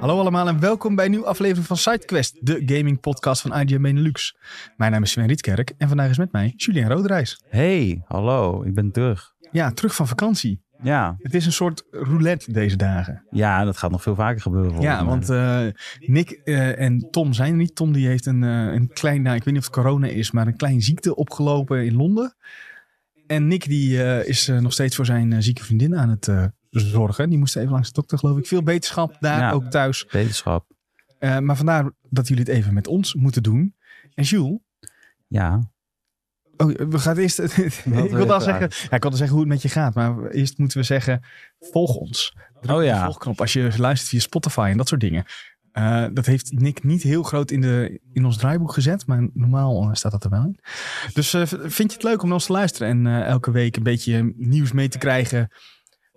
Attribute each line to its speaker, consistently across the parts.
Speaker 1: Hallo allemaal en welkom bij een nieuwe aflevering van SideQuest, de gaming podcast van IGN Benelux. Mijn naam is Sven Rietkerk en vandaag is met mij Julien Roderijs.
Speaker 2: Hey, hallo, ik ben terug.
Speaker 1: Ja, terug van vakantie.
Speaker 2: Ja,
Speaker 1: Het is een soort roulette deze dagen.
Speaker 2: ja dat gaat nog veel vaker gebeuren. volgens
Speaker 1: Ja,
Speaker 2: mij.
Speaker 1: want eh, Nick eh, en Tom zijn er niet. Tom die heeft een, eh, een klein, nou, ik weet niet of het corona is, maar een klein ziekte opgelopen in Londen. En Nick die eh, is eh, nog steeds voor zijn eh, zieke vriendin aan het eh, zorgen. Die moest even langs de dokter geloof ik. Veel beterschap daar,
Speaker 2: Ja.
Speaker 1: ook thuis.
Speaker 2: Wetenschap.
Speaker 1: Eh, maar vandaar dat jullie het even met ons moeten doen. En Jules,
Speaker 2: Ja,
Speaker 1: oh, we gaan eerst. ik wilde al
Speaker 2: even
Speaker 1: zeggen, ja, ik wilde zeggen hoe het met je gaat, maar eerst moeten we zeggen: volg ons. Druk
Speaker 2: Oh
Speaker 1: op de
Speaker 2: ja.
Speaker 1: volgknop als je luistert via Spotify en dat soort dingen. Eh, dat heeft Nick niet heel groot in, de, in ons draaiboek gezet, maar normaal eh, staat dat er wel in. Dus eh, v- vind je het leuk om naar ons te luisteren en eh, elke week een beetje nieuws mee te krijgen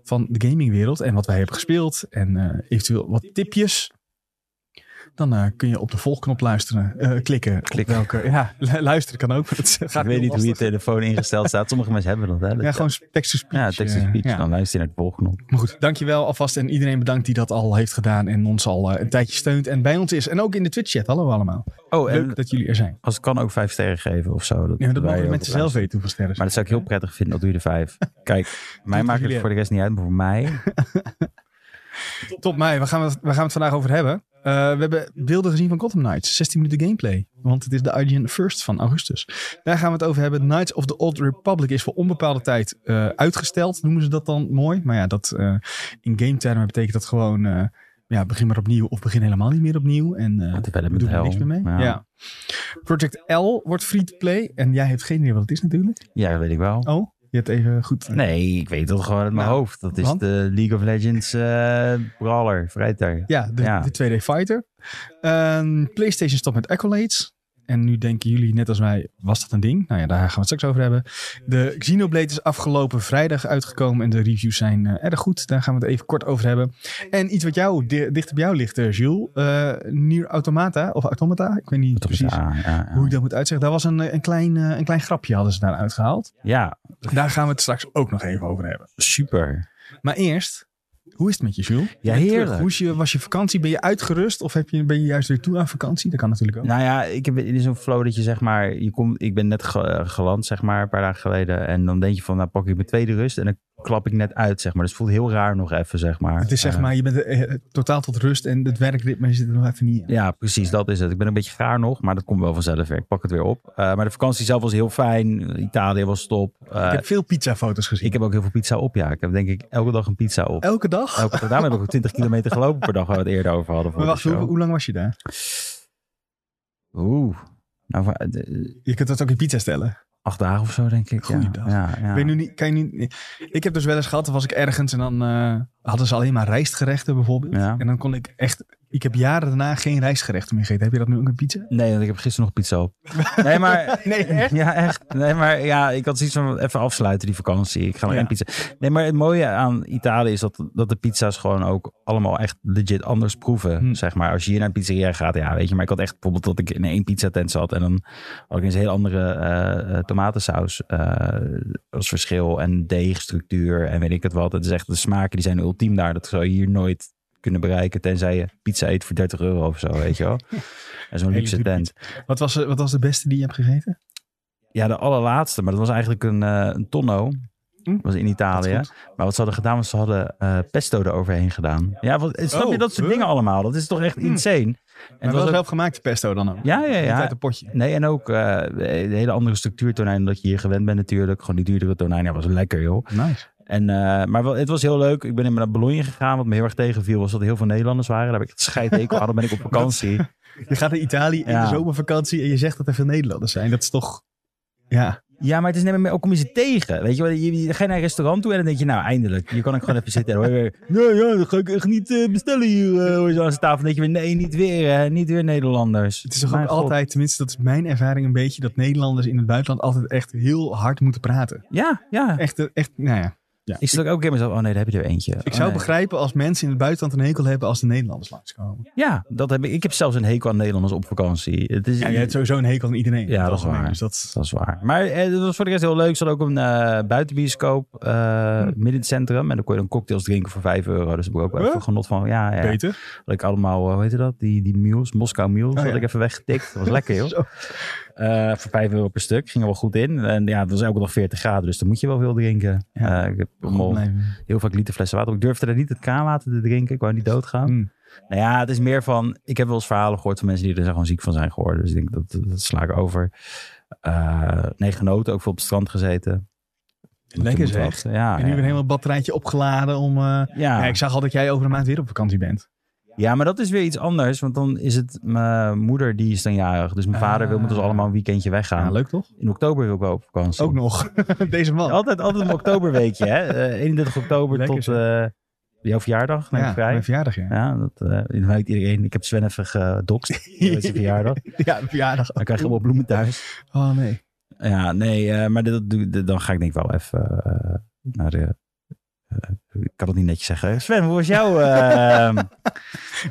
Speaker 1: van de gamingwereld en wat wij hebben gespeeld en eh, eventueel wat tipjes? Dan eh, kun je op de volgknop luisteren, eh, klikken.
Speaker 2: Klikken.
Speaker 1: Op welke, ja, lu- luisteren kan ook. maar Dat gaat
Speaker 2: ik
Speaker 1: heel
Speaker 2: weet niet hoe je
Speaker 1: lastig.
Speaker 2: telefoon ingesteld staat. Sommige mensen hebben dat, hè? Dat-
Speaker 1: Ja, gewoon text-to-speech.
Speaker 2: Ja, text to
Speaker 1: eh,
Speaker 2: speech.
Speaker 1: ja.
Speaker 2: Dan luister je naar het volgende.
Speaker 1: Maar goed, dankjewel alvast. En iedereen bedankt die dat al heeft gedaan en ons al eh, een tijdje steunt en bij ons is. En ook in de Twitch-chat. Hallo allemaal.
Speaker 2: Oh, en
Speaker 1: Leuk dat jullie er zijn.
Speaker 2: als het kan ook vijf sterren geven of zo.
Speaker 1: Ja, dat
Speaker 2: wij
Speaker 1: mogen de
Speaker 2: ook
Speaker 1: mensen
Speaker 2: op
Speaker 1: zelf
Speaker 2: luisteren.
Speaker 1: weten hoeveel sterren ze
Speaker 2: Maar dat zou ik heel prettig vinden, dat doe je er vijf. Kijk, mij
Speaker 1: voor
Speaker 2: maakt
Speaker 1: jullie
Speaker 2: het voor de rest niet uit, maar voor mij...
Speaker 1: Top mij, waar gaan, we, waar gaan we het vandaag over hebben? Eh, we hebben beelden gezien van Gotham Knights. 16 minuten gameplay. Want het is de IGN First van augustus. Daar gaan we het over hebben. Knights of the Old Republic is voor onbepaalde tijd eh, uitgesteld. Noemen ze dat dan mooi? Maar ja, dat, eh, in game termen betekent dat gewoon... eh, ja, begin maar opnieuw of begin helemaal niet meer opnieuw. En eh, we
Speaker 2: Development
Speaker 1: doen er
Speaker 2: hell.
Speaker 1: niks meer mee. Ja.
Speaker 2: Ja.
Speaker 1: Project L wordt free-to-play. En jij hebt geen idee wat het is natuurlijk.
Speaker 2: Ja, dat weet ik wel.
Speaker 1: Oh, je hebt even goed...
Speaker 2: Nee, ik weet dat gewoon uit mijn
Speaker 1: Nou,
Speaker 2: hoofd. Dat is
Speaker 1: want?
Speaker 2: de League of Legends eh brawler, vrijdag.
Speaker 1: Ja, de,
Speaker 2: Ja.
Speaker 1: de 2D Fighter. Ehm, PlayStation stopt met accolades. En nu denken jullie, net als wij, was dat een ding? Nou ja, daar gaan we het straks over hebben. De Xenoblade is afgelopen vrijdag uitgekomen en de reviews zijn eh, erg goed. Daar gaan we het even kort over hebben. En iets wat jou, di- dicht op jou ligt, eh, Jules. eh Nier Automata, of Automata, ik weet niet
Speaker 2: Toch?
Speaker 1: precies
Speaker 2: Ja, ja,
Speaker 1: hoe
Speaker 2: ja.
Speaker 1: ik dat moet uitzeggen. Daar was een, eh, een, klein, eh, een klein grapje hadden ze daar uitgehaald.
Speaker 2: ja,
Speaker 1: Daar gaan we het straks ook nog even over hebben.
Speaker 2: super.
Speaker 1: Maar eerst, hoe is het met je, Jules? Ben
Speaker 2: Ja,
Speaker 1: je terug?
Speaker 2: heerlijk.
Speaker 1: Hoe is je, was je vakantie? Ben je uitgerust of heb je, ben je juist weer toe aan vakantie? Dat kan natuurlijk ook.
Speaker 2: Nou ja, ik heb in zo'n flow dat je zeg maar, je komt, ik ben net ge- eh, geland zeg maar, een paar dagen geleden. En dan denk je van, nou pak ik mijn tweede rust en dan klap ik net uit zeg maar. Dus het voelt heel raar nog even zeg maar.
Speaker 1: het is zeg
Speaker 2: Eh,
Speaker 1: maar, je bent eh, totaal tot rust en het werkritme zit er nog even niet in.
Speaker 2: ja, precies, dat is het. Ik ben een beetje gaar nog, maar dat komt wel vanzelf weer. Ik pak het weer op. Eh, maar de vakantie zelf was heel fijn. Italië was top. Eh,
Speaker 1: ik heb veel pizzafoto's gezien.
Speaker 2: ook heel veel pizza op, ja. Ik heb denk ik elke dag een pizza op.
Speaker 1: Elke dag?
Speaker 2: Elke, daarom heb ik ook 20 kilometer gelopen per dag, waar we het eerder over hadden. voor
Speaker 1: maar
Speaker 2: de
Speaker 1: wacht, hoe,
Speaker 2: show.
Speaker 1: hoe lang was je daar?
Speaker 2: Oeh. Nou, va- de-
Speaker 1: Je kunt dat ook in pizza stellen.
Speaker 2: acht dagen of zo, denk ik. ja.
Speaker 1: Goeiedag.
Speaker 2: Ja, ja.
Speaker 1: Ben je nu niet, kan je niet, ik heb dus wel eens gehad, dan was ik ergens en dan eh, hadden ze alleen maar rijstgerechten bijvoorbeeld.
Speaker 2: Ja.
Speaker 1: En dan kon ik echt, ik heb jaren daarna geen rijstgerechten meer gegeten. Heb je dat nu ook in pizza?
Speaker 2: Nee, want ik heb gisteren nog pizza op. Nee, maar...
Speaker 1: Nee, echt?
Speaker 2: Ja, echt. Nee, maar ja, ik had zoiets van even afsluiten die vakantie. Ik ga nog
Speaker 1: Ja.
Speaker 2: één pizza. Nee, maar het mooie aan Italië is dat, dat de pizza's gewoon ook allemaal echt legit anders proeven.
Speaker 1: Hm.
Speaker 2: Zeg maar, als je hier naar een pizzeria gaat, ja, weet je. Maar ik had echt bijvoorbeeld dat ik in één pizzatent zat en dan had ik eens een heel andere eh, eh, tomatensaus eh, als verschil en deegstructuur en weet ik het wat. Het is echt de smaken die zijn ultiem daar. Dat zou je hier nooit kunnen bereiken tenzij je pizza eet voor 30 euro of zo, weet je wel. En zo'n
Speaker 1: Hele
Speaker 2: luxe
Speaker 1: dure
Speaker 2: tent.
Speaker 1: Wat was, wat was de beste die je hebt gegeten?
Speaker 2: Ja, de allerlaatste, maar dat was eigenlijk een, eh, een tonno.
Speaker 1: Hm,
Speaker 2: Dat was in
Speaker 1: Dat
Speaker 2: Italië.
Speaker 1: is goed.
Speaker 2: Maar wat ze hadden gedaan, was ze hadden eh, pesto eroverheen gedaan. Ja, wat, snap
Speaker 1: Oh,
Speaker 2: je dat soort
Speaker 1: huh?
Speaker 2: dingen allemaal? Dat is toch echt insane. En
Speaker 1: En
Speaker 2: het
Speaker 1: wel
Speaker 2: was ook,
Speaker 1: zelf gemaakt pesto dan ook.
Speaker 2: ja, ja,
Speaker 1: Niet
Speaker 2: ja.
Speaker 1: uit een potje.
Speaker 2: Nee, en ook eh, een hele andere structuur tonijn dan dat je hier gewend bent natuurlijk. Gewoon die duurdere tonijn. Ja, was lekker joh.
Speaker 1: Nice.
Speaker 2: En, eh, maar wel, het was heel leuk. Ik ben in naar Bologna gegaan. Wat me heel erg tegenviel was dat er heel veel Nederlanders waren. Daar heb ik het scheidhekel aan. Dan ben ik op vakantie.
Speaker 1: Je gaat naar Italië in
Speaker 2: Ja.
Speaker 1: de zomervakantie en je zegt dat er veel Nederlanders zijn. Dat is toch... Ja,
Speaker 2: Ja, maar het is net meer, ook kom je ze tegen. Weet je wel, je, je gaat naar een restaurant toe en dan denk je, nou eindelijk, je kan ook gewoon even zitten. En dan hoor je weer, nou ja, dat ga ik echt niet eh, bestellen hier. eh hoor je zo aan de tafel. Dan denk je weer, nee, niet weer, hè, niet weer Nederlanders.
Speaker 1: het is toch ook
Speaker 2: Mijn god.
Speaker 1: altijd, tenminste dat is mijn ervaring een beetje, dat Nederlanders in het buitenland altijd echt heel hard moeten praten.
Speaker 2: Ja, ja.
Speaker 1: Echt, eh, echt nou ja. Ja.
Speaker 2: Ik zit ook elke keer mezelf, oh nee, daar heb je er eentje.
Speaker 1: Ik zou begrijpen als mensen in het buitenland een hekel hebben als de Nederlanders langskomen.
Speaker 2: Ja, dat heb ik. Ik heb zelfs een hekel aan Nederlanders op vakantie. Het is,
Speaker 1: Ja, je hebt sowieso een hekel aan iedereen.
Speaker 2: Ja, dat is
Speaker 1: algemeen,
Speaker 2: waar.
Speaker 1: Dus dat,
Speaker 2: Dat is waar. Maar eh, dat was voor de rest heel leuk. Ze hadden ook een eh, buitenbioscoop eh,
Speaker 1: Hm.
Speaker 2: midden in het centrum. En dan kon je dan cocktails drinken voor 5 euro. Dus daar heb ik ook wel
Speaker 1: Huh?
Speaker 2: even genot van. Ja, ja.
Speaker 1: beter.
Speaker 2: Had ik allemaal, eh, hoe heette dat? Die, die mules, Moskou mules,
Speaker 1: Oh,
Speaker 2: had
Speaker 1: ja.
Speaker 2: ik even weggetikt. Dat was lekker, joh.
Speaker 1: Zo.
Speaker 2: Eh, voor 5 euro per stuk. Ging er wel goed in. En ja, het was elke dag 40 graden. Dus dan moet je wel veel drinken.
Speaker 1: Ja.
Speaker 2: Eh, ik heb
Speaker 1: Goed
Speaker 2: allemaal
Speaker 1: blijven.
Speaker 2: heel vaak liter flessen water. Ik durfde daar niet het kraanwater te drinken. Ik wou niet doodgaan.
Speaker 1: Hmm.
Speaker 2: Nou ja, het is meer van... Ik heb wel eens verhalen gehoord van mensen die er gewoon ziek van zijn geworden. Dus ik denk, dat, dat sla ik over. Eh, nee, genoten. Ook veel op het strand gezeten.
Speaker 1: Lekker
Speaker 2: Moet wat.
Speaker 1: zeg.
Speaker 2: Ja, Ah.
Speaker 1: En nu
Speaker 2: ja.
Speaker 1: weer helemaal het batterijtje opgeladen om... eh,
Speaker 2: Ja.
Speaker 1: Ja, ik zag al dat jij over een maand weer op vakantie bent.
Speaker 2: ja, maar dat is weer iets anders. Want dan is het mijn moeder die is dan jarig. Dus mijn vader wil met ons
Speaker 1: Ah.
Speaker 2: allemaal een weekendje weggaan.
Speaker 1: Ja, leuk toch?
Speaker 2: In oktober wil ik wel op vakantie.
Speaker 1: Ook nog. Deze man.
Speaker 2: Altijd, altijd een oktoberweekje, hè? Eh, 31 oktober
Speaker 1: Lekker,
Speaker 2: tot eh jouw verjaardag, neem ik
Speaker 1: ja,
Speaker 2: vrij.
Speaker 1: mijn verjaardag, ja.
Speaker 2: Ja, dat eh, weet iedereen. Ik heb Sven even gedokst. Dat is zijn verjaardag.
Speaker 1: Ja, mijn verjaardag.
Speaker 2: Dan krijg je allemaal bloemen thuis.
Speaker 1: Oh nee.
Speaker 2: Ja, nee, eh, maar dat, doe- dat- dan ga ik denk ik wel even eh, naar de... eh, ik kan het niet netjes zeggen. Sven, hoe was jouw... eh,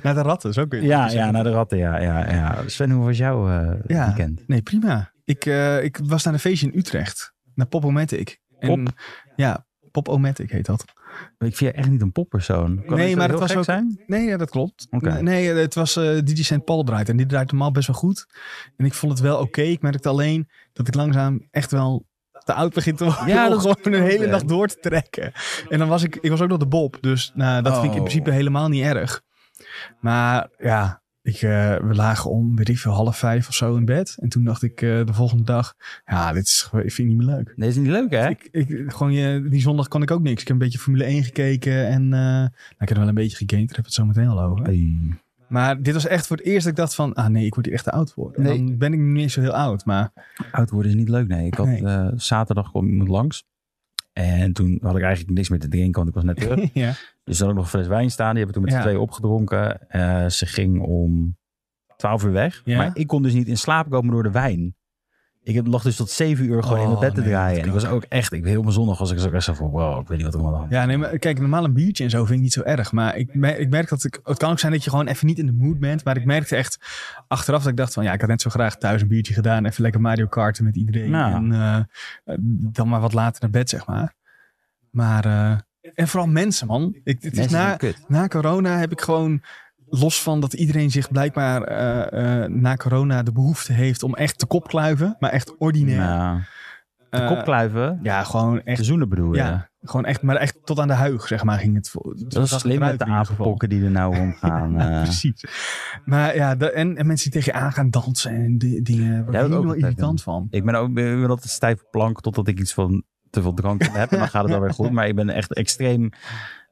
Speaker 1: Naar de ratten, zo kun je het
Speaker 2: ja, nou,
Speaker 1: zeggen.
Speaker 2: ja, naar de ratten, ja, ja, ja. Sven, hoe was jouw eh,
Speaker 1: Ja.
Speaker 2: weekend?
Speaker 1: Nee, prima. Ik, eh, ik was naar een feestje in Utrecht. Naar Popomatic. En, Ja, Popomatic heet dat.
Speaker 2: Ik vind je echt niet een poppersoon. Kan
Speaker 1: Nee,
Speaker 2: het
Speaker 1: maar het
Speaker 2: heel
Speaker 1: was
Speaker 2: gek
Speaker 1: ook-
Speaker 2: Zijn?
Speaker 1: Nee, ja, dat klopt.
Speaker 2: Oké.
Speaker 1: Nee, het was eh DJ St. Paul draait. En die draait normaal best wel goed. En ik vond het wel oké. Ik merkte alleen dat ik langzaam echt wel te oud begint te worden.
Speaker 2: Ja,
Speaker 1: om
Speaker 2: dat-
Speaker 1: gewoon een hele
Speaker 2: Ja.
Speaker 1: dag door te trekken. En dan was ik, ik was ook nog de Bob. Dus nou, dat vind ik in
Speaker 2: Oh.
Speaker 1: principe helemaal niet erg. Maar ja, ik, eh, we lagen om, weet ik veel, half vijf of zo in bed. En toen dacht ik eh, de volgende dag, ja, dit is, gewoon- ik vind het niet meer leuk.
Speaker 2: Nee, is niet leuk, hè?
Speaker 1: Ik, ik, gewoon je, die zondag kon ik ook niks. Ik heb een beetje Formule 1 gekeken en eh, nou, ik heb wel een beetje gegamed. Daar hebben we het zo meteen al over.
Speaker 2: Hey.
Speaker 1: Maar dit was echt voor het eerst dat ik dacht van, ah nee, ik word hier echt te oud voor. En
Speaker 2: Nee.
Speaker 1: Dan ben ik niet eens zo heel oud, maar
Speaker 2: Oud worden is niet leuk, nee. Ik had,
Speaker 1: Nee.
Speaker 2: eh, zaterdag kwam iemand langs. En toen had ik eigenlijk niks meer te drinken, want ik was net terug.
Speaker 1: ja.
Speaker 2: dus dan had ik nog een fles wijn staan. Die hebben we toen met
Speaker 1: Ja.
Speaker 2: z'n tweeën opgedronken. Eh, ze ging om 12 uur weg.
Speaker 1: Ja.
Speaker 2: Maar ik kon dus niet in slaap komen door de wijn. Ik heb- lag dus tot 7 uur gewoon in
Speaker 1: Oh,
Speaker 2: mijn bed te
Speaker 1: nee,
Speaker 2: draaien.
Speaker 1: dat
Speaker 2: En ik was ook echt, ik heel mijn zondag was ik zo echt zo van, wow, ik weet niet wat er allemaal aan.
Speaker 1: Ja, nee, maar kijk, normaal een biertje en zo vind ik niet zo erg. Maar ik, mer- ik merk dat ik, het kan ook zijn dat je gewoon even niet in de mood bent. Maar ik merkte echt achteraf dat ik dacht van, ja, ik had net zo graag thuis een biertje gedaan. Even lekker Mario Karten met iedereen.
Speaker 2: Nou.
Speaker 1: En eh, eh, dan maar wat later naar bed, zeg maar. Maar, eh, en vooral mensen, man. Ik, het is
Speaker 2: Mensen
Speaker 1: na,
Speaker 2: zijn kut.
Speaker 1: na corona heb ik gewoon, los van dat iedereen zich blijkbaar eh, eh, na corona de behoefte heeft om echt te kopkluiven. Maar echt ordinair.
Speaker 2: Nou, de
Speaker 1: Eh,
Speaker 2: kopkluiven,
Speaker 1: Ja, gewoon echt
Speaker 2: de zoenen bedoel je.
Speaker 1: ja, gewoon echt, maar echt tot aan de huig, zeg maar, ging het. voor-
Speaker 2: Dat
Speaker 1: zag
Speaker 2: is
Speaker 1: het
Speaker 2: slim
Speaker 1: eruit
Speaker 2: met de
Speaker 1: in ieder geval.
Speaker 2: apenpokken die er nou rondgaan.
Speaker 1: Ja,
Speaker 2: eh.
Speaker 1: precies. Maar ja, da- en, en mensen die tegen je aan gaan dansen en di- dingen. Daar
Speaker 2: heb ik
Speaker 1: word ik
Speaker 2: ook
Speaker 1: helemaal
Speaker 2: altijd
Speaker 1: irritant van.
Speaker 2: Ik ben ook ik ben altijd stijf op plank totdat ik iets van te veel drank heb. En dan gaat het alweer goed. Maar ik ben echt extreem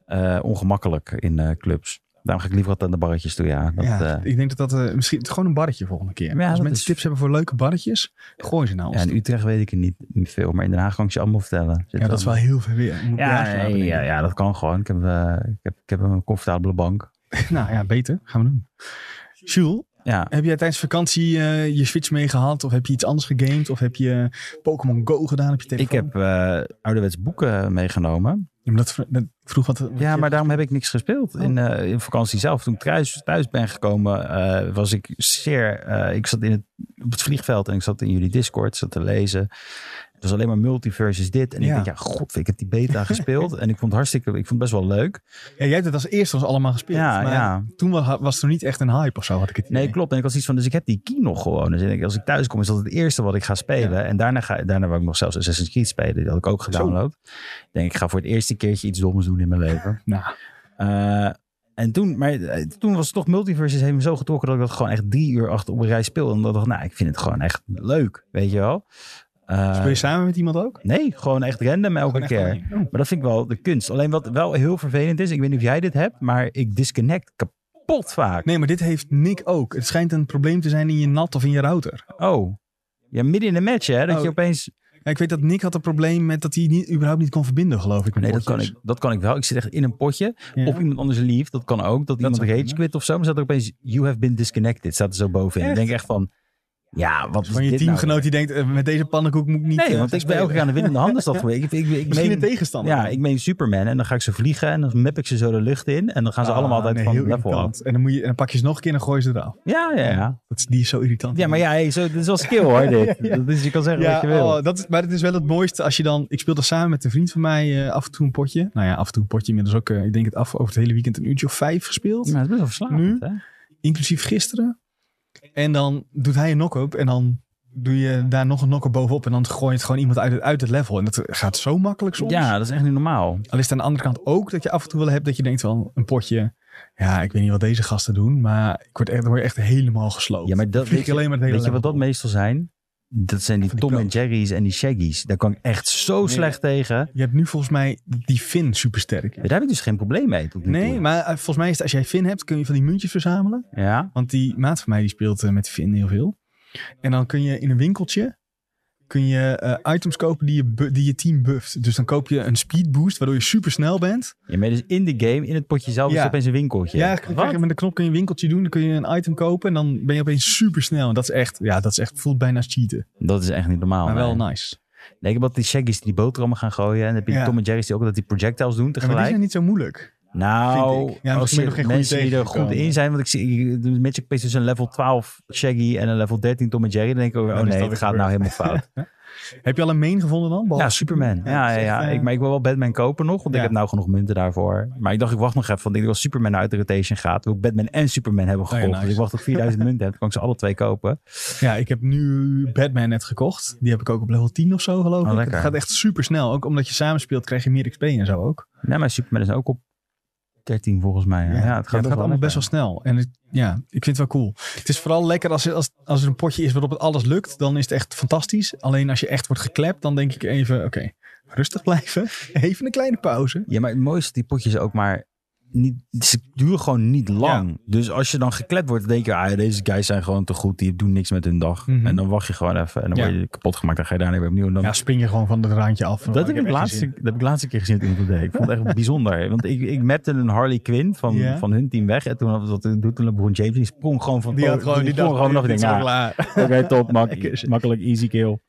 Speaker 2: eh, ongemakkelijk in eh, clubs. Daarom ga ik liever wat aan de barretjes toe. Ja, dat,
Speaker 1: ja,
Speaker 2: eh,
Speaker 1: ik denk dat dat eh, misschien gewoon een barretje volgende keer.
Speaker 2: Ja,
Speaker 1: Als
Speaker 2: dat
Speaker 1: mensen
Speaker 2: is-
Speaker 1: tips hebben voor leuke barretjes, gooi ze nou.
Speaker 2: ja, in Utrecht weet ik het niet veel. Maar in Den Haag kan ik ze allemaal vertellen. Zit
Speaker 1: ja, dat is wel
Speaker 2: allemaal-
Speaker 1: heel ver weer. Moet ik
Speaker 2: Ja,
Speaker 1: blazen houden,
Speaker 2: nee,
Speaker 1: denk
Speaker 2: ja,
Speaker 1: ik.
Speaker 2: ja, dat kan gewoon. Ik heb, eh, ik heb, ik heb een comfortabele bank.
Speaker 1: Nou ja, beter. Gaan we doen. Jules,
Speaker 2: Ja,
Speaker 1: heb jij tijdens vakantie eh, je Switch mee gehad? Of heb je iets anders gegamed? Of heb je Pokémon Go gedaan op je
Speaker 2: ik
Speaker 1: telefoon?
Speaker 2: heb eh, ouderwets boeken meegenomen.
Speaker 1: Ja, maar dat, vro- dat vroeg wat... wat
Speaker 2: Ja,
Speaker 1: je-
Speaker 2: maar daarom heb ik niks gespeeld
Speaker 1: Oh.
Speaker 2: in, eh, in vakantie zelf. Toen ik thuis, thuis ben gekomen, eh, was ik zeer... eh, ik zat in het, op het vliegveld en ik zat in jullie Discord, zat te lezen. Het was alleen maar multiversus dit. En
Speaker 1: Ja.
Speaker 2: ik dacht, ja, god, ik heb die beta gespeeld. En ik vond het hartstikke... Ik vond het best wel leuk.
Speaker 1: Ja, jij hebt het als eerste ons allemaal gespeeld.
Speaker 2: Ja,
Speaker 1: maar
Speaker 2: ja.
Speaker 1: toen was, was er niet echt een hype of zo, had ik het
Speaker 2: Nee,
Speaker 1: idee.
Speaker 2: klopt. En ik was iets van, dus ik heb die key nog gewoon. Dus ik denk, als ik thuis kom, is dat het eerste wat ik ga spelen. En daarna, ga, daarna wil ik nog zelfs Assassin's Creed spelen. Die had ik ook gedownload. Ik denk, ik ga voor het eerste keertje iets doms doen in mijn leven.
Speaker 1: Nou,
Speaker 2: Eh, en toen, maar eh, toen was het toch Multiversus heeft me zo getrokken dat ik dat gewoon echt drie uur achter op een rij speelde. En dat ik dacht, nou, ik vind het gewoon echt leuk, weet je wel. Eh,
Speaker 1: speel je samen met iemand ook?
Speaker 2: nee, gewoon echt random
Speaker 1: Gewoon
Speaker 2: elke
Speaker 1: echt
Speaker 2: keer.
Speaker 1: alleen? Oh.
Speaker 2: Maar dat vind ik wel de kunst. Alleen wat wel heel vervelend is, ik weet niet of jij dit hebt, maar ik disconnect kapot vaak.
Speaker 1: Nee, maar dit heeft Nick ook. Het schijnt een probleem te zijn in je NAT of in je router.
Speaker 2: Oh, ja, midden in de match hè, dat
Speaker 1: Oh.
Speaker 2: je opeens...
Speaker 1: Ja, ik weet dat Nick had een probleem met dat hij niet, überhaupt niet kon verbinden, geloof ik. met
Speaker 2: Nee, dat kan,
Speaker 1: potjes.
Speaker 2: ik, dat kan ik wel. Ik zit echt in een potje.
Speaker 1: Ja.
Speaker 2: Of iemand anders lief, dat kan ook. Dat, iemand
Speaker 1: zou
Speaker 2: rage
Speaker 1: kunnen.
Speaker 2: quit of zo, maar staat er opeens... You have been disconnected, staat er zo bovenin.
Speaker 1: Echt?
Speaker 2: Ik denk echt van... Ja, wat
Speaker 1: Dus
Speaker 2: is
Speaker 1: van je
Speaker 2: dit nou
Speaker 1: teamgenoot die denkt, eh, met deze pannenkoek moet ik niet
Speaker 2: Nee,
Speaker 1: eh,
Speaker 2: want
Speaker 1: gaan
Speaker 2: ik ben
Speaker 1: spelen.
Speaker 2: elke keer aan de winnende hand. Is dat geweest. Ik, ik, ik,
Speaker 1: Misschien
Speaker 2: meen-
Speaker 1: een tegenstander.
Speaker 2: Ja, ik meen Superman. En dan ga ik ze vliegen. En dan map ik ze zo de lucht in. En dan gaan ze
Speaker 1: Ah,
Speaker 2: allemaal altijd
Speaker 1: nee,
Speaker 2: van
Speaker 1: heel
Speaker 2: level af.
Speaker 1: irritant. En dan, moet je, en dan pak je ze nog een keer en dan gooi je ze eraf.
Speaker 2: Ja, ja, ja.
Speaker 1: Dat is, die is zo irritant.
Speaker 2: Ja, maar ja, hey, zo, dit is wel skill hoor. Dit.
Speaker 1: Ja.
Speaker 2: Dat is, je kan zeggen
Speaker 1: Ja,
Speaker 2: wat je wil.
Speaker 1: oh, dat, is- maar het is wel het mooiste als je dan... Ik speelde samen met een vriend van mij eh, af en toe een potje. Nou ja, af en toe een potje. Inmiddels ook, eh, ik denk het af over het hele weekend een uurtje of vijf gespeeld.
Speaker 2: Ja, maar het is best wel verslavend, hè?
Speaker 1: Inclusief gisteren. En dan doet hij een knock-up en dan doe je daar nog een knock-up bovenop. En dan gooi je het gewoon iemand uit het, uit het level. En dat gaat zo makkelijk soms.
Speaker 2: Ja, dat is echt niet normaal.
Speaker 1: Al is het aan de andere kant ook dat je af en toe wel hebt dat je denkt van een potje. Ja, ik weet niet wat deze gasten doen, maar ik word echt, dan word je echt helemaal gesloopt.
Speaker 2: Ja, maar dat,
Speaker 1: Vlieg
Speaker 2: weet, je,
Speaker 1: alleen maar het hele
Speaker 2: weet je wat
Speaker 1: level
Speaker 2: dat meestal zijn? Dat zijn die
Speaker 1: Van die
Speaker 2: Tom en
Speaker 1: brood.
Speaker 2: Jerry's en die Shaggy's. Daar kan ik echt zo
Speaker 1: Nee.
Speaker 2: slecht tegen.
Speaker 1: Je hebt nu volgens mij die Finn supersterk.
Speaker 2: Daar heb ik dus geen probleem mee. tot nu
Speaker 1: Nee,
Speaker 2: toe.
Speaker 1: maar eh, volgens mij is het als jij Finn hebt, kun je van die muntjes verzamelen.
Speaker 2: Ja?
Speaker 1: Want die maat van mij die speelt eh, met Finn heel veel. En dan kun je in een winkeltje kun je, eh, items kopen die je, bu- die je team bufft. Dus dan koop je een speed boost, waardoor je super snel bent.
Speaker 2: Je bent dus in de game, in het potje zelf, is
Speaker 1: Ja.
Speaker 2: het opeens een winkeltje.
Speaker 1: Ja, krijg je-
Speaker 2: Wat?
Speaker 1: met een knop kun je een winkeltje doen. Dan kun je een item kopen. En dan ben je opeens super snel. En dat is echt, ja, dat is echt, voelt bijna als cheaten.
Speaker 2: Dat is echt niet normaal.
Speaker 1: maar wel
Speaker 2: Oh, nee.
Speaker 1: nice.
Speaker 2: Nee, ik heb altijd die Shaggy's die die boterhammen gaan gooien. En dan heb je die
Speaker 1: Ja.
Speaker 2: Tom en Jerry's die ook dat die projectiles doen
Speaker 1: Ja, maar die
Speaker 2: tegelijk.
Speaker 1: zijn niet zo moeilijk.
Speaker 2: nou,
Speaker 1: vind ik. Ja, misschien
Speaker 2: als
Speaker 1: ben
Speaker 2: je
Speaker 1: ik nog geen goede
Speaker 2: mensen die er goed
Speaker 1: tegengekomen.
Speaker 2: in zijn. Want ik zie ik- de Magic Pace tussen een level 12 Shaggy en een level 13 Tom en Jerry. Dan denk ik, ook weer,
Speaker 1: Dan
Speaker 2: oh
Speaker 1: is
Speaker 2: nee,
Speaker 1: dat
Speaker 2: het
Speaker 1: weer
Speaker 2: gaat nou helemaal fout.
Speaker 1: Heb je al een main gevonden dan? Behalve-
Speaker 2: ja, Superman. Ja, ja,
Speaker 1: dat is
Speaker 2: ja.
Speaker 1: echt, eh,
Speaker 2: Ik, maar ik wil wel Batman kopen nog, want ik
Speaker 1: Ja.
Speaker 2: heb nou genoeg munten daarvoor. Maar ik dacht, ik wacht nog even, want ik denk als Superman uit de rotation gaat, wil ik Batman en Superman hebben
Speaker 1: Oh ja,
Speaker 2: gekocht. Dus
Speaker 1: nice.
Speaker 2: ik wacht tot ik 4000 munten heb, dan kan ik ze alle twee kopen.
Speaker 1: ja, ik heb nu Batman net gekocht. Die heb ik ook op level 10 of zo geloof
Speaker 2: Oh,
Speaker 1: ik.
Speaker 2: lekker.
Speaker 1: Het gaat echt super snel. Ook omdat je samen speelt krijg je meer XP en zo ook.
Speaker 2: Nee, maar Superman is ook op 13 volgens mij. Ja, Ja, het gaat, best wel
Speaker 1: allemaal
Speaker 2: lekker.
Speaker 1: best wel snel. En het- ja, ik vind het wel cool. Het is vooral lekker als, als, als er een potje is waarop het alles lukt. Dan is het echt fantastisch. Alleen als je echt wordt geklept, dan denk ik even, oké, rustig blijven. Even een kleine pauze.
Speaker 2: Ja, maar het mooiste is dat die potjes ook maar niet, ze duren gewoon niet lang. Dus als je dan geklept wordt, dan denk je, ah, deze guys zijn gewoon te goed, die doen niks met hun dag.
Speaker 1: Mhm.
Speaker 2: En dan wacht je gewoon even en dan
Speaker 1: Ja.
Speaker 2: word je kapot gemaakt, dan ga je daarna weer opnieuw. En dan,
Speaker 1: Ja, spring je gewoon van het randje af.
Speaker 2: dat, heb
Speaker 1: Oh, heb
Speaker 2: ik
Speaker 1: echt
Speaker 2: laatste,
Speaker 1: geen
Speaker 2: dat heb ik laatste keer gezien toen ik deed. Ik vond het echt bijzonder. Want ik, ik mapte een Harley Quinn van,
Speaker 1: Ja.
Speaker 2: van hun team weg. En toen, had- dat, toen LeBron James, die sprong gewoon van
Speaker 1: zin. Oh, Die had gewoon die
Speaker 2: sprong
Speaker 1: dag
Speaker 2: gewoon nog
Speaker 1: dit
Speaker 2: een
Speaker 1: is
Speaker 2: ding.
Speaker 1: wel
Speaker 2: Ja,
Speaker 1: klaar.
Speaker 2: Oké, top, mak-
Speaker 1: Lekker zin.
Speaker 2: makkelijk, easy kill.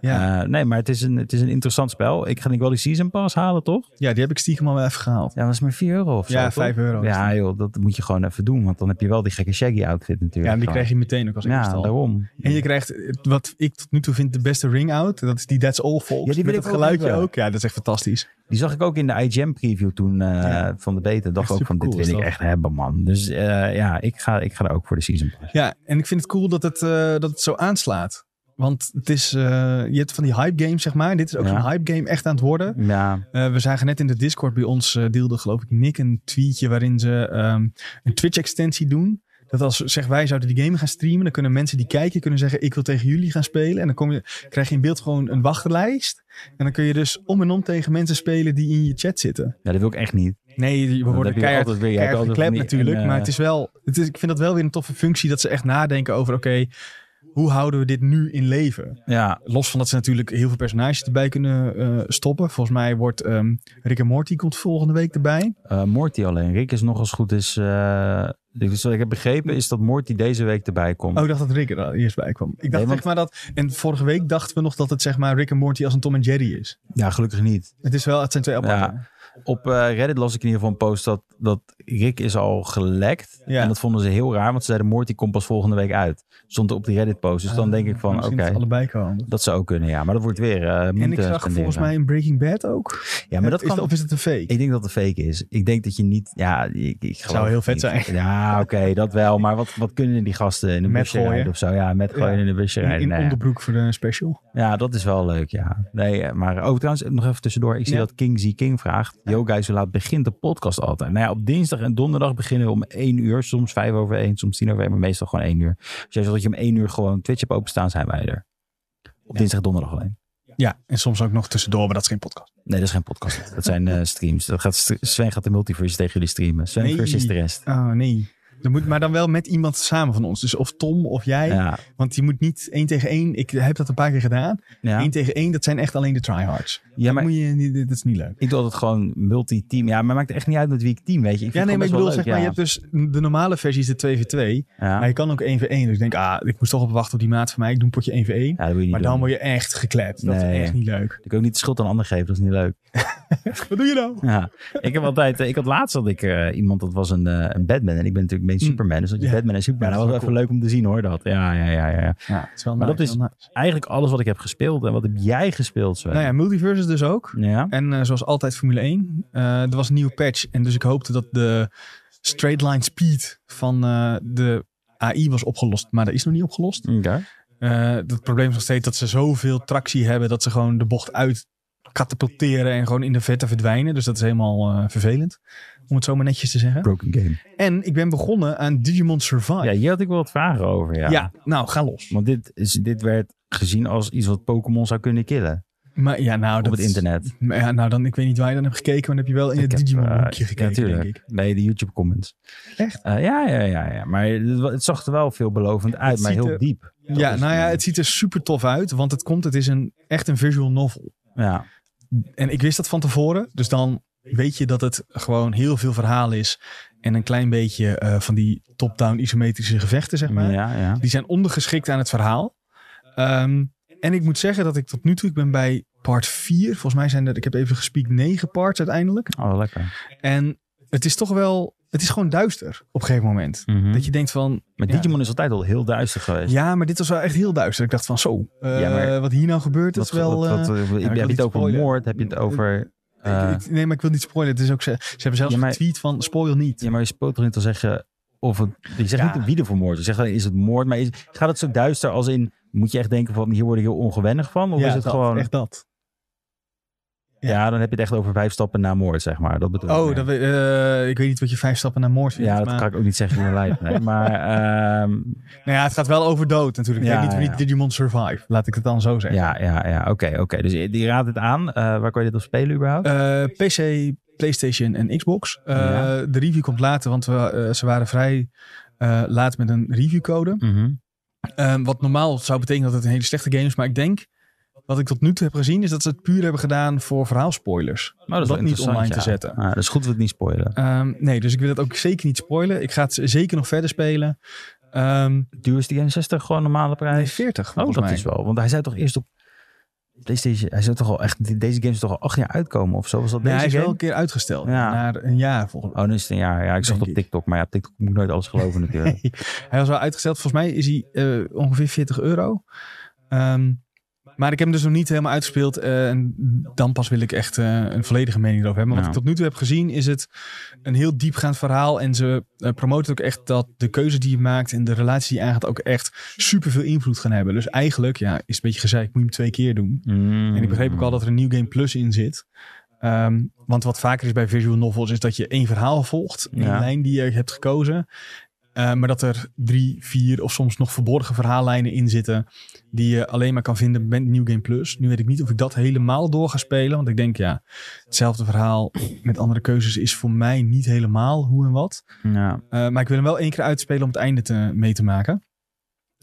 Speaker 1: Ja.
Speaker 2: Eh, nee, maar het is, een, het is een interessant spel. Ik ga denk ik wel die Season Pass halen, toch?
Speaker 1: ja, die heb ik stiekem al wel even gehaald.
Speaker 2: Ja, dat is maar 4 euro of zo.
Speaker 1: Ja,
Speaker 2: toch?
Speaker 1: 5 euro.
Speaker 2: Ja, joh, dat moet je gewoon even doen. Want dan heb je wel die gekke Shaggy outfit natuurlijk.
Speaker 1: Ja, en die
Speaker 2: gewoon.
Speaker 1: krijg je meteen ook als
Speaker 2: Ja,
Speaker 1: eerste al.
Speaker 2: daarom.
Speaker 1: En je krijgt eh, wat ik tot nu toe vind de beste ring-out. Dat is die That's All Folks.
Speaker 2: Ja, die wil
Speaker 1: Met
Speaker 2: ik
Speaker 1: het
Speaker 2: ook
Speaker 1: geluidje
Speaker 2: hebben.
Speaker 1: ook. Ja, dat is echt fantastisch.
Speaker 2: Die zag ik ook in de IGM preview toen eh,
Speaker 1: Ja.
Speaker 2: van de beta. Dacht
Speaker 1: Echt
Speaker 2: ook van, dit
Speaker 1: supercool is
Speaker 2: wil ik
Speaker 1: dat.
Speaker 2: echt hebben, man. Dus eh, ja, ik ga, ik ga er ook voor de season pass.
Speaker 1: Ja, en ik vind het cool dat het, eh, dat het zo aanslaat. Want het is, eh, je hebt van die hype games, zeg maar. Dit is ook
Speaker 2: Ja.
Speaker 1: zo'n hype game echt aan het worden.
Speaker 2: Ja,
Speaker 1: Eh, we zagen net in de Discord bij ons, eh, deelde geloof ik Nick een tweetje waarin ze ehm, een Twitch-extensie doen. Dat als zeg, wij zouden die game gaan streamen, dan kunnen mensen die kijken kunnen zeggen: Ik wil tegen jullie gaan spelen. En dan kom je, krijg je in beeld gewoon een wachtlijst. En dan kun je dus om en om tegen mensen spelen die in je chat zitten.
Speaker 2: ja dat wil ik echt niet.
Speaker 1: Nee, we
Speaker 2: Dan
Speaker 1: worden
Speaker 2: heb je
Speaker 1: keihard
Speaker 2: altijd weer, je hebt
Speaker 1: keihard
Speaker 2: altijd
Speaker 1: geklept
Speaker 2: van die-
Speaker 1: natuurlijk.
Speaker 2: en, eh,
Speaker 1: maar het is wel, het is, ik vind dat wel weer een toffe functie dat ze echt nadenken over: oké, hoe houden we dit nu in leven?
Speaker 2: Ja,
Speaker 1: Los van dat ze natuurlijk heel veel personages erbij kunnen eh, stoppen. Volgens mij wordt ehm Rick en Morty komt volgende week erbij.
Speaker 2: eh, Morty alleen. Rick is nog als goed is... eh, dus wat ik heb begrepen is dat Morty deze week erbij komt.
Speaker 1: Oh, ik dacht dat Rick er eerst bij kwam. Ik dacht
Speaker 2: want-
Speaker 1: zeg maar dat. En vorige week dachten we nog dat het zeg maar Rick en Morty als een Tom en Jerry is.
Speaker 2: Ja, gelukkig niet.
Speaker 1: Het is wel, het zijn twee aparte.
Speaker 2: Ja. Op eh, Reddit las ik in ieder geval een post dat, dat Rick is al gelekt.
Speaker 1: Ja.
Speaker 2: En dat vonden ze heel raar, want ze zeiden Morty komt pas volgende week uit. Stond er op die Reddit post. Dus dan denk ik van, oké,
Speaker 1: Misschien dat ze allebei komen.
Speaker 2: dat zou ook kunnen, ja. Maar dat wordt weer eh
Speaker 1: En
Speaker 2: moeten
Speaker 1: ik zag
Speaker 2: spenderen.
Speaker 1: volgens mij in Breaking Bad ook.
Speaker 2: Ja, maar dat
Speaker 1: is,
Speaker 2: kan...
Speaker 1: Of is het een fake?
Speaker 2: Ik denk dat het fake is. Ik denk dat je niet... Ja, ik, ik geloof
Speaker 1: heel
Speaker 2: het
Speaker 1: vet
Speaker 2: niet.
Speaker 1: zijn.
Speaker 2: Ja, oké, dat wel. Maar wat, wat kunnen die gasten in een
Speaker 1: Met
Speaker 2: busje
Speaker 1: gooien.
Speaker 2: rijden of zo? Ja, met gooien
Speaker 1: Ja.
Speaker 2: in een busje
Speaker 1: in
Speaker 2: rijden.
Speaker 1: in
Speaker 2: nou ja.
Speaker 1: onderbroek voor de special.
Speaker 2: Ja, dat is wel leuk, ja. Nee, eh, maar oh, trouwens, nog even tussendoor. Ik zie
Speaker 1: Ja.
Speaker 2: dat King Z King vraagt. Yo guys, hoe laat begint de podcast altijd? Nou ja, op dinsdag en donderdag beginnen we om één uur. Soms vijf over één, soms tien over één, maar meestal gewoon één uur. Dus jij zegt dat je om één uur gewoon Twitch hebt openstaan, zijn wij er. Op dinsdag en donderdag alleen.
Speaker 1: Ja, en soms ook nog tussendoor, maar dat is geen podcast.
Speaker 2: Nee, dat is geen podcast. Dat zijn eh, streams. Dat gaat, Sven gaat de multiverse tegen jullie streamen. Sven
Speaker 1: Nee.
Speaker 2: versus de rest.
Speaker 1: Oh nee. Dan moet, maar dan wel met iemand samen van ons. Dus of Tom of jij.
Speaker 2: Ja,
Speaker 1: Want je moet niet één tegen één. Ik heb dat een paar keer gedaan.
Speaker 2: ja.
Speaker 1: Eén tegen één, dat zijn echt alleen de tryhards.
Speaker 2: ja maar
Speaker 1: Moet je, niet- dat is niet leuk.
Speaker 2: ik doe het gewoon multi-team. Ja, maar maakt echt niet uit met wie ik team, weet je. Ik
Speaker 1: Ja,
Speaker 2: vind
Speaker 1: nee,
Speaker 2: het
Speaker 1: maar ik
Speaker 2: gewoon
Speaker 1: bedoel, zeg
Speaker 2: best
Speaker 1: maar,
Speaker 2: wel
Speaker 1: je
Speaker 2: leuk,
Speaker 1: hebt dus de normale versie is de 2v2.
Speaker 2: ja. Ja.
Speaker 1: Maar je kan ook 1v1. Dus ik denk, ah, ik moest toch op wachten op die maat van mij. Ik doe een potje 1v1.
Speaker 2: Ja, dat wil je niet
Speaker 1: maar
Speaker 2: doen.
Speaker 1: dan word je echt geklept. Dat
Speaker 2: Nee.
Speaker 1: is echt niet leuk.
Speaker 2: Ik kan ook niet de schuld aan anderen geven, dat is niet leuk.
Speaker 1: Wat doe je nou?
Speaker 2: Ja, ik heb altijd, eh, ik had laatst had ik eh, iemand dat was een, eh, een Batman en ik ben natuurlijk een beetje
Speaker 1: Mm.
Speaker 2: Superman, dus dat je
Speaker 1: Ja.
Speaker 2: Batman en Superman,
Speaker 1: Ja,
Speaker 2: dat
Speaker 1: dat
Speaker 2: was
Speaker 1: is
Speaker 2: even leuk om te zien hoor dat. Ja, ja, ja, ja, ja.
Speaker 1: Ja, het is wel
Speaker 2: Maar
Speaker 1: nice,
Speaker 2: dat is-
Speaker 1: wel nice.
Speaker 2: Eigenlijk alles wat ik heb gespeeld en wat heb jij gespeeld? Sven?
Speaker 1: Nou ja, multiverses dus ook.
Speaker 2: ja,
Speaker 1: En eh, zoals altijd Formule 1. Eh, er was een nieuwe patch. En dus ik hoopte dat de straight line speed van eh, de AI was opgelost. Maar dat is nog niet opgelost.
Speaker 2: oké.
Speaker 1: Eh, het probleem is nog steeds dat ze zoveel tractie hebben dat ze gewoon de bocht uit katapulteren en gewoon in de vette verdwijnen. Dus dat is helemaal eh, vervelend. Om het zo maar netjes te zeggen.
Speaker 2: Broken game.
Speaker 1: En ik ben begonnen aan Digimon Survive.
Speaker 2: Ja,
Speaker 1: Oh, Ja,
Speaker 2: hier had ik wel wat vragen over, ja.
Speaker 1: nou, ga los.
Speaker 2: Want dit, is, dit werd gezien als iets wat Pokémon zou kunnen killen
Speaker 1: Maar ja, nou,
Speaker 2: op
Speaker 1: Oh, dat
Speaker 2: het internet.
Speaker 1: Maar ja, nou, dan, ik weet niet waar je dan hebt gekeken, maar dan heb je wel in
Speaker 2: Ik
Speaker 1: het
Speaker 2: heb, eh,
Speaker 1: Digimon-boekje
Speaker 2: ja,
Speaker 1: gekeken,
Speaker 2: natuurlijk.
Speaker 1: denk ik.
Speaker 2: Bij de YouTube comments.
Speaker 1: Echt?
Speaker 2: Eh, ja, ja, ja, ja. Maar het, wa- het zag er wel veelbelovend uit, maar
Speaker 1: ziet
Speaker 2: heel
Speaker 1: er-
Speaker 2: diep.
Speaker 1: Ja, nou ja, het ziet er super tof uit, want het komt, het is een, echt een visual novel.
Speaker 2: Ja,
Speaker 1: En ik wist dat van tevoren, dus dan weet je dat het gewoon heel veel verhaal is en een klein beetje eh, van die top-down isometrische gevechten, zeg maar.
Speaker 2: ja, ja.
Speaker 1: Die zijn ondergeschikt aan het verhaal. Ehm, en ik moet zeggen dat ik tot nu toe, ik ben bij part 4, volgens mij zijn er, ik heb even gespiekt, 9 parts uiteindelijk.
Speaker 2: Oh, lekker.
Speaker 1: En het is toch wel, het is gewoon duister op een gegeven moment.
Speaker 2: Mhm.
Speaker 1: Dat je denkt van,
Speaker 2: Maar
Speaker 1: Ja.
Speaker 2: Digimon is altijd al heel duister geweest.
Speaker 1: ja, maar dit was wel echt heel duister. Ik dacht van, zo, eh,
Speaker 2: Ja, maar-
Speaker 1: wat hier nou gebeurt, dat is wel...
Speaker 2: wat- wat-
Speaker 1: eh,
Speaker 2: wat-
Speaker 1: wil
Speaker 2: heb je
Speaker 1: niet
Speaker 2: het over
Speaker 1: spoilen.
Speaker 2: moord? Heb je het over... eh,
Speaker 1: ik- ik- nee, maar ik wil niet spoilen. Het is ook, ze, ze hebben zelfs
Speaker 2: Ja, maar-
Speaker 1: een tweet van, spoil niet.
Speaker 2: Ja, maar je spoelt toch niet te zeggen of het. Je zegt
Speaker 1: Ja.
Speaker 2: niet wie er voor moord. Je zegt alleen, is het moord, maar is, gaat het zo duister als in moet je echt denken van hier word ik heel ongewennig van, of
Speaker 1: Ja,
Speaker 2: is het
Speaker 1: dat,
Speaker 2: gewoon?
Speaker 1: Echt dat.
Speaker 2: ja. dan heb je het echt over vijf stappen na moord, zeg maar. Dat bedoel ik.
Speaker 1: Oh,
Speaker 2: meer.
Speaker 1: dat, we- eh, ik weet niet wat je vijf stappen naar moord vindt.
Speaker 2: ja, dat
Speaker 1: maar,
Speaker 2: kan ik ook niet zeggen in mijn lijf. Nee. Maar ehm,
Speaker 1: nou ja, het gaat wel over dood natuurlijk. Ik
Speaker 2: Ja,
Speaker 1: weet niet wie
Speaker 2: ja.
Speaker 1: Digimon Survive. Laat ik het dan zo zeggen.
Speaker 2: ja, ja, ja. Oké, oké. Dus je je raadt het aan. Eh, waar kan je dit op spelen überhaupt?
Speaker 1: Eh, PC, PlayStation en Xbox. Eh,
Speaker 2: Ja.
Speaker 1: De review komt later, want we, eh, ze waren vrij eh, laat met een reviewcode.
Speaker 2: Mhm.
Speaker 1: Ehm, wat normaal zou betekenen dat het een hele slechte game is. Maar ik denk, wat ik tot nu toe heb gezien, is dat ze het puur hebben gedaan voor verhaalspoilers.
Speaker 2: Oh, dat is
Speaker 1: dat
Speaker 2: wel
Speaker 1: niet
Speaker 2: interessant,
Speaker 1: online
Speaker 2: ja.
Speaker 1: te zetten.
Speaker 2: Ah, dat is goed dat we het niet spoilen.
Speaker 1: Ehm, nee, dus ik wil dat ook zeker niet spoilen. Ik ga het zeker nog verder spelen. Ehm
Speaker 2: Duur is die 61 gewoon normale
Speaker 1: nee,
Speaker 2: prijs?
Speaker 1: 40
Speaker 2: Oh,
Speaker 1: volgens
Speaker 2: dat
Speaker 1: mij.
Speaker 2: is wel. Want hij zei toch eerst op PlayStation. Hij zou toch al echt. Deze games toch al acht jaar uitkomen of zo? Was dat
Speaker 1: Nee,
Speaker 2: deze
Speaker 1: hij is wel
Speaker 2: game?
Speaker 1: een keer uitgesteld.
Speaker 2: Ja.
Speaker 1: Naar een jaar volgens
Speaker 2: Oh, dan is het een jaar. Ja, ik zag
Speaker 1: Denk
Speaker 2: het op
Speaker 1: ik.
Speaker 2: TikTok. Maar ja, op TikTok moet ik nooit alles geloven natuurlijk.
Speaker 1: mij. hij was wel uitgesteld. Volgens mij is hij eh, ongeveer 40 euro. Ehm, maar ik heb hem dus nog niet helemaal uitgespeeld. eh, en dan pas wil ik echt eh, een volledige mening erover hebben. Maar
Speaker 2: Ja.
Speaker 1: wat ik tot nu toe heb gezien is het een heel diepgaand verhaal. En ze eh, promoten ook echt dat de keuze die je maakt en de relatie die je aangaat ook echt superveel invloed gaan hebben. Dus eigenlijk, ja, is een beetje gezeik. Moet je hem twee keer doen.
Speaker 2: Mm.
Speaker 1: En ik begreep ook al dat er een New Game Plus in zit. Ehm, want wat vaker is bij visual novels is dat je één verhaal volgt. Een
Speaker 2: Ja.
Speaker 1: lijn die je hebt gekozen. Eh, maar dat er drie, vier of soms nog verborgen verhaallijnen in zitten. Die je alleen maar kan vinden met New Game Plus. Nu weet ik niet of ik dat helemaal door ga spelen. Want ik denk ja, hetzelfde verhaal met andere keuzes is voor mij niet helemaal hoe en wat.
Speaker 2: Ja.
Speaker 1: Eh, maar ik wil hem wel één keer uitspelen om het einde te, mee te maken.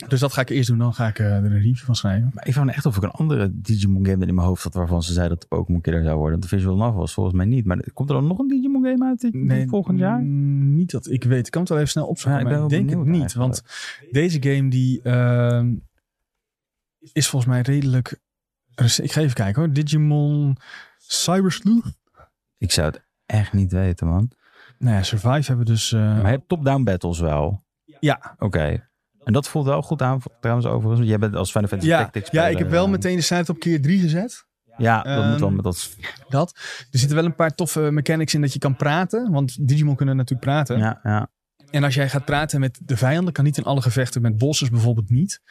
Speaker 1: Dus dat ga ik eerst doen. Dan ga ik eh, er een review van schrijven.
Speaker 2: Maar ik vraag me echt of ik een andere Digimon game in mijn hoofd had... waarvan ze zeiden dat de Pokémon Killer zou worden. Want de visual novel was volgens mij niet. Maar komt er dan nog een Digimon game uit dit, volgend jaar?
Speaker 1: mm, Niet dat ik weet. Ik kan het wel even snel opzoeken.
Speaker 2: Ja, ik
Speaker 1: maar
Speaker 2: ben
Speaker 1: ik
Speaker 2: wel
Speaker 1: denk het
Speaker 2: benieuwd
Speaker 1: niet. Want deze game die ehm, is volgens mij redelijk. rec- Ik ga even kijken hoor. Digimon Cybersloeg.
Speaker 2: Ik zou het echt niet weten, man.
Speaker 1: Nou ja, Survive hebben we dus. eh,
Speaker 2: Maar je hebt top-down battles wel.
Speaker 1: ja,
Speaker 2: Oké. En dat voelt wel goed aan, trouwens, overigens. Want jij bent als Final Fantasy
Speaker 1: ja,
Speaker 2: Tactics
Speaker 1: ja,
Speaker 2: speler,
Speaker 1: ik heb wel
Speaker 2: eh,
Speaker 1: meteen de site op keer 3 gezet.
Speaker 2: Ja, dat moet wel
Speaker 1: Ehm,
Speaker 2: met dat...
Speaker 1: Dat. Er zitten wel een paar toffe mechanics in dat je kan praten. Want Digimon kunnen natuurlijk praten.
Speaker 2: Ja, ja.
Speaker 1: En als jij gaat praten met de vijanden, kan niet in alle gevechten, met bosses bijvoorbeeld niet.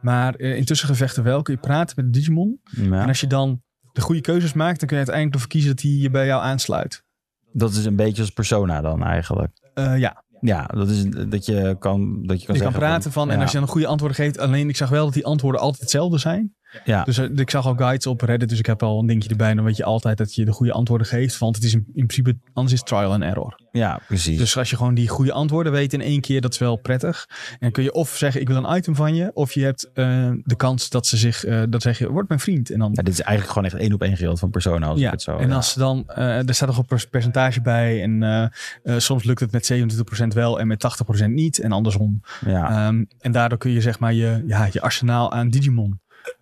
Speaker 1: Maar eh, in tussengevechten wel kun je praten met de Digimon. En
Speaker 2: ja.
Speaker 1: als je dan de goede keuzes maakt, dan kun je uiteindelijk ervoor kiezen dat hij je bij jou aansluit.
Speaker 2: Dat is een beetje als persona dan eigenlijk.
Speaker 1: Eh, ja,
Speaker 2: Ja, dat is dat je kan, dat je kan
Speaker 1: je
Speaker 2: zeggen
Speaker 1: kan praten van. En
Speaker 2: ja.
Speaker 1: als je dan goede antwoorden geeft. Alleen ik zag wel dat die antwoorden altijd hetzelfde zijn.
Speaker 2: Ja.
Speaker 1: Dus eh, ik zag al guides op Reddit, dus ik heb al een dingetje erbij. Dan weet je altijd dat je de goede antwoorden geeft. Want het is in, in principe, anders is het trial and error.
Speaker 2: Ja, precies.
Speaker 1: Dus als je gewoon die goede antwoorden weet in één keer, dat is wel prettig. En dan kun je of zeggen, ik wil een item van je. Of je hebt eh, de kans dat ze zich, eh dat zeg je, word mijn vriend. En dan
Speaker 2: Ja, dit is eigenlijk gewoon echt één op één geld van persona als ik het zo.
Speaker 1: en
Speaker 2: ja.
Speaker 1: als ze dan, eh, er staat nog een per- percentage bij. En eh, eh, soms lukt het met 27% wel en met 80% niet. En andersom.
Speaker 2: ja.
Speaker 1: Ehm, en daardoor kun je zeg maar je, ja, je arsenaal aan Digimon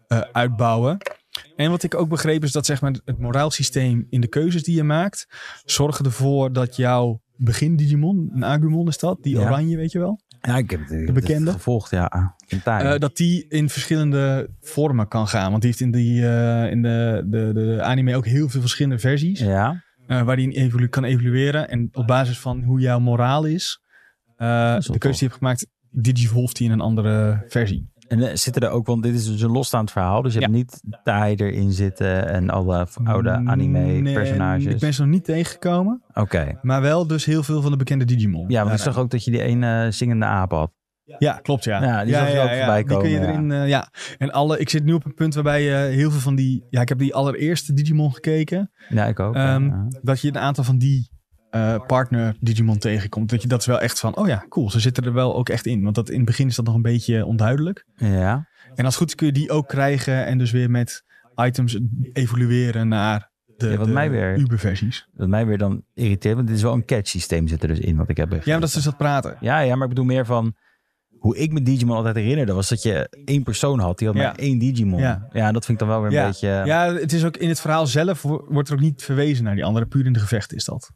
Speaker 1: eh, uitbouwen. En wat ik ook begreep is dat zeg maar, het moraalsysteem in de keuzes die je maakt... zorgen ervoor dat jouw begin Digimon, een Agumon is dat, die
Speaker 2: Ja.
Speaker 1: oranje weet je wel...
Speaker 2: ja, ik heb het, ik heb
Speaker 1: bekende?
Speaker 2: het gevolgd, ja. In tijd.
Speaker 1: Eh, dat die in verschillende vormen kan gaan. Want die heeft in, die, eh, in de, de, de anime ook heel veel verschillende versies.
Speaker 2: ja.
Speaker 1: eh, waar die in evolu- kan evolueren. En op basis van hoe jouw moraal is, eh,
Speaker 2: is
Speaker 1: de keuze
Speaker 2: wel
Speaker 1: die je hebt gemaakt, digivolft die in een andere versie.
Speaker 2: En eh, zitten er ook, want dit is dus een losstaand verhaal. Dus je hebt niet taai erin zitten en alle v- oude
Speaker 1: Mm, Nee,
Speaker 2: anime-personages.
Speaker 1: Ik ben ze nog niet tegengekomen,
Speaker 2: Oké.
Speaker 1: maar wel dus heel veel van de bekende Digimon.
Speaker 2: Ja, want ik
Speaker 1: Daarna.
Speaker 2: zag ook dat je die ene eh, zingende aap had.
Speaker 1: Ja, klopt, ja.
Speaker 2: Ja, die zag je ook voorbij
Speaker 1: Die kun je
Speaker 2: komen, ja.
Speaker 1: erin, eh, ja. En alle, ik zit nu op een punt waarbij eh, heel veel van die... Ja, ik heb die allereerste Digimon gekeken.
Speaker 2: Ja, ik ook.
Speaker 1: Ehm,
Speaker 2: ja.
Speaker 1: Dat je een aantal van die eh, partner Digimon tegenkomt. Dat je dat is wel echt van, oh ja, cool. Ze zitten er wel ook echt in. Want dat, in het begin is dat nog een beetje onduidelijk.
Speaker 2: ja.
Speaker 1: En als het goed is kun je die ook krijgen en dus weer met items evolueren naar de,
Speaker 2: Ja, wat
Speaker 1: de
Speaker 2: mij weer-
Speaker 1: Uber-versies.
Speaker 2: Dat mij weer dan irriteert, want dit is wel een catch systeem zit er dus in, wat ik heb
Speaker 1: Ja, maar dat is dus dat praten.
Speaker 2: Ja, ja, maar ik bedoel meer van hoe ik me Digimon altijd herinnerde was dat je één persoon had die had
Speaker 1: Ja.
Speaker 2: maar één Digimon. Ja.
Speaker 1: Ja.
Speaker 2: dat vind ik dan wel weer een
Speaker 1: Ja.
Speaker 2: beetje. eh,
Speaker 1: Ja, het is ook in het verhaal zelf wo- wordt er ook niet verwezen naar die andere. Puur in de gevechten is dat.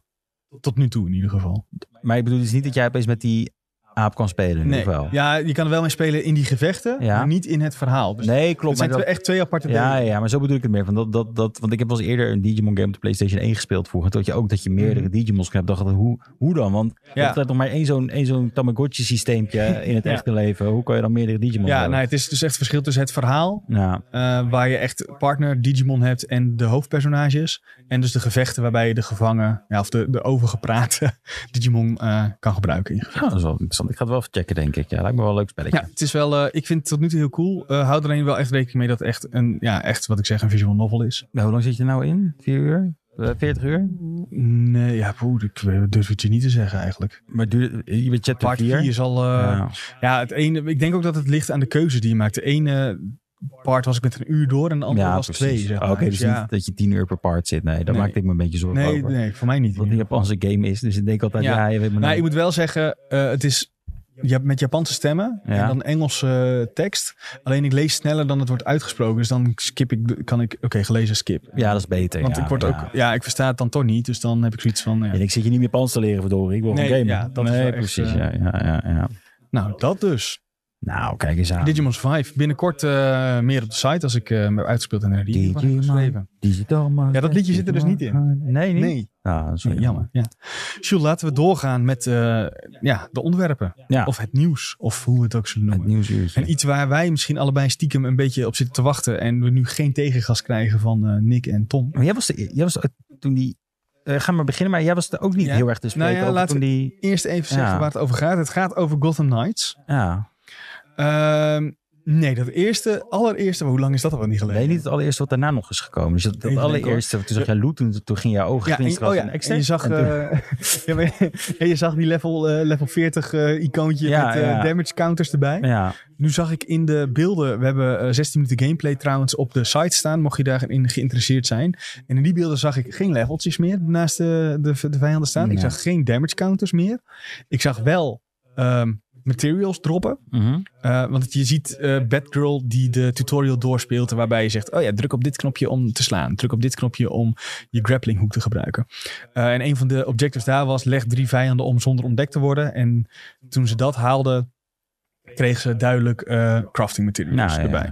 Speaker 1: Tot nu toe in ieder geval.
Speaker 2: Maar ik bedoel dus niet dat jij opeens met die aap kan spelen in ieder geval.
Speaker 1: Ja, je kan er wel mee spelen in die gevechten,
Speaker 2: Ja.
Speaker 1: maar niet in het verhaal. Dus
Speaker 2: Nee,
Speaker 1: het
Speaker 2: klopt. Maar
Speaker 1: zijn
Speaker 2: dat,
Speaker 1: twee- echt twee aparte
Speaker 2: ja,
Speaker 1: dingen.
Speaker 2: ja, maar zo bedoel ik het meer. Van dat, dat, dat, want ik heb wel eens eerder een Digimon game op de PlayStation 1 gespeeld vroeger. Tot je ook dat je meerdere Digimons hebt. Dacht ik, hoe, hoe dan? Want je
Speaker 1: Ja.
Speaker 2: hebt nog maar één zo'n één zo'n Tamagotchi systeempje in het
Speaker 1: Ja.
Speaker 2: echte leven. Hoe kan je dan meerdere Digimon
Speaker 1: Ja,
Speaker 2: hebben?
Speaker 1: nou, het is dus echt het verschil tussen het verhaal,
Speaker 2: Ja,
Speaker 1: eh, waar je echt partner Digimon hebt en de hoofdpersonages. En dus de gevechten waarbij je de gevangen, ja, of de, de overgeprate Digimon eh, kan gebruiken. in
Speaker 2: Ja, dat is wel interessant. Ik ga het wel even checken, denk ik. Ja, lijkt me wel een leuk spelletje.
Speaker 1: Ja, het is wel, eh, ik vind het tot nu toe heel cool. Eh houd er alleen wel echt rekening mee dat het echt een, ja, echt wat ik zeg, een visual novel is.
Speaker 2: Nou, Hoe lang zit je er nou in? Vier uur? Eh, 40 uur?
Speaker 1: Nee, ja, poeh, ik eh, durf het je niet te zeggen eigenlijk.
Speaker 2: Maar duurde, je bent chapter
Speaker 1: Part 4
Speaker 2: 4?
Speaker 1: is al, eh, ja.
Speaker 2: Ja.
Speaker 1: het ene, ik denk ook dat het ligt aan de keuze die je maakt. De ene part was ik met een uur door en de andere
Speaker 2: Ja,
Speaker 1: was
Speaker 2: precies.
Speaker 1: twee, zeg maar.
Speaker 2: Oké,
Speaker 1: Dus Oh,
Speaker 2: dus
Speaker 1: ja.
Speaker 2: niet dat je 10 uur per part zit. Nee, daar
Speaker 1: Nee.
Speaker 2: maakte ik me een beetje zorgen
Speaker 1: Nee,
Speaker 2: over.
Speaker 1: nee, voor mij niet. in
Speaker 2: Wat een
Speaker 1: ieder
Speaker 2: Japanse game is. Dus ik denk altijd, ja,
Speaker 1: Ja.
Speaker 2: je weet maar
Speaker 1: Nou,
Speaker 2: nooit.
Speaker 1: ik moet wel zeggen, eh, het is je hebt met Japanse stemmen
Speaker 2: Ja.
Speaker 1: en dan Engelse eh, tekst. Alleen ik lees sneller dan het wordt uitgesproken. Dus dan skip ik, de- kan ik, oké, gelezen skip.
Speaker 2: Ja, dat is beter.
Speaker 1: Want
Speaker 2: ja,
Speaker 1: ik word
Speaker 2: ja.
Speaker 1: ook, ja, ik versta het dan toch niet. Dus dan heb ik zoiets van, ja.
Speaker 2: En ik zit je niet meer Japans te leren, verdorie. Ik wil
Speaker 1: Nee,
Speaker 2: gewoon gamen.
Speaker 1: ja, dat is
Speaker 2: nee,
Speaker 1: wel echt,
Speaker 2: precies.
Speaker 1: eh,
Speaker 2: ja, ja, ja, ja.
Speaker 1: nou dat dus.
Speaker 2: Nou, kijk eens aan.
Speaker 1: Digimon Survive. Binnenkort eh, meer op de site als ik eh, hem heb uitgespeeld en herrie.
Speaker 2: Digimon. Digital man.
Speaker 1: Ja, dat liedje zit er dus niet in.
Speaker 2: Nee, niet?
Speaker 1: Nee,
Speaker 2: Ah, dat is wel
Speaker 1: nee, jammer. Ja. Sjoel, laten we doorgaan met eh, ja, de onderwerpen.
Speaker 2: Ja.
Speaker 1: Of het nieuws, of hoe we het ook zullen
Speaker 2: Het
Speaker 1: noemen.
Speaker 2: nieuwsuurtje.
Speaker 1: En iets waar wij misschien allebei stiekem een beetje op zitten te wachten. En we nu geen tegengas krijgen van eh, Nick en Tom.
Speaker 2: Maar Oh, jij was, de, jij was de- toen die... eh, ga maar beginnen, maar jij was er ook niet
Speaker 1: Ja.
Speaker 2: heel erg te
Speaker 1: Nou ja,
Speaker 2: spreken over
Speaker 1: laten
Speaker 2: toen die...
Speaker 1: Eerst even
Speaker 2: Ja.
Speaker 1: zeggen waar het over gaat. Het gaat over Gotham Knights.
Speaker 2: Ja,
Speaker 1: Ehm, nee, dat eerste, allereerste, maar hoe lang is dat al niet geleden?
Speaker 2: weet niet het allereerste wat daarna nog is gekomen. Dus dat, dat
Speaker 1: Even denken,
Speaker 2: allereerste, toen zag jij Loot, toen, toen ging jouw ogen
Speaker 1: Ja, en,
Speaker 2: glinsteren
Speaker 1: oh
Speaker 2: als
Speaker 1: ja,
Speaker 2: een
Speaker 1: en
Speaker 2: extra.
Speaker 1: je zag,
Speaker 2: En toen-
Speaker 1: eh, ja, maar, en je zag die level, eh, level 40 eh, icoontje
Speaker 2: Ja,
Speaker 1: met eh,
Speaker 2: ja.
Speaker 1: damage counters erbij.
Speaker 2: ja,
Speaker 1: Nu zag ik in de beelden, we hebben eh, 16 minuten gameplay trouwens op de site staan, mocht je daarin geïnteresseerd zijn. En in die beelden zag ik geen leveltjes meer naast de, de, de vijanden staan. Ik
Speaker 2: Nee.
Speaker 1: zag geen damage counters meer. Ik zag wel ehm, materials droppen.
Speaker 2: mhm.
Speaker 1: Eh, want je ziet eh Batgirl die de tutorial doorspeelt. Waarbij je zegt: Oh ja, druk op dit knopje om te slaan. Druk op dit knopje om je grapplinghoek te gebruiken. Eh, en een van de objectives daar was: leg drie vijanden om zonder ontdekt te worden. En toen ze dat haalden, kreeg ze duidelijk eh, crafting materials
Speaker 2: Nou, ja.
Speaker 1: erbij.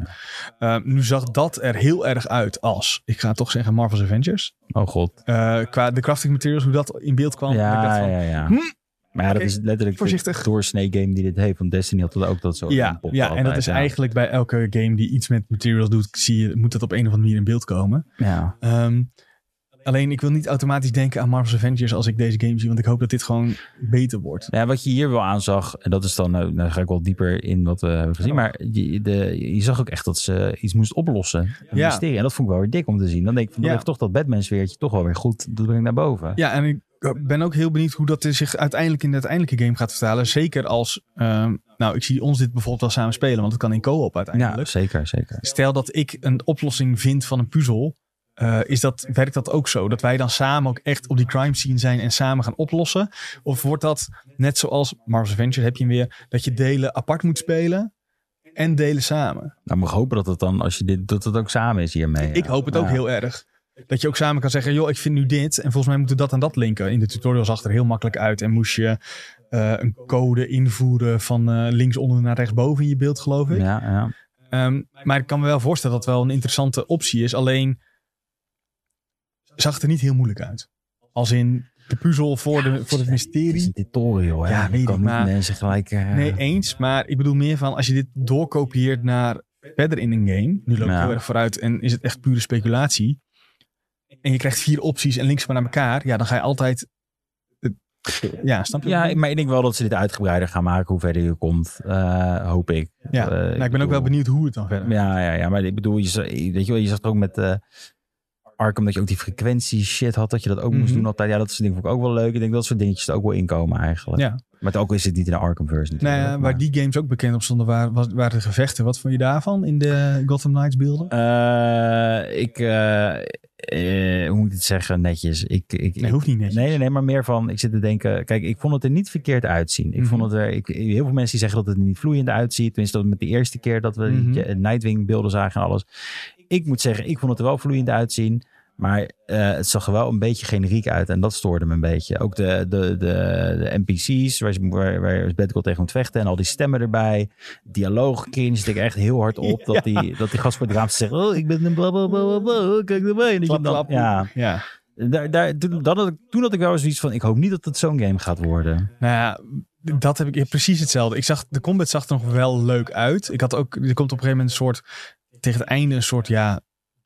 Speaker 1: Eh, nu zag dat er heel erg uit als, ik ga toch zeggen, Marvel's Avengers.
Speaker 2: Oh god.
Speaker 1: Eh, qua de crafting materials, hoe dat in beeld kwam. ik dacht
Speaker 2: Ja,
Speaker 1: van,
Speaker 2: ja, ja.
Speaker 1: Hm?
Speaker 2: Maar ja, dat
Speaker 1: Oké,
Speaker 2: is letterlijk
Speaker 1: voorzichtig.
Speaker 2: de doorsnee game die dit heeft. Want Destiny had dat ook dat soort
Speaker 1: Ja,
Speaker 2: pop
Speaker 1: ja en
Speaker 2: altijd,
Speaker 1: dat is
Speaker 2: ja.
Speaker 1: eigenlijk bij elke game die iets met materials doet, zie je, moet dat op een of andere manier in beeld komen.
Speaker 2: Ja.
Speaker 1: Ehm, Alleen ik wil niet automatisch denken aan Marvel's Avengers als ik deze game zie. Want ik hoop dat dit gewoon beter wordt.
Speaker 2: Ja, wat je hier wel aanzag, en dat is dan, nou, daar ga ik wel dieper in wat we hebben gezien, maar je, de, je zag ook echt dat ze iets moest oplossen. Een
Speaker 1: Ja.
Speaker 2: mysterie. En dat vond ik wel weer dik om te zien. Dan denk ik, van, dan
Speaker 1: Ja.
Speaker 2: heeft toch dat Batman-sfeertje toch wel weer goed, dat brengt naar boven.
Speaker 1: Ja, en ik eh, ben ook heel benieuwd hoe dat er zich uiteindelijk in de uiteindelijke game gaat vertalen. Zeker als, ehm, nou ik zie ons dit bijvoorbeeld wel samen spelen. Want het kan in co-op uiteindelijk.
Speaker 2: Ja, zeker, zeker.
Speaker 1: Stel dat ik een oplossing vind van een puzzel. eh, is dat, werkt dat ook zo? Dat wij dan samen ook echt op die crime scene zijn en samen gaan oplossen? Of wordt dat net zoals Marvel's Adventure heb je hem weer, dat je delen apart moet spelen en delen samen?
Speaker 2: Nou, moet ik hopen dat het dan, als je dit, dat het ook samen is hiermee.
Speaker 1: Ik hoop het ook
Speaker 2: Ja.
Speaker 1: heel erg. Dat je ook samen kan zeggen, joh, ik vind nu dit en volgens mij moeten we dat en dat linken. In de tutorial zag het er heel makkelijk uit en moest je eh, een code invoeren van eh, linksonder naar rechtsboven in je beeld, geloof ik.
Speaker 2: Ja, ja.
Speaker 1: Ehm, maar ik kan me wel voorstellen dat het wel een interessante optie is. Alleen zag het er niet heel moeilijk uit. Als in de puzzel voor, de, voor het
Speaker 2: Het is
Speaker 1: mysterie.
Speaker 2: een tutorial, hè.
Speaker 1: Ja,
Speaker 2: Je
Speaker 1: weet
Speaker 2: kan
Speaker 1: ik,
Speaker 2: niet
Speaker 1: maar-
Speaker 2: mensen gelijk... eh,
Speaker 1: Nee, eens. Maar ik bedoel meer van als je dit doorkopieert naar verder in een game. Nu loop ik
Speaker 2: Ja.
Speaker 1: heel erg vooruit en is het echt pure speculatie. En je krijgt vier opties en links maar naar elkaar. Ja, dan ga je altijd... het- Ja, snap je?
Speaker 2: Ja, maar ik denk wel dat ze dit uitgebreider gaan maken hoe verder je komt. eh, hoop ik.
Speaker 1: Ja,
Speaker 2: Eh,
Speaker 1: nou, ik ben ook
Speaker 2: bedoel-
Speaker 1: wel benieuwd hoe het dan verder
Speaker 2: Ja, ja, ja, maar ik bedoel, je, za- weet je, wel, je zag het ook met eh Arkham dat je ook die frequentie shit had, dat je dat ook moest
Speaker 1: Mhm.
Speaker 2: doen altijd. Ja, dat soort dingen vond ik ook wel leuk. Ik denk dat soort dingetjes er ook wel inkomen eigenlijk.
Speaker 1: Ja.
Speaker 2: Maar ook is het niet in de Arkham version.
Speaker 1: Nou ja, waar die games ook bekend op stonden, waren, was- waren de gevechten. Wat vond je daarvan in de Gotham Knights beelden?
Speaker 2: ik, eh, eh, hoe moet ik het zeggen, netjes. Ik, ik,
Speaker 1: Nee, hoeft niet netjes.
Speaker 2: Nee, nee, nee, maar meer van, ik zit te denken, kijk, ik vond het er niet verkeerd uitzien. Ik
Speaker 1: Mhm.
Speaker 2: vond het er, ik, heel veel mensen die zeggen dat het er niet vloeiend uitziet. Tenminste, dat met de eerste keer dat we
Speaker 1: Mhm.
Speaker 2: die, eh, Nightwing beelden zagen en alles. Ik moet zeggen, ik vond het er wel vloeiend uitzien. Maar eh, het zag er wel een beetje generiek uit en dat stoorde me een beetje. Ook de, de, de, de NPC's, waar, ze- waar, waar Batgirl tegen moet vechten en al die stemmen erbij. Dialoog cringe ik echt heel hard op. Dat, die, dat die gast voor het raam zegt, oh, ik ben een blablabla, kijk erbij. En dat je
Speaker 1: Klap,
Speaker 2: dan-
Speaker 1: klap.
Speaker 2: Ja,
Speaker 1: Ja.
Speaker 2: daar, daar, toen, dat had ik, toen had ik wel eens iets van: ik hoop niet dat het zo'n game gaat worden.
Speaker 1: Nou ja, dat heb ik ja, precies hetzelfde. Ik zag, de combat zag er nog wel leuk uit. Ik had ook, er komt op een gegeven moment een soort, tegen het einde een soort, ja,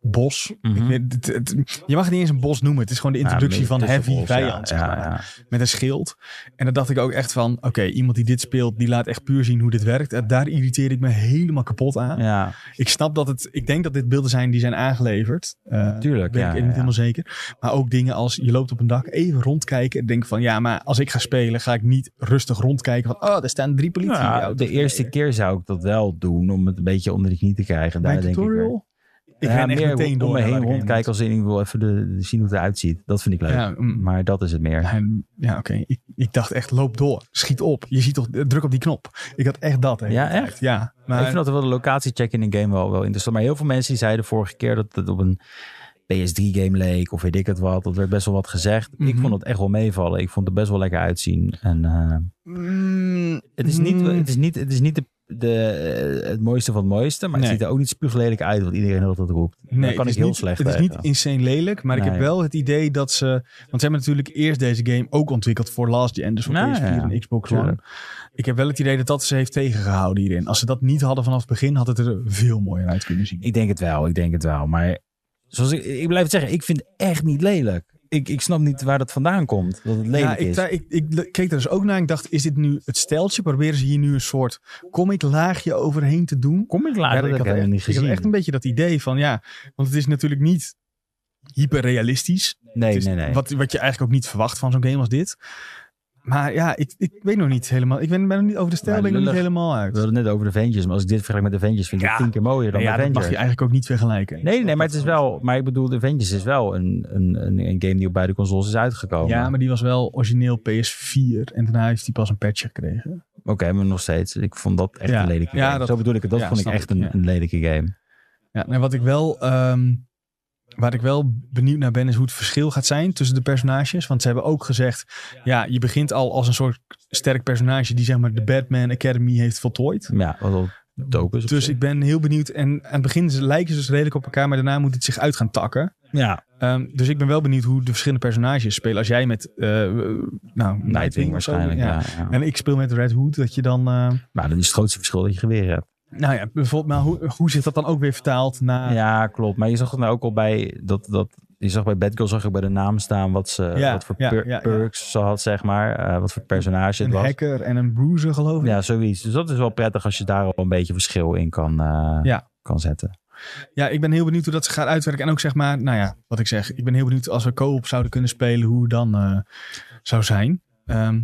Speaker 1: bos.
Speaker 2: Mhm. Nou,
Speaker 1: Ik weet- het- het- je mag het niet eens een bos noemen. Het is gewoon de introductie
Speaker 2: Ja,
Speaker 1: van
Speaker 2: tussen
Speaker 1: heavy
Speaker 2: ons, ja,
Speaker 1: vijand, zeg
Speaker 2: ja,
Speaker 1: maar.
Speaker 2: ja.
Speaker 1: Met een schild. En dan dacht ik ook echt van, oké, iemand die dit speelt, die laat echt puur zien hoe dit werkt. En daar irriteer ik me helemaal kapot aan.
Speaker 2: Ja,
Speaker 1: Ik snap dat het, ik denk dat dit beelden zijn die zijn aangeleverd. Eh,
Speaker 2: tuurlijk.
Speaker 1: ben
Speaker 2: Ja,
Speaker 1: ik
Speaker 2: ja,
Speaker 1: niet
Speaker 2: ja.
Speaker 1: helemaal zeker. Maar ook dingen als je loopt op een dak, even rondkijken en denk van ja, maar als ik ga spelen, ga ik niet rustig rondkijken van oh, daar staan drie politie.
Speaker 2: Ja, de eerste keer zou ik dat wel doen om het een beetje onder de knie te krijgen. Daar
Speaker 1: bij
Speaker 2: denk ik.
Speaker 1: tutorial. Ik,
Speaker 2: weer-
Speaker 1: ga
Speaker 2: Ja,
Speaker 1: echt
Speaker 2: meer
Speaker 1: meteen door.
Speaker 2: om me
Speaker 1: naar
Speaker 2: heen
Speaker 1: waar ik
Speaker 2: rondkijken als in ik wil even de, de- zien hoe het eruit ziet. Dat vind ik
Speaker 1: moet.
Speaker 2: leuk.
Speaker 1: Ja, mm.
Speaker 2: Maar dat is het meer.
Speaker 1: Ja, en- ja, oké. Ik, ik dacht echt, loop door. Schiet op. Je ziet toch, eh, druk op die knop. Ik had echt dat. hè.
Speaker 2: Ja, echt?
Speaker 1: Ja.
Speaker 2: Ik
Speaker 1: Maar
Speaker 2: vind altijd wel de locatiecheck in een game wel, wel interessant. Maar heel veel mensen die zeiden vorige keer dat het op een PS3-game leek of weet ik het wat. Dat werd best wel wat gezegd. Ik
Speaker 1: Mhm.
Speaker 2: vond het echt wel meevallen. Ik vond het best wel lekker uitzien. En, eh,
Speaker 1: mm,
Speaker 2: Het is niet,
Speaker 1: mm,
Speaker 2: het is niet, het is niet de, de, eh, het mooiste van het mooiste, maar het
Speaker 1: Nee.
Speaker 2: ziet er ook niet spuuglelijk uit wat iedereen altijd roept. Daar
Speaker 1: Nee, het
Speaker 2: kan ik
Speaker 1: is
Speaker 2: heel
Speaker 1: niet,
Speaker 2: slecht
Speaker 1: Het is
Speaker 2: tegen.
Speaker 1: niet insane lelijk, maar ik
Speaker 2: Nee.
Speaker 1: heb wel het idee dat ze... Want ze hebben natuurlijk eerst deze game ook ontwikkeld voor last gen. Dus voor
Speaker 2: Nou,
Speaker 1: PS4
Speaker 2: ja,
Speaker 1: en Xbox One. Ik heb wel het idee dat dat ze heeft tegengehouden hierin. Als ze dat niet hadden vanaf het begin, had het er veel mooier uit kunnen zien.
Speaker 2: Ik denk het wel, ik denk het wel. Maar zoals ik, ik blijf het zeggen, ik vind het echt niet lelijk. Ik, ik snap niet waar dat vandaan komt, dat het
Speaker 1: ja,
Speaker 2: lelijk
Speaker 1: ik,
Speaker 2: is.
Speaker 1: daar- ik, ik le- keek er dus ook naar en ik dacht, is dit nu het steltje? Proberen ze hier nu een soort comic laagje overheen te doen?
Speaker 2: Kom ik later,
Speaker 1: Ja,
Speaker 2: Ah, dat heb ik helemaal niet
Speaker 1: Ik
Speaker 2: gezien.
Speaker 1: had echt een beetje dat idee van, ja... Want het is natuurlijk niet hyperrealistisch.
Speaker 2: nee,
Speaker 1: Het is
Speaker 2: nee, nee.
Speaker 1: Wat, wat je eigenlijk ook niet verwacht van zo'n game als dit. Maar ja, ik, ik weet nog niet helemaal. Ik ben, ben nog niet over de stelling niet
Speaker 2: lullig.
Speaker 1: helemaal
Speaker 2: We
Speaker 1: uit.
Speaker 2: hadden het net over de Avengers, maar als ik dit vergelijk met de Avengers, vind ik
Speaker 1: Ja.
Speaker 2: het tien keer mooier dan
Speaker 1: ja,
Speaker 2: de
Speaker 1: dat
Speaker 2: Avengers.
Speaker 1: mag je eigenlijk ook niet vergelijken.
Speaker 2: Nee, nee, maar het is wel. Maar ik bedoel, de Avengers is wel een, een, een, een game die op beide consoles is uitgekomen.
Speaker 1: Ja, maar die was wel origineel PS4 en daarna heeft die pas een patch gekregen.
Speaker 2: Oké, maar nog steeds. Ik vond dat echt
Speaker 1: Ja.
Speaker 2: een lelijke
Speaker 1: Ja,
Speaker 2: game.
Speaker 1: dat-
Speaker 2: Zo bedoel ik het. Dat
Speaker 1: ja,
Speaker 2: vond ik
Speaker 1: snap
Speaker 2: echt
Speaker 1: ik,
Speaker 2: een,
Speaker 1: ja.
Speaker 2: een lelijke game.
Speaker 1: Ja, en wat ik wel, ehm, waar ik wel benieuwd naar ben, is hoe het verschil gaat zijn tussen de personages. Want ze hebben ook gezegd, ja, je begint al als een soort sterk personage die zeg maar de Batman Academy heeft voltooid.
Speaker 2: Ja, wat wel dope is. op
Speaker 1: Dus
Speaker 2: zich.
Speaker 1: ik ben heel benieuwd. En aan het begin lijken ze dus redelijk op elkaar, maar daarna moet het zich uit gaan takken.
Speaker 2: ja,
Speaker 1: Ehm, dus ik ben wel benieuwd hoe de verschillende personages spelen. Als jij met eh, eh, nou,
Speaker 2: Nightwing
Speaker 1: of zo,
Speaker 2: waarschijnlijk.
Speaker 1: ja.
Speaker 2: Ja. ja.
Speaker 1: En ik speel met Red Hood, dat je dan... eh,
Speaker 2: Maar dan is het grootste verschil dat je geweer hebt.
Speaker 1: nou ja, bijvoorbeeld, maar hoe, hoe zit dat dan ook weer vertaald naar...
Speaker 2: Ja, klopt. Maar je zag het nou ook al bij dat, dat je zag bij Batgirl zag ik bij de naam staan wat, ze,
Speaker 1: Ja,
Speaker 2: wat voor
Speaker 1: ja,
Speaker 2: per-
Speaker 1: ja, ja.
Speaker 2: perks ze had, zeg maar. eh, wat voor personage het
Speaker 1: Een
Speaker 2: was.
Speaker 1: hacker en een bruiser geloof ik.
Speaker 2: Ja, zoiets. Dus dat is wel prettig als je daar al een beetje verschil in kan, eh,
Speaker 1: Ja.
Speaker 2: kan zetten.
Speaker 1: Ja, ik ben heel benieuwd hoe dat ze gaat uitwerken. En ook zeg maar, nou ja, wat ik zeg. Ik ben heel benieuwd als we co-op zouden kunnen spelen, hoe het dan eh, zou zijn. Ehm,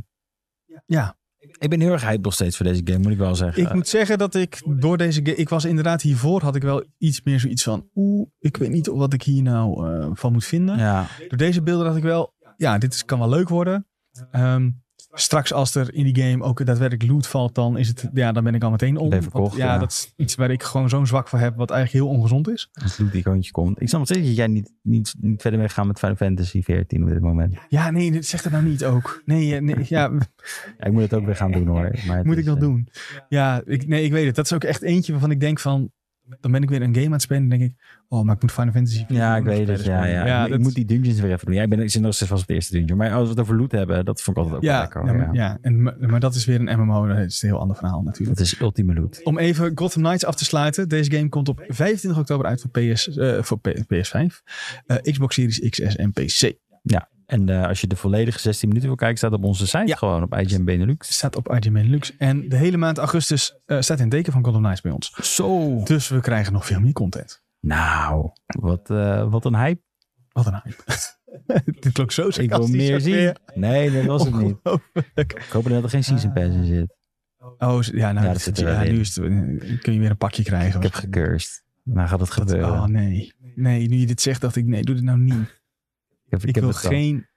Speaker 1: ja,
Speaker 2: Ik ben heel erg hype nog steeds voor deze game, moet ik wel zeggen.
Speaker 1: ik moet zeggen dat ik door deze game... Ik was inderdaad hiervoor, had ik wel iets meer zoiets van... Oeh, ik weet niet wat ik hier nou eh, van moet vinden.
Speaker 2: ja,
Speaker 1: Door deze beelden dacht ik wel, ja, dit is, kan wel leuk worden. Ehm, straks als er in die game ook daadwerkelijk loot valt, dan, is het, ja, dan ben ik al meteen om.
Speaker 2: Ben je verkocht,
Speaker 1: Want, ja,
Speaker 2: ja.
Speaker 1: dat is iets waar ik gewoon zo'n zwak voor heb, wat eigenlijk heel ongezond is.
Speaker 2: als het icoontje komt. Ik snap nog steeds dat jij niet, niet, niet verder mee gaat met Final Fantasy 14 op dit moment.
Speaker 1: Ja, nee, zeg dat nou niet ook. Nee, eh, nee ja,
Speaker 2: Ja, ik moet het ook weer gaan doen hoor. Maar het
Speaker 1: Moet
Speaker 2: is,
Speaker 1: ik dat
Speaker 2: eh,
Speaker 1: doen? Ja, ik, nee, ik weet het. Dat is ook echt eentje waarvan ik denk van... Dan ben ik weer een game aan het spelen en denk ik... Oh, maar ik moet Final Fantasy...
Speaker 2: Ja, ik weet het.
Speaker 1: verder
Speaker 2: Ja,
Speaker 1: spelen.
Speaker 2: ja. ik
Speaker 1: dat-
Speaker 2: moet die dungeons weer even doen. Ja, ik, ben, ik zit nog steeds vast op de eerste dungeon. Maar als we het over loot hebben, dat vond ik altijd ook wel
Speaker 1: ja,
Speaker 2: lekker.
Speaker 1: ja,
Speaker 2: hoor,
Speaker 1: maar,
Speaker 2: ja.
Speaker 1: ja. En, maar maar dat is weer een MMO. Dat is een heel ander verhaal natuurlijk.
Speaker 2: Dat is ultieme loot.
Speaker 1: Om even Gotham Knights af te sluiten. Deze game komt op 25 oktober uit voor, PS, eh, voor P- PS5. eh, Xbox Series XS en PC.
Speaker 2: En eh, als je de volledige 16 minuten wil kijken, staat op onze site
Speaker 1: Ja.
Speaker 2: gewoon op IGN Benelux.
Speaker 1: Staat op IGN Lux. En de hele maand augustus eh, staat in het teken van Gotham Knights bij ons.
Speaker 2: Zo.
Speaker 1: Dus we krijgen nog veel meer content.
Speaker 2: Nou, wat, eh, wat een hype.
Speaker 1: Wat een hype. Dit klonk zo
Speaker 2: Ik wil
Speaker 1: sarcastisch.
Speaker 2: meer
Speaker 1: ook
Speaker 2: zien.
Speaker 1: weer. Oh.
Speaker 2: Nee, dat was het niet.
Speaker 1: Ongelooflijk.
Speaker 2: Ik hoop dat er geen season pass in zit.
Speaker 1: Oh, z- ja, nou,
Speaker 2: Ja, dat
Speaker 1: dit-
Speaker 2: zit er
Speaker 1: ja,
Speaker 2: wel in.
Speaker 1: nu is het- kun je weer een pakje krijgen.
Speaker 2: Ik heb gecurst. Nou gaat het
Speaker 1: Dat-
Speaker 2: gebeuren.
Speaker 1: oh nee. Nee, nu je dit zegt, dacht ik, nee, doe dit nou niet.
Speaker 2: ik heb, ik
Speaker 1: Ik,
Speaker 2: heb
Speaker 1: wil
Speaker 2: het al.
Speaker 1: geen...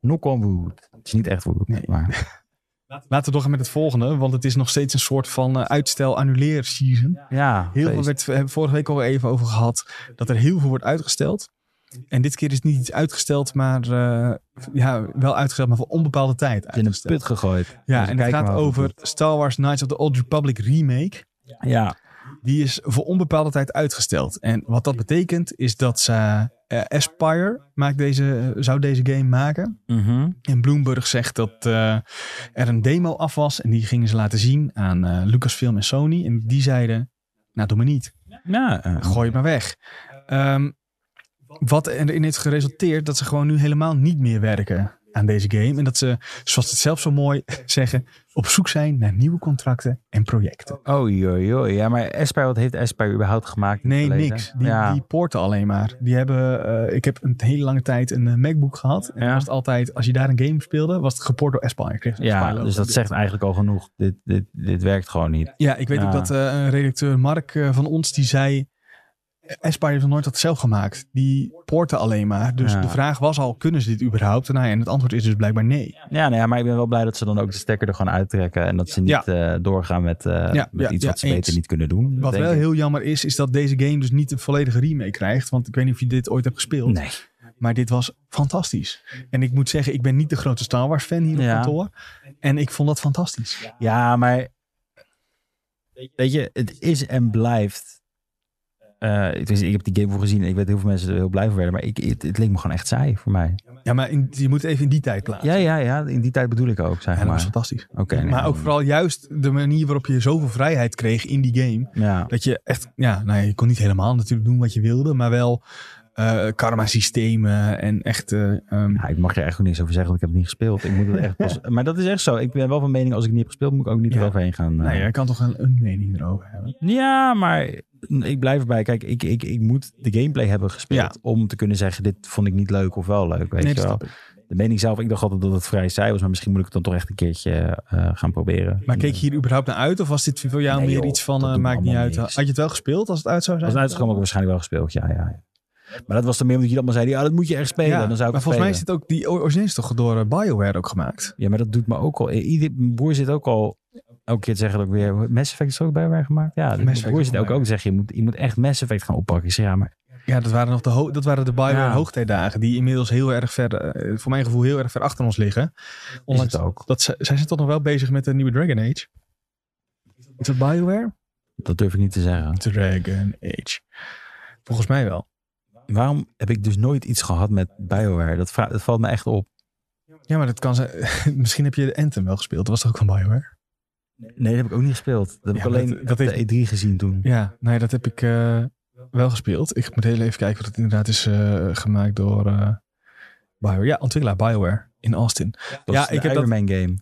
Speaker 2: Knock on wood. Het is niet echt wood,
Speaker 1: Nee.
Speaker 2: maar
Speaker 1: Laten we doorgaan met het volgende, want het is nog steeds een soort van eh, uitstel-annuleer-season.
Speaker 2: ja.
Speaker 1: Heel veel
Speaker 2: feest.
Speaker 1: werd, we hebben vorige week al even over gehad, dat er heel veel wordt uitgesteld. En dit keer is niet iets uitgesteld, maar eh, ja, wel uitgesteld, maar voor onbepaalde tijd
Speaker 2: in een
Speaker 1: uitgesteld.
Speaker 2: put gegooid.
Speaker 1: Ja,
Speaker 2: Dus
Speaker 1: en het
Speaker 2: kijk
Speaker 1: gaat
Speaker 2: maar wat
Speaker 1: over
Speaker 2: het
Speaker 1: Star Wars Knights of the Old Republic remake.
Speaker 2: doet. Ja,
Speaker 1: Die is voor onbepaalde tijd uitgesteld. En wat dat betekent is dat ze, eh, Aspire maakt deze, zou deze game maken.
Speaker 2: Mhm.
Speaker 1: En Bloomberg zegt dat eh, er een demo af was. En die gingen ze laten zien aan eh, Lucasfilm en Sony. En die zeiden, nou doe maar niet.
Speaker 2: ja eh,
Speaker 1: Gooi het maar weg. Ehm, wat erin heeft geresulteerd dat ze gewoon nu helemaal niet meer werken aan deze game. En dat ze, zoals ze het zelf zo mooi zeggen, op zoek zijn naar nieuwe contracten en projecten.
Speaker 2: Oei, oei, oei. Oh, Ja, maar Aspire, wat heeft Aspire überhaupt gemaakt? in het
Speaker 1: Nee,
Speaker 2: verleden?
Speaker 1: niks. Die,
Speaker 2: ja.
Speaker 1: die poorten alleen maar. Die hebben, eh, ik heb een hele lange tijd een eh, MacBook gehad. En
Speaker 2: Ja.
Speaker 1: dan was het altijd, als je daar een game speelde, was het gepoord door Aspire. Kreeg een
Speaker 2: ja,
Speaker 1: Aspire logo.
Speaker 2: dus dat zegt eigenlijk al genoeg. Dit, dit, dit werkt gewoon niet.
Speaker 1: Ja, ik weet
Speaker 2: Ja.
Speaker 1: ook dat eh, een redacteur Mark eh, van ons, die zei... Aspire heeft nog nooit dat zelf gemaakt. Die poorten alleen maar. Dus
Speaker 2: Ja.
Speaker 1: de vraag was al, kunnen ze dit überhaupt? Nou ja, en het antwoord is dus blijkbaar nee.
Speaker 2: Ja, nou ja, maar ik ben wel blij dat ze dan ook de stekker er gewoon uittrekken. En dat ze niet eh, doorgaan met, eh,
Speaker 1: Ja,
Speaker 2: met
Speaker 1: ja,
Speaker 2: iets
Speaker 1: ja,
Speaker 2: wat ze
Speaker 1: eens.
Speaker 2: beter niet kunnen doen.
Speaker 1: Wat
Speaker 2: denk
Speaker 1: wel
Speaker 2: ik.
Speaker 1: heel jammer is, is dat deze game dus niet een volledige remake krijgt. Want ik weet niet of je dit ooit hebt gespeeld.
Speaker 2: Nee.
Speaker 1: Maar dit was fantastisch. En ik moet zeggen, ik ben niet de grote Star Wars fan hier op
Speaker 2: Ja.
Speaker 1: kantoor. En ik vond dat fantastisch.
Speaker 2: Ja, maar... Weet je, het is en blijft... eh, tenminste, ik heb die game voor gezien en ik weet heel veel mensen er heel blij van werden. Maar ik, het, het leek me gewoon echt saai voor mij.
Speaker 1: Ja, maar in- je moet even in die tijd plaatsen.
Speaker 2: Ja, ja, ja. In die tijd bedoel ik ook,
Speaker 1: Ja,
Speaker 2: zeg
Speaker 1: dat was
Speaker 2: maar.
Speaker 1: fantastisch.
Speaker 2: Oké. nee,
Speaker 1: maar ook vooral juist de manier waarop je zoveel vrijheid kreeg in die game.
Speaker 2: Ja.
Speaker 1: Dat je echt, ja, nou, ja, je kon niet helemaal natuurlijk doen wat je wilde. Maar wel eh, karma-systemen en echt... eh, ehm,
Speaker 2: Ja, ik mag er echt niks over zeggen, want ik heb het niet gespeeld. Ik moet het echt pas... Maar dat is echt zo. Ik ben wel van mening, als ik het niet heb gespeeld, moet ik ook niet
Speaker 1: Ja.
Speaker 2: eroverheen gaan. eh.
Speaker 1: nou ja, je kan toch een, een mening erover hebben.
Speaker 2: Ja, maar ik blijf erbij. Kijk, ik, ik, ik moet de gameplay hebben gespeeld om te kunnen zeggen, dit vond ik niet leuk of wel leuk. Weet
Speaker 1: nee,
Speaker 2: je
Speaker 1: dat
Speaker 2: wel.
Speaker 1: snap ik.
Speaker 2: De mening zelf, ik dacht altijd dat het vrij saai was, maar misschien moet ik het dan toch echt een keertje eh, gaan proberen.
Speaker 1: Maar keek je hier überhaupt naar uit? Of was dit voor jou
Speaker 2: Nee,
Speaker 1: meer
Speaker 2: joh,
Speaker 1: iets van,
Speaker 2: dat
Speaker 1: eh,
Speaker 2: doet me
Speaker 1: maakt niet
Speaker 2: allemaal
Speaker 1: uit.
Speaker 2: niks.
Speaker 1: Had je het wel gespeeld als het uit zou zijn?
Speaker 2: Als het uitkwam, heb ik waarschijnlijk wel gespeeld, ja, ja. ja. Maar dat was dan meer omdat jullie allemaal zeiden, ja, dat moet je echt spelen.
Speaker 1: Ja,
Speaker 2: dan zou
Speaker 1: maar
Speaker 2: ik het
Speaker 1: volgens mij is
Speaker 2: spelen.
Speaker 1: dit ook, die origineel is toch door eh, BioWare ook gemaakt?
Speaker 2: Ja, maar dat doet me ook al... Ieder mijn broer zit ook al... Elke keer te zeggen dat ik weer... Mass Effect is er ook bij mij gemaakt? Ja, dus mijn
Speaker 1: Effect
Speaker 2: broer
Speaker 1: ook
Speaker 2: zit ook,
Speaker 1: bij.
Speaker 2: ook te zeggen, je moet, je moet echt Mass Effect gaan oppakken. Ik zeg, ja, maar
Speaker 1: Ja, dat waren, nog de, ho- dat waren de BioWare
Speaker 2: Ja.
Speaker 1: hoogtijdagen. Die inmiddels heel erg ver, eh, voor mijn gevoel, heel erg ver achter ons liggen. Ondanks
Speaker 2: is het ook.
Speaker 1: dat ze, zij zijn toch nog wel bezig met de nieuwe Dragon Age. Is dat BioWare?
Speaker 2: Dat durf ik niet te zeggen.
Speaker 1: Dragon Age. Volgens mij wel.
Speaker 2: Waarom heb ik dus nooit iets gehad met BioWare? Dat, vra- dat valt me echt op.
Speaker 1: Ja, maar dat kan zijn. Misschien heb je de Anthem wel gespeeld. Dat was toch ook van BioWare?
Speaker 2: Nee, dat heb ik ook niet gespeeld. Dat heb
Speaker 1: Ja,
Speaker 2: ik alleen
Speaker 1: maar dat- dat
Speaker 2: op de E3 gezien toen.
Speaker 1: Ja, nee, dat heb ik eh, wel gespeeld. Ik moet heel even kijken wat het inderdaad is eh, gemaakt door eh, BioWare. Ja, ontwikkelaar BioWare in Austin.
Speaker 2: Dat
Speaker 1: Ja,
Speaker 2: is de
Speaker 1: ik heb
Speaker 2: Iron
Speaker 1: dat-
Speaker 2: Man game.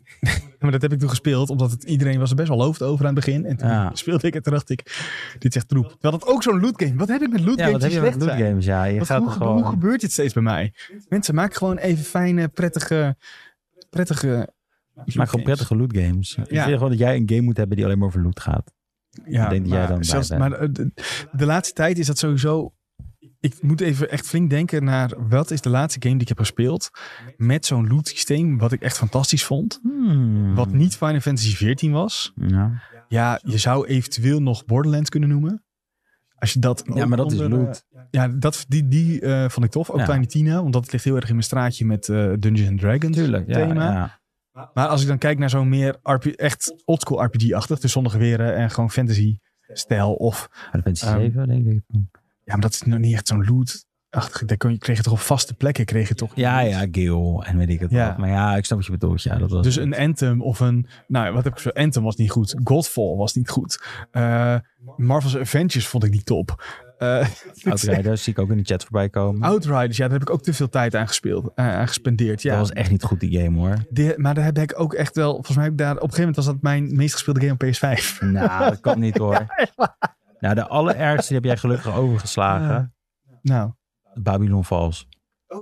Speaker 1: Maar dat heb ik toen gespeeld, omdat het, iedereen was er best wel hoofd over aan het begin. En toen
Speaker 2: Ja.
Speaker 1: speelde ik het en dacht ik, dit is echt troep. Terwijl dat ook zo'n loot game. Wat heb ik met loot
Speaker 2: Ja, wat
Speaker 1: games
Speaker 2: heb
Speaker 1: die
Speaker 2: je met
Speaker 1: slecht
Speaker 2: loot
Speaker 1: zijn?
Speaker 2: games? Ja, je
Speaker 1: Wat-
Speaker 2: gaat
Speaker 1: hoe,
Speaker 2: er
Speaker 1: hoe
Speaker 2: gewoon...
Speaker 1: gebeurt dit steeds bij mij? Mensen, maak gewoon even fijne, prettige... prettige
Speaker 2: Maar gewoon prettige loot games. Ik
Speaker 1: Ja.
Speaker 2: vind gewoon dat jij een game moet hebben die alleen maar over loot gaat.
Speaker 1: Ja,
Speaker 2: Ik denk dat jij
Speaker 1: maar
Speaker 2: dan blij
Speaker 1: zelfs-
Speaker 2: bent.
Speaker 1: Maar eh, de, de laatste tijd is dat sowieso... Ik moet even echt flink denken naar... wat is de laatste game die ik heb gespeeld... met zo'n loot systeem wat ik echt fantastisch vond.
Speaker 2: Hmm.
Speaker 1: Wat niet Final Fantasy XIV was.
Speaker 2: Ja.
Speaker 1: Ja, je zou eventueel nog Borderlands kunnen noemen. Als je dat
Speaker 2: ja,
Speaker 1: ook
Speaker 2: maar dat is
Speaker 1: onder, eh,
Speaker 2: loot.
Speaker 1: Ja, dat, die, die eh, vond ik tof. Ook
Speaker 2: Ja.
Speaker 1: Tiny Tina, want dat ligt heel erg in mijn straatje met eh Dungeons and Dragons
Speaker 2: Tuurlijk, ja,
Speaker 1: thema.
Speaker 2: ja.
Speaker 1: Maar als ik dan kijk naar zo'n meer RP, echt oldschool RPG-achtig, dus zonder geweren en gewoon fantasy-stijl. Of
Speaker 2: Final Fantasy
Speaker 1: Ehm,
Speaker 2: 7, denk ik.
Speaker 1: ja, maar dat is nog niet echt zo'n loot-achtig. Daar kon je, kreeg je toch op vaste plekken, kreeg je toch.
Speaker 2: Ja, ja, Gil en weet ik het
Speaker 1: Ja.
Speaker 2: wat. Maar ja, ik snap wat je bedoelt. Ja, dat was...
Speaker 1: Dus een Anthem of een. Nou, ja, wat heb ik zo? Anthem was niet goed. Godfall was niet goed. Eh, Marvel's Adventures vond ik niet top. Eh,
Speaker 2: Outriders zie ik ook in de chat voorbij komen. Oh,
Speaker 1: Outriders, ja, daar heb ik ook te veel tijd aan gespeeld, eh, aan gespendeerd. Ja.
Speaker 2: Dat was echt niet goed, die game, hoor.
Speaker 1: Die- maar daar heb ik ook echt wel. Volgens mij heb ik daar. Op een gegeven moment was dat mijn meest gespeelde game op PS5.
Speaker 2: Nou, dat kan niet, hoor. Nou, de allerergste die heb jij gelukkig overgeslagen.
Speaker 1: Nou.
Speaker 2: Babylon Falls.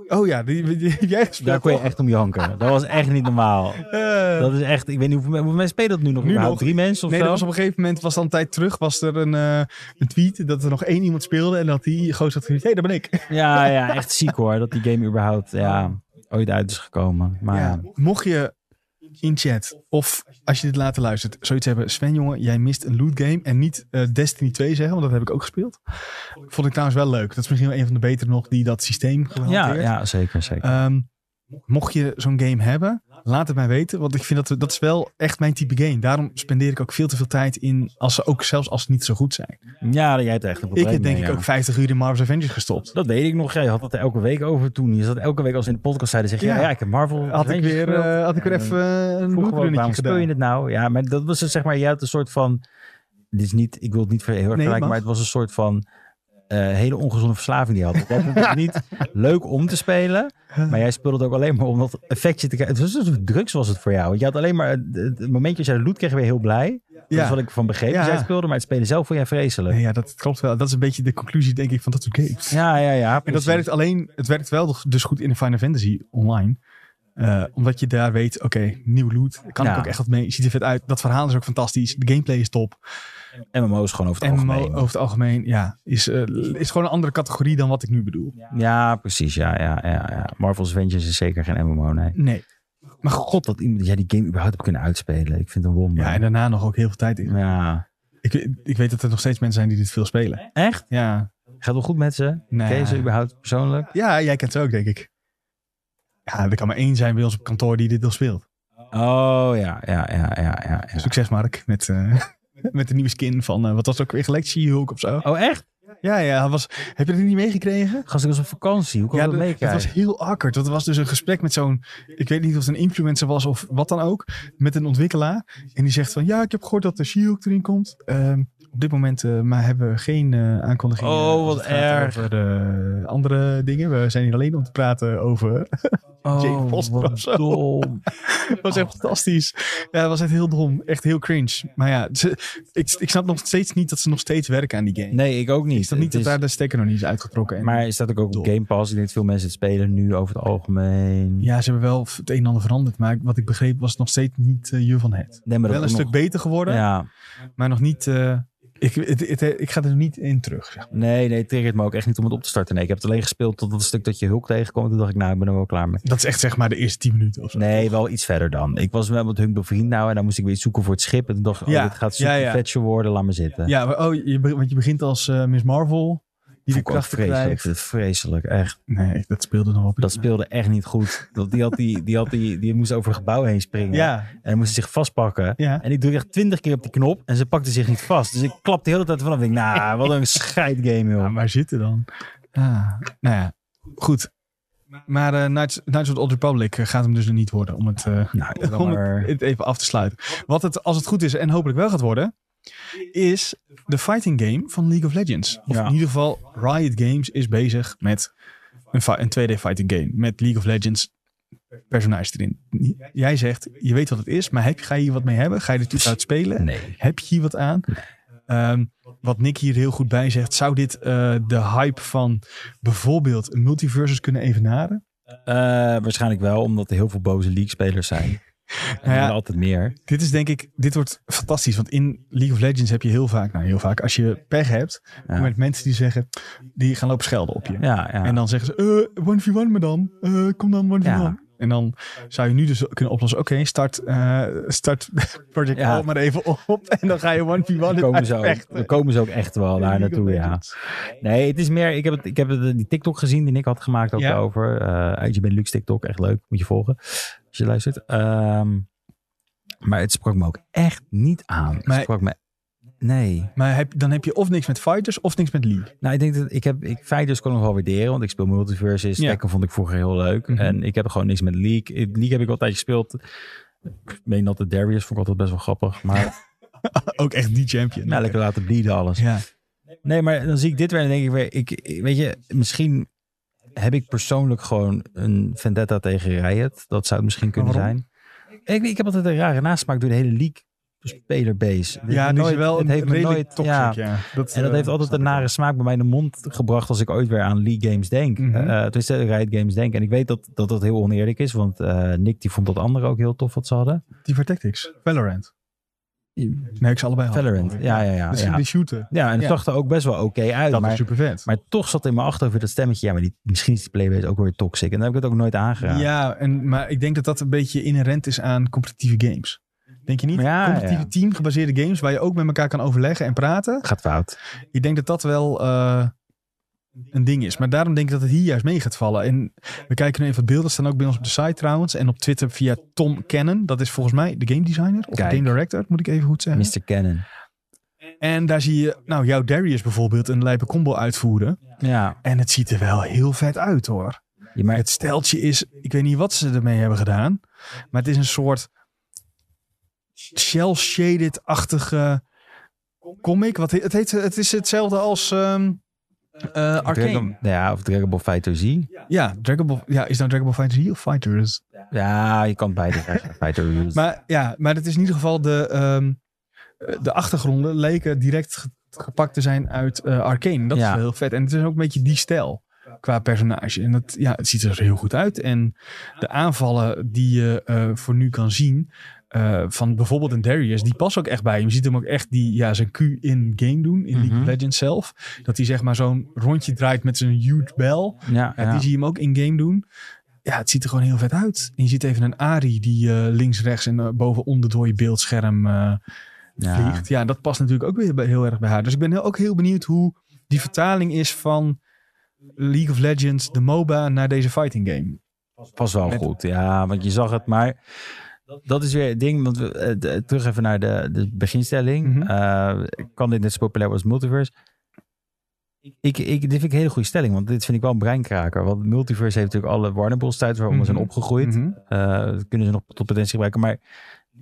Speaker 1: Oh ja, die, die, die heb jij gespeeld.
Speaker 2: Daar kon je
Speaker 1: toch?
Speaker 2: echt om janken. Dat was echt niet normaal.
Speaker 1: Eh,
Speaker 2: Dat is echt, ik weet niet hoeveel, hoeveel mensen spelen dat nu nog.
Speaker 1: Nu
Speaker 2: überhaupt?
Speaker 1: nog.
Speaker 2: Drie mensen of
Speaker 1: nee,
Speaker 2: zo?
Speaker 1: dat was op een gegeven moment, was dan een tijd terug, was er een, eh, een tweet dat er nog één iemand speelde en dat die gozer had gezegd, hé, hey, daar ben ik.
Speaker 2: Ja, ja, echt ziek hoor. Dat die game überhaupt ja, ooit uit is gekomen. Maar ja,
Speaker 1: Ja, mocht je in chat of als je dit later luistert, zoiets hebben, Sven jongen, jij mist een loot game en niet eh, Destiny 2 zeggen, want dat heb ik ook gespeeld. Vond ik trouwens wel leuk. Dat is misschien wel een van de betere nog die dat systeem
Speaker 2: ja,
Speaker 1: gehanteerd.
Speaker 2: ja zeker, zeker.
Speaker 1: Ehm, mocht je zo'n game hebben, laat het mij weten. Want ik vind dat we- dat is wel echt mijn type game. Daarom spendeer ik ook veel te veel tijd in, als ze ook zelfs als ze niet zo goed zijn.
Speaker 2: Eh, ja, jij hebt er echt een probleem
Speaker 1: ik heb denk
Speaker 2: mee,
Speaker 1: ik
Speaker 2: ja.
Speaker 1: ook 50 uur in Marvel's Avengers gestopt.
Speaker 2: Dat weet ik nog. Jij had het er elke week over toen. Je zat elke week als we in de podcast zeiden, zeg je,
Speaker 1: Ja.
Speaker 2: ja. ja, ik heb Marvel.
Speaker 1: Had ik
Speaker 2: Avengers
Speaker 1: weer,
Speaker 2: gespeeld.
Speaker 1: eh, had ik weer
Speaker 2: Ja,
Speaker 1: even eh, een
Speaker 2: Vroeg gewoon,
Speaker 1: looprunnetje
Speaker 2: waarom speel je
Speaker 1: gedaan.
Speaker 2: het nou? Ja, maar dat was dus zeg maar, jij had een soort van, dit is niet, ik wil het niet ver- heel erg vergelijken,
Speaker 1: mag.
Speaker 2: maar het was een soort van eh, hele ongezonde verslaving die je had. Dat was niet leuk om te spelen, maar jij speelde het ook alleen maar om dat effectje te krijgen. Het was een soort drugs was het voor jou. Want je had alleen maar, het, het momentje als jij de loot kreeg, weer heel blij. Dat is
Speaker 1: Ja.
Speaker 2: wat ik van begreep.
Speaker 1: Ja.
Speaker 2: Dus jij speelde, maar het spelen zelf vond jij vreselijk.
Speaker 1: Nee, ja, dat klopt wel. Dat is een beetje de conclusie denk ik van dat soort games.
Speaker 2: Ja, ja, ja.
Speaker 1: En dat
Speaker 2: precies.
Speaker 1: werkt alleen, het werkt wel dus goed in de Final Fantasy online. Eh, omdat je daar weet, oké, nieuw loot. Kan
Speaker 2: Ja.
Speaker 1: ik ook echt wat mee. Ziet er vet uit. Dat verhaal is ook fantastisch. De gameplay is top.
Speaker 2: MMO's gewoon over het
Speaker 1: MMO
Speaker 2: algemeen.
Speaker 1: over het algemeen, ja, is, eh, is gewoon een andere categorie dan wat ik nu bedoel.
Speaker 2: Ja, precies. Ja, ja, ja, ja. Marvel's Vengeance is zeker geen MMO, nee.
Speaker 1: Nee. Maar god,
Speaker 2: God, dat iemand jij die game überhaupt hebt kunnen uitspelen. Ik vind het een wonder.
Speaker 1: ja, en daarna nog ook heel veel tijd in.
Speaker 2: Ja.
Speaker 1: Ik, ik weet dat er nog steeds mensen zijn die dit veel spelen.
Speaker 2: Echt?
Speaker 1: Ja,
Speaker 2: Gaat wel goed met ze?
Speaker 1: Nee.
Speaker 2: Ken je ze überhaupt persoonlijk?
Speaker 1: ja jij kent ze ook, denk ik. Ja, er kan maar één zijn bij ons op kantoor die dit nog speelt.
Speaker 2: Oh, ja, ja, ja, ja, ja. ja.
Speaker 1: Succes, Mark, met, eh, met de nieuwe skin van, eh, wat was het ook weer gelijk, She-Hulk of zo.
Speaker 2: Oh, echt?
Speaker 1: Ja, ja, hij was, heb je dat niet meegekregen?
Speaker 2: Gast, ik was op vakantie. Hoe kon
Speaker 1: Ja,
Speaker 2: ik dat
Speaker 1: dat, dat
Speaker 2: meekrijgen?
Speaker 1: was heel awkward. Dat was dus een gesprek met zo'n, ik weet niet of het een influencer was of wat dan ook, met een ontwikkelaar. En die zegt van, ja, ik heb gehoord dat de She-Hulk erin komt. Ehm, op dit moment eh, maar hebben we geen eh aankondigingen.
Speaker 2: Oh,
Speaker 1: als
Speaker 2: wat
Speaker 1: het gaat
Speaker 2: erg.
Speaker 1: Over eh, andere dingen. We zijn hier alleen om te praten over. Jane Foster
Speaker 2: Oh,
Speaker 1: of
Speaker 2: wat
Speaker 1: zo.
Speaker 2: dom.
Speaker 1: Het was echt fantastisch. Ja, het was echt heel dom. Echt heel cringe. Maar ja, ze- ik, ik snap nog steeds niet dat ze nog steeds werken aan die game.
Speaker 2: Nee, ik ook niet.
Speaker 1: Is dat niet
Speaker 2: Het
Speaker 1: dat daar de stekker nog niet is uitgetrokken? En-
Speaker 2: Maar staat ook, ook op
Speaker 1: Dom.
Speaker 2: Game Pass? Ik denk dat veel mensen het spelen nu over het algemeen.
Speaker 1: Ja, ze hebben wel het een en ander veranderd. Maar wat ik begreep was het nog steeds niet eh, je van het.
Speaker 2: nee, maar
Speaker 1: Wel
Speaker 2: dat
Speaker 1: een
Speaker 2: ook
Speaker 1: stuk
Speaker 2: nog-
Speaker 1: beter geworden.
Speaker 2: Ja,
Speaker 1: Maar nog niet. eh, ik, het, het- ik ga er niet in terug. Zeg maar.
Speaker 2: nee, nee, het triggert me ook echt niet om het op te starten. Nee, ik heb het alleen gespeeld tot dat stuk dat je Hulk tegenkomt. Toen dacht ik, nou, ik ben er wel klaar mee.
Speaker 1: Dat is echt zeg maar de eerste 10 minuten of zo.
Speaker 2: Nee, wel iets verder dan. Ik was wel met hun bevriend nou en dan moest ik weer iets zoeken voor het schip. En toen dacht ik,
Speaker 1: Ja,
Speaker 2: oh, dit gaat
Speaker 1: ja,
Speaker 2: super
Speaker 1: ja.
Speaker 2: vetje worden, laat maar zitten.
Speaker 1: Ja, maar, oh, je, be- want je begint als eh, Miss Marvel. Die de
Speaker 2: Vond ik ook
Speaker 1: krachten
Speaker 2: vreselijk,
Speaker 1: krijgt.
Speaker 2: vreselijk, echt.
Speaker 1: Nee, dat speelde nog wel prima.
Speaker 2: Dat speelde echt niet goed. Want Die, had die, die, had die, die moest over een gebouw heen springen.
Speaker 1: Ja,
Speaker 2: En moest zich vastpakken.
Speaker 1: ja.
Speaker 2: En ik drukte echt twintig keer op die knop en ze pakte zich niet vast. Dus ik klapte de hele tijd vanaf. Ik denk, nou, wat een scheidgame,
Speaker 1: Ja,
Speaker 2: joh.
Speaker 1: maar zitten dan? Ah, nou ja, goed. Maar eh Knights, Knights of the Old Republic eh, gaat hem dus er niet worden. Om het, eh,
Speaker 2: Nou,
Speaker 1: om
Speaker 2: jammer.
Speaker 1: het, het even af te sluiten. Wat het, als het goed is en hopelijk wel gaat worden, is de fighting game van League of Legends. Of
Speaker 2: Ja.
Speaker 1: in ieder geval Riot Games is bezig met een, fi- een 2D fighting game. Met League of Legends personages erin. Jij zegt, je weet wat het is, maar heb, ga je hier wat mee hebben? Ga je er toets uit spelen?
Speaker 2: Nee.
Speaker 1: Heb je hier wat aan? Ehm, wat Nick hier heel goed bij zegt, zou dit eh, de hype van bijvoorbeeld multiverses kunnen evenaren?
Speaker 2: Eh, waarschijnlijk wel, omdat er heel veel boze League-spelers zijn. En
Speaker 1: Nou ja.
Speaker 2: er altijd meer.
Speaker 1: Dit is denk ik, dit wordt fantastisch. Want in League of Legends heb je heel vaak, nou heel vaak, als je pech hebt,
Speaker 2: Ja.
Speaker 1: met mensen die zeggen, die gaan lopen schelden op je.
Speaker 2: Ja, ja.
Speaker 1: En dan zeggen ze, eh 1v1 me dan, Eh, kom dan 1v1.
Speaker 2: Ja.
Speaker 1: En dan zou je nu dus kunnen oplossen, oké, start, eh, start Project
Speaker 2: Ja.
Speaker 1: All maar even op. En dan ga je 1v1
Speaker 2: we komen,
Speaker 1: het
Speaker 2: ze ook,
Speaker 1: uitvechten.
Speaker 2: we komen ze ook echt wel
Speaker 1: In
Speaker 2: daar
Speaker 1: League of
Speaker 2: naartoe, ja.
Speaker 1: Legends.
Speaker 2: Nee, het is meer... Ik heb, het, ik heb het- die TikTok gezien die Nick had gemaakt ook
Speaker 1: Ja.
Speaker 2: over. Eh uit je bent Lux TikTok, echt leuk. Moet je volgen als je luistert. Ehm, maar het sprak me ook echt niet aan. Het
Speaker 1: Maar-
Speaker 2: sprak me... Nee.
Speaker 1: Maar heb, dan heb je of niks met fighters of niks met League.
Speaker 2: Nou, ik denk dat ik heb... Ik, fighters kon ik nog wel waarderen, want ik speel multiverses.
Speaker 1: Ja.
Speaker 2: Tekken vond ik vroeger heel leuk.
Speaker 1: Mhm.
Speaker 2: En ik heb gewoon niks met League. Eh, League heb ik wel een tijdje gespeeld. Ik meen dat de Darius vond ik altijd best wel grappig. Maar
Speaker 1: Ook echt die champion.
Speaker 2: ja, Nou, lekker laten bleeden alles.
Speaker 1: Ja.
Speaker 2: Nee, maar dan zie ik dit weer en dan denk ik weer, ik, ik- weet je, misschien heb ik persoonlijk gewoon een vendetta tegen Riot. Dat zou het misschien kunnen
Speaker 1: Waarom?
Speaker 2: zijn. Ik, ik heb altijd een rare nasmaak door de hele league spelerbase. Het
Speaker 1: Ja,
Speaker 2: heeft
Speaker 1: nu is
Speaker 2: nooit-
Speaker 1: het wel een
Speaker 2: heeft me
Speaker 1: redelijk
Speaker 2: nooit-
Speaker 1: toxic, ja.
Speaker 2: ja.
Speaker 1: Dat,
Speaker 2: En dat
Speaker 1: eh,
Speaker 2: heeft altijd
Speaker 1: snap
Speaker 2: een
Speaker 1: ik wel.
Speaker 2: nare smaak bij mij in de mond gebracht als ik ooit weer aan League Games denk.
Speaker 1: Mhm.
Speaker 2: Eh tenminste, Riot Games denk. En ik weet dat dat, dat heel oneerlijk is, want eh, Nick die vond dat andere ook heel tof wat ze hadden.
Speaker 1: Die voor Tactics. Valorant. Nee, ik ze allebei hadden.
Speaker 2: Valorant, ja, ja, ja.
Speaker 1: Dus
Speaker 2: Ja,
Speaker 1: die shooter.
Speaker 2: ja en het
Speaker 1: Ja.
Speaker 2: zag er ook best wel oké uit.
Speaker 1: Dat
Speaker 2: maar,
Speaker 1: was super vet.
Speaker 2: Maar toch zat in mijn achterhoofd weer dat stemmetje. Ja, maar die, misschien is die playbase ook weer toxic. En dan heb ik het ook nooit aangeraakt.
Speaker 1: Ja, en, maar ik denk dat dat een beetje inherent is aan competitieve games. Denk je niet?
Speaker 2: Ja,
Speaker 1: competitieve
Speaker 2: ja.
Speaker 1: team gebaseerde games waar je ook met elkaar kan overleggen en praten.
Speaker 2: Gaat fout.
Speaker 1: Ik denk dat dat wel eh, een ding is. Maar daarom denk ik dat het hier juist mee gaat vallen. En we kijken nu even wat beelden. staan ook bij ons op de site trouwens. En op Twitter via Tom Cannon. Dat is volgens mij de game designer of de
Speaker 2: Kijk.
Speaker 1: game director, moet ik even goed zeggen.
Speaker 2: Mr. Cannon.
Speaker 1: En daar zie je, nou, jouw Darius bijvoorbeeld een lijpe combo uitvoeren.
Speaker 2: Ja.
Speaker 1: En het ziet er wel heel vet uit hoor.
Speaker 2: ja maar
Speaker 1: Het steltje is, ik weet niet wat ze ermee hebben gedaan. Maar het is een soort shell-shaded-achtige comic. Wat, he- het, heet, het is hetzelfde als ehm eh, Arcane.
Speaker 2: Dragon, ja, of Dragon Ball Fighter Z.
Speaker 1: Ja, Dragon Ball, ja, is nou Dragon Ball Fighter Z of Fighters?
Speaker 2: Ja, je kan beide zeggen. Fighter Z.
Speaker 1: Maar ja, maar het is in ieder geval de, ehm, eh, de achtergronden leken direct ge- gepakt te zijn uit eh, Arcane. Dat is
Speaker 2: Ja.
Speaker 1: wel heel vet. En het is ook een beetje die stijl qua personage. En dat, ja, het ziet er heel goed uit. En de aanvallen die je eh, voor nu kan zien eh, van bijvoorbeeld een Darius, die passen ook echt bij hem. Je ziet hem ook echt die, ja, zijn Q in game doen, in League
Speaker 2: Mhm.
Speaker 1: of Legends zelf. Dat hij zeg maar zo'n rondje draait met zijn huge bell.
Speaker 2: ja,
Speaker 1: Ja,
Speaker 2: ja.
Speaker 1: Die zie je hem ook in-game doen. Ja, het ziet er gewoon heel vet uit. En je ziet even een Ari die eh, links, rechts en eh, boven onder door je beeldscherm eh,
Speaker 2: Ja.
Speaker 1: vliegt. Ja, dat past natuurlijk ook weer bij- heel erg bij haar. Dus ik ben heel- ook heel benieuwd hoe die vertaling is van League of Legends, de MOBA, naar deze fighting game.
Speaker 2: Pas wel
Speaker 1: Met-
Speaker 2: goed, ja, want je zag het. Maar dat is weer het ding, want we, eh, de- terug even naar de, de beginstelling.
Speaker 1: Mhm.
Speaker 2: Eh, kan dit net zo populair worden als Multiverse? Ik, ik, dit vind ik een hele goede stelling, want dit vind ik wel een breinkraker. Want Multiverse heeft natuurlijk alle Warner Bros. tijd waar we zijn
Speaker 1: Mhm.
Speaker 2: opgegroeid.
Speaker 1: Mhm.
Speaker 2: Eh, dat kunnen ze nog tot potentie gebruiken. Maar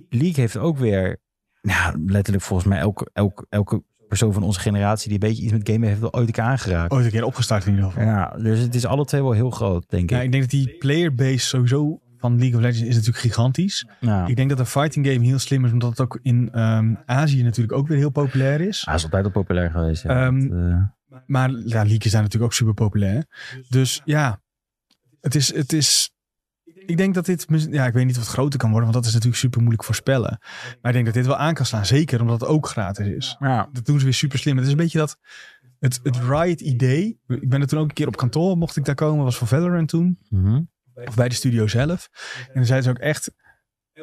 Speaker 2: League heeft ook weer, nou, letterlijk volgens mij elke, elke, elke persoon van onze generatie die een beetje iets met gamen heeft, wel ooit een keer aangeraakt.
Speaker 1: Ooit een keer opgestart in ieder geval.
Speaker 2: Ja, dus het is alle twee wel heel groot, denk
Speaker 1: Ja,
Speaker 2: ik.
Speaker 1: ik denk dat die playerbase sowieso van League of Legends is natuurlijk gigantisch.
Speaker 2: Ja.
Speaker 1: Ik denk dat een fighting game heel slim is, omdat het ook in ehm, Azië natuurlijk ook weer heel populair is.
Speaker 2: Hij is altijd al populair geweest. Ja.
Speaker 1: Ehm,
Speaker 2: Dat, eh,
Speaker 1: Maar ja, leakjes zijn natuurlijk ook super populair. Dus ja, het is, het is. Ik denk dat dit. mis- Ja, ik weet niet of het groter kan worden, want dat is natuurlijk super moeilijk voorspellen. Maar ik denk dat dit wel aan kan slaan. Zeker omdat het ook gratis is.
Speaker 2: ja.
Speaker 1: Dat doen ze weer super slim. Het is een beetje dat. Het, het Riot-idee. Ik ben er toen ook een keer op kantoor, mocht ik daar komen, was voor Valorant toen
Speaker 2: Mhm.
Speaker 1: of bij de studio zelf. En dan zeiden ze ook echt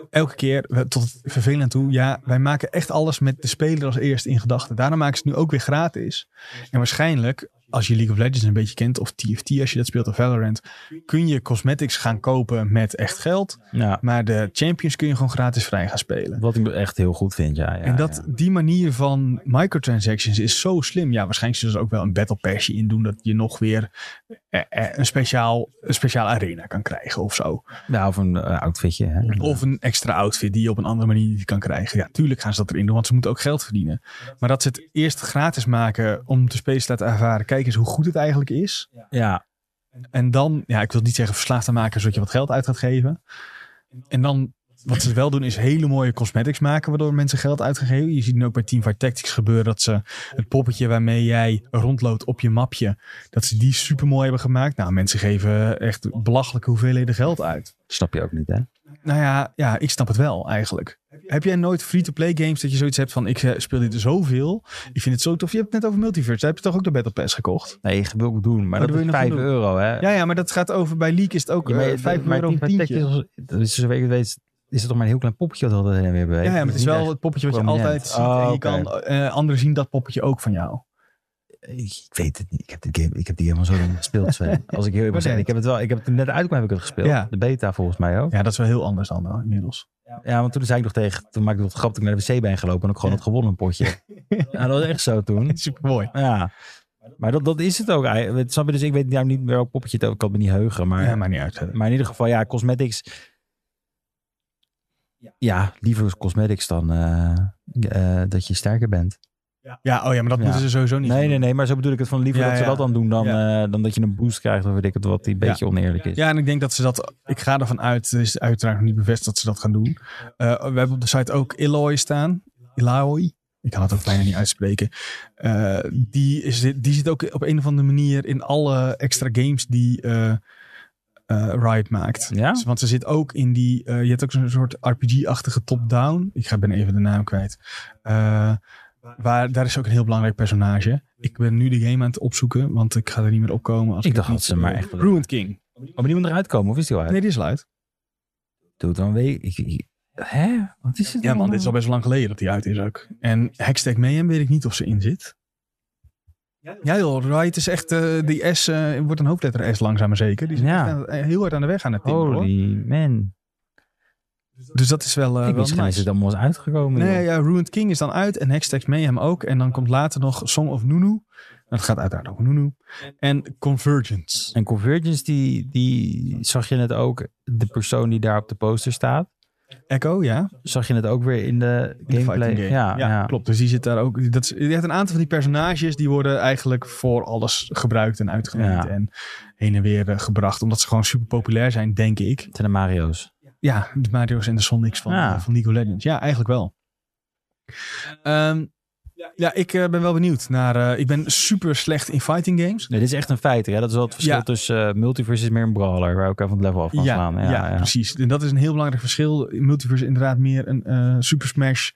Speaker 1: elke keer we- tot het vervelend toe. Ja, wij maken echt alles met de speler als eerst in gedachten. Daarom maken ze het nu ook weer gratis. En waarschijnlijk als je League of Legends een beetje kent, of TFT als je dat speelt, of Valorant, kun je cosmetics gaan kopen met echt geld.
Speaker 2: Ja,
Speaker 1: Maar de Champions kun je gewoon gratis vrij gaan spelen.
Speaker 2: wat ik echt heel goed vind, ja. ja
Speaker 1: en dat,
Speaker 2: ja.
Speaker 1: die manier van microtransactions is zo slim. Ja, waarschijnlijk zullen ze er ook wel een battle passie in doen. Dat je nog weer eh, eh, een, speciaal, een speciale arena kan krijgen of zo.
Speaker 2: Ja, of een eh, outfitje. Hè.
Speaker 1: Of een extra outfit die je op een andere manier niet kan krijgen. Ja, tuurlijk gaan ze dat erin doen, want ze moeten ook geld verdienen. Maar dat ze het eerst gratis maken om de space te laten ervaren. Kijk eens hoe goed het eigenlijk is.
Speaker 2: Ja,
Speaker 1: En dan, ja, ik wil niet zeggen verslaafd aan maken zodat je wat geld uit gaat geven. En dan, wat ze wel doen, is hele mooie cosmetics maken, waardoor mensen geld uitgeven. Je ziet nu ook bij Teamfight Tactics gebeuren dat ze het poppetje waarmee jij rondloopt op je mapje, dat ze die super mooi hebben gemaakt. Nou, mensen geven echt belachelijke hoeveelheden geld uit.
Speaker 2: snap je ook niet, hè?
Speaker 1: Nou ja, ja ik snap het wel eigenlijk. Heb jij nooit free-to-play games dat je zoiets hebt van ik eh, speel dit zoveel, ik vind het zo tof. Je hebt het net over multiverse, daar heb je toch ook de Battle Pass gekocht?
Speaker 2: Nee, je wil ook doen, maar
Speaker 1: Oh,
Speaker 2: dat
Speaker 1: dat
Speaker 2: is
Speaker 1: wil je
Speaker 2: 5
Speaker 1: nog wel
Speaker 2: euro, hè?
Speaker 1: Ja, ja, maar dat gaat over bij League is het ook
Speaker 2: Ja, maar-
Speaker 1: eh, 5
Speaker 2: maar
Speaker 1: euro een
Speaker 2: die
Speaker 1: tientje.
Speaker 2: pakketjes, dat is zoals ik het weet, is het toch maar een heel klein poppetje dat we altijd heen en weer beweegt.
Speaker 1: Ja, ja, maar het is wel
Speaker 2: niet
Speaker 1: het poppetje wat je
Speaker 2: prominent.
Speaker 1: altijd ziet.
Speaker 2: Oh,
Speaker 1: en je
Speaker 2: oké.
Speaker 1: kan, eh, anderen zien dat poppetje ook van jou.
Speaker 2: echt- Ik weet het niet. Ik heb, die game, ik heb die helemaal zo lang gespeeld, Sven. Als ik heel eerlijk
Speaker 1: Oké.
Speaker 2: ben. Ik heb het wel, ik heb het toen net uitkwam, heb ik het gespeeld.
Speaker 1: Ja.
Speaker 2: De beta volgens mij ook.
Speaker 1: Ja, dat is wel heel anders dan nou, inmiddels.
Speaker 2: Ja, want toen zei ik nog tegen, toen maakte ik nog grap dat ik naar de wc ben gelopen en ook gewoon
Speaker 1: Ja.
Speaker 2: het gewonnen potje. ja, dat was echt zo toen.
Speaker 1: Super mooi.
Speaker 2: Ja. Maar dat, dat is het ook eigenlijk. Snap je? Dus ik weet nou niet meer welk poppetje het ook, ik kan het me niet heugen. Maar,
Speaker 1: Ja, maar niet uit. verder.
Speaker 2: maar in ieder geval, ja, cosmetics. Ja, liever cosmetics dan eh, eh, dat je sterker bent.
Speaker 1: Ja, oh ja, maar dat
Speaker 2: Ja.
Speaker 1: moeten ze sowieso niet
Speaker 2: Nee,
Speaker 1: doen.
Speaker 2: nee, nee, maar zo bedoel ik het van liever
Speaker 1: Ja,
Speaker 2: dat ze
Speaker 1: ja.
Speaker 2: dat dan doen dan, eh, dan dat je een boost krijgt of weet ik het wat, die een
Speaker 1: Ja.
Speaker 2: beetje oneerlijk is.
Speaker 1: Ja, en ik denk dat ze dat... Ik ga ervan uit, het is uiteraard nog niet bevestigd dat ze dat gaan doen. Eh, we hebben op de site ook Eloy staan. Eloy. Ik kan het ook bijna niet uitspreken. Eh, die, is, die zit ook op een of andere manier in alle extra games die eh eh, Riot maakt. Dus,
Speaker 2: Ja?
Speaker 1: Want ze zit ook in die. eh, je hebt ook zo'n soort RPG-achtige top-down. Ik ga, ben even de naam kwijt. Eh, waar, daar is ook een heel belangrijk personage. Ik ben nu de game aan het opzoeken, want ik ga er niet meer opkomen. Als
Speaker 2: Ik
Speaker 1: het
Speaker 2: dacht
Speaker 1: niet-
Speaker 2: dat ze maar echt-
Speaker 1: Ruined King.
Speaker 2: Oh, maar die moet eruit komen, of is die al uit?
Speaker 1: Nee, die is al uit.
Speaker 2: Doe het dan weer. Ik, ik- hè? Wat is het
Speaker 1: Ja, man,
Speaker 2: allemaal?
Speaker 1: dit is al best wel lang geleden dat die uit is ook. En Hextech Mayhem weet ik niet of ze in zit. Ja, joh, Riot is echt. eh, die S eh, wordt een hoofdletter S langzaam maar zeker. Die is
Speaker 2: Ja.
Speaker 1: echt aan- eh, heel hard aan de weg aan het timmeren, hoor.
Speaker 2: Holy man.
Speaker 1: Dus dat is wel. eh, wel
Speaker 2: ik wist gewoon is
Speaker 1: nice.
Speaker 2: het allemaal eens uitgekomen. joh.
Speaker 1: Nee, ja, Ruined King is dan uit en Hextech Mayhem ook. En dan komt later nog Song of Nunu. Dat gaat uiteraard over Nunu. En Convergence.
Speaker 2: En Convergence, die, die zag je net ook, de persoon die daar op de poster staat,
Speaker 1: Echo, ja.
Speaker 2: zag je net ook weer in de
Speaker 1: in de
Speaker 2: gameplay.
Speaker 1: fighting game.
Speaker 2: Ja, ja,
Speaker 1: klopt. Dus die zit daar ook. Dat is, je hebt een aantal van die personages die worden eigenlijk voor alles gebruikt en uitgeleend.
Speaker 2: Ja.
Speaker 1: En heen en weer eh, gebracht. Omdat ze gewoon super populair zijn, denk ik.
Speaker 2: Het zijn de Mario's.
Speaker 1: Ja, de Mario's en de Sonics van,
Speaker 2: Ja.
Speaker 1: eh, van League of Legends. Ja, eigenlijk wel. Ehm, ja, ik eh, ben wel benieuwd naar. eh, ik ben super slecht in fighting games.
Speaker 2: Nee, dit is echt een feit. Hè? Dat is wel het verschil
Speaker 1: Ja.
Speaker 2: tussen eh, multiverse is meer een brawler, waar elkaar van het level af kan slaan. Ja, ja,
Speaker 1: precies. En dat is een heel belangrijk verschil. In Multiverse inderdaad meer een eh, Super Smash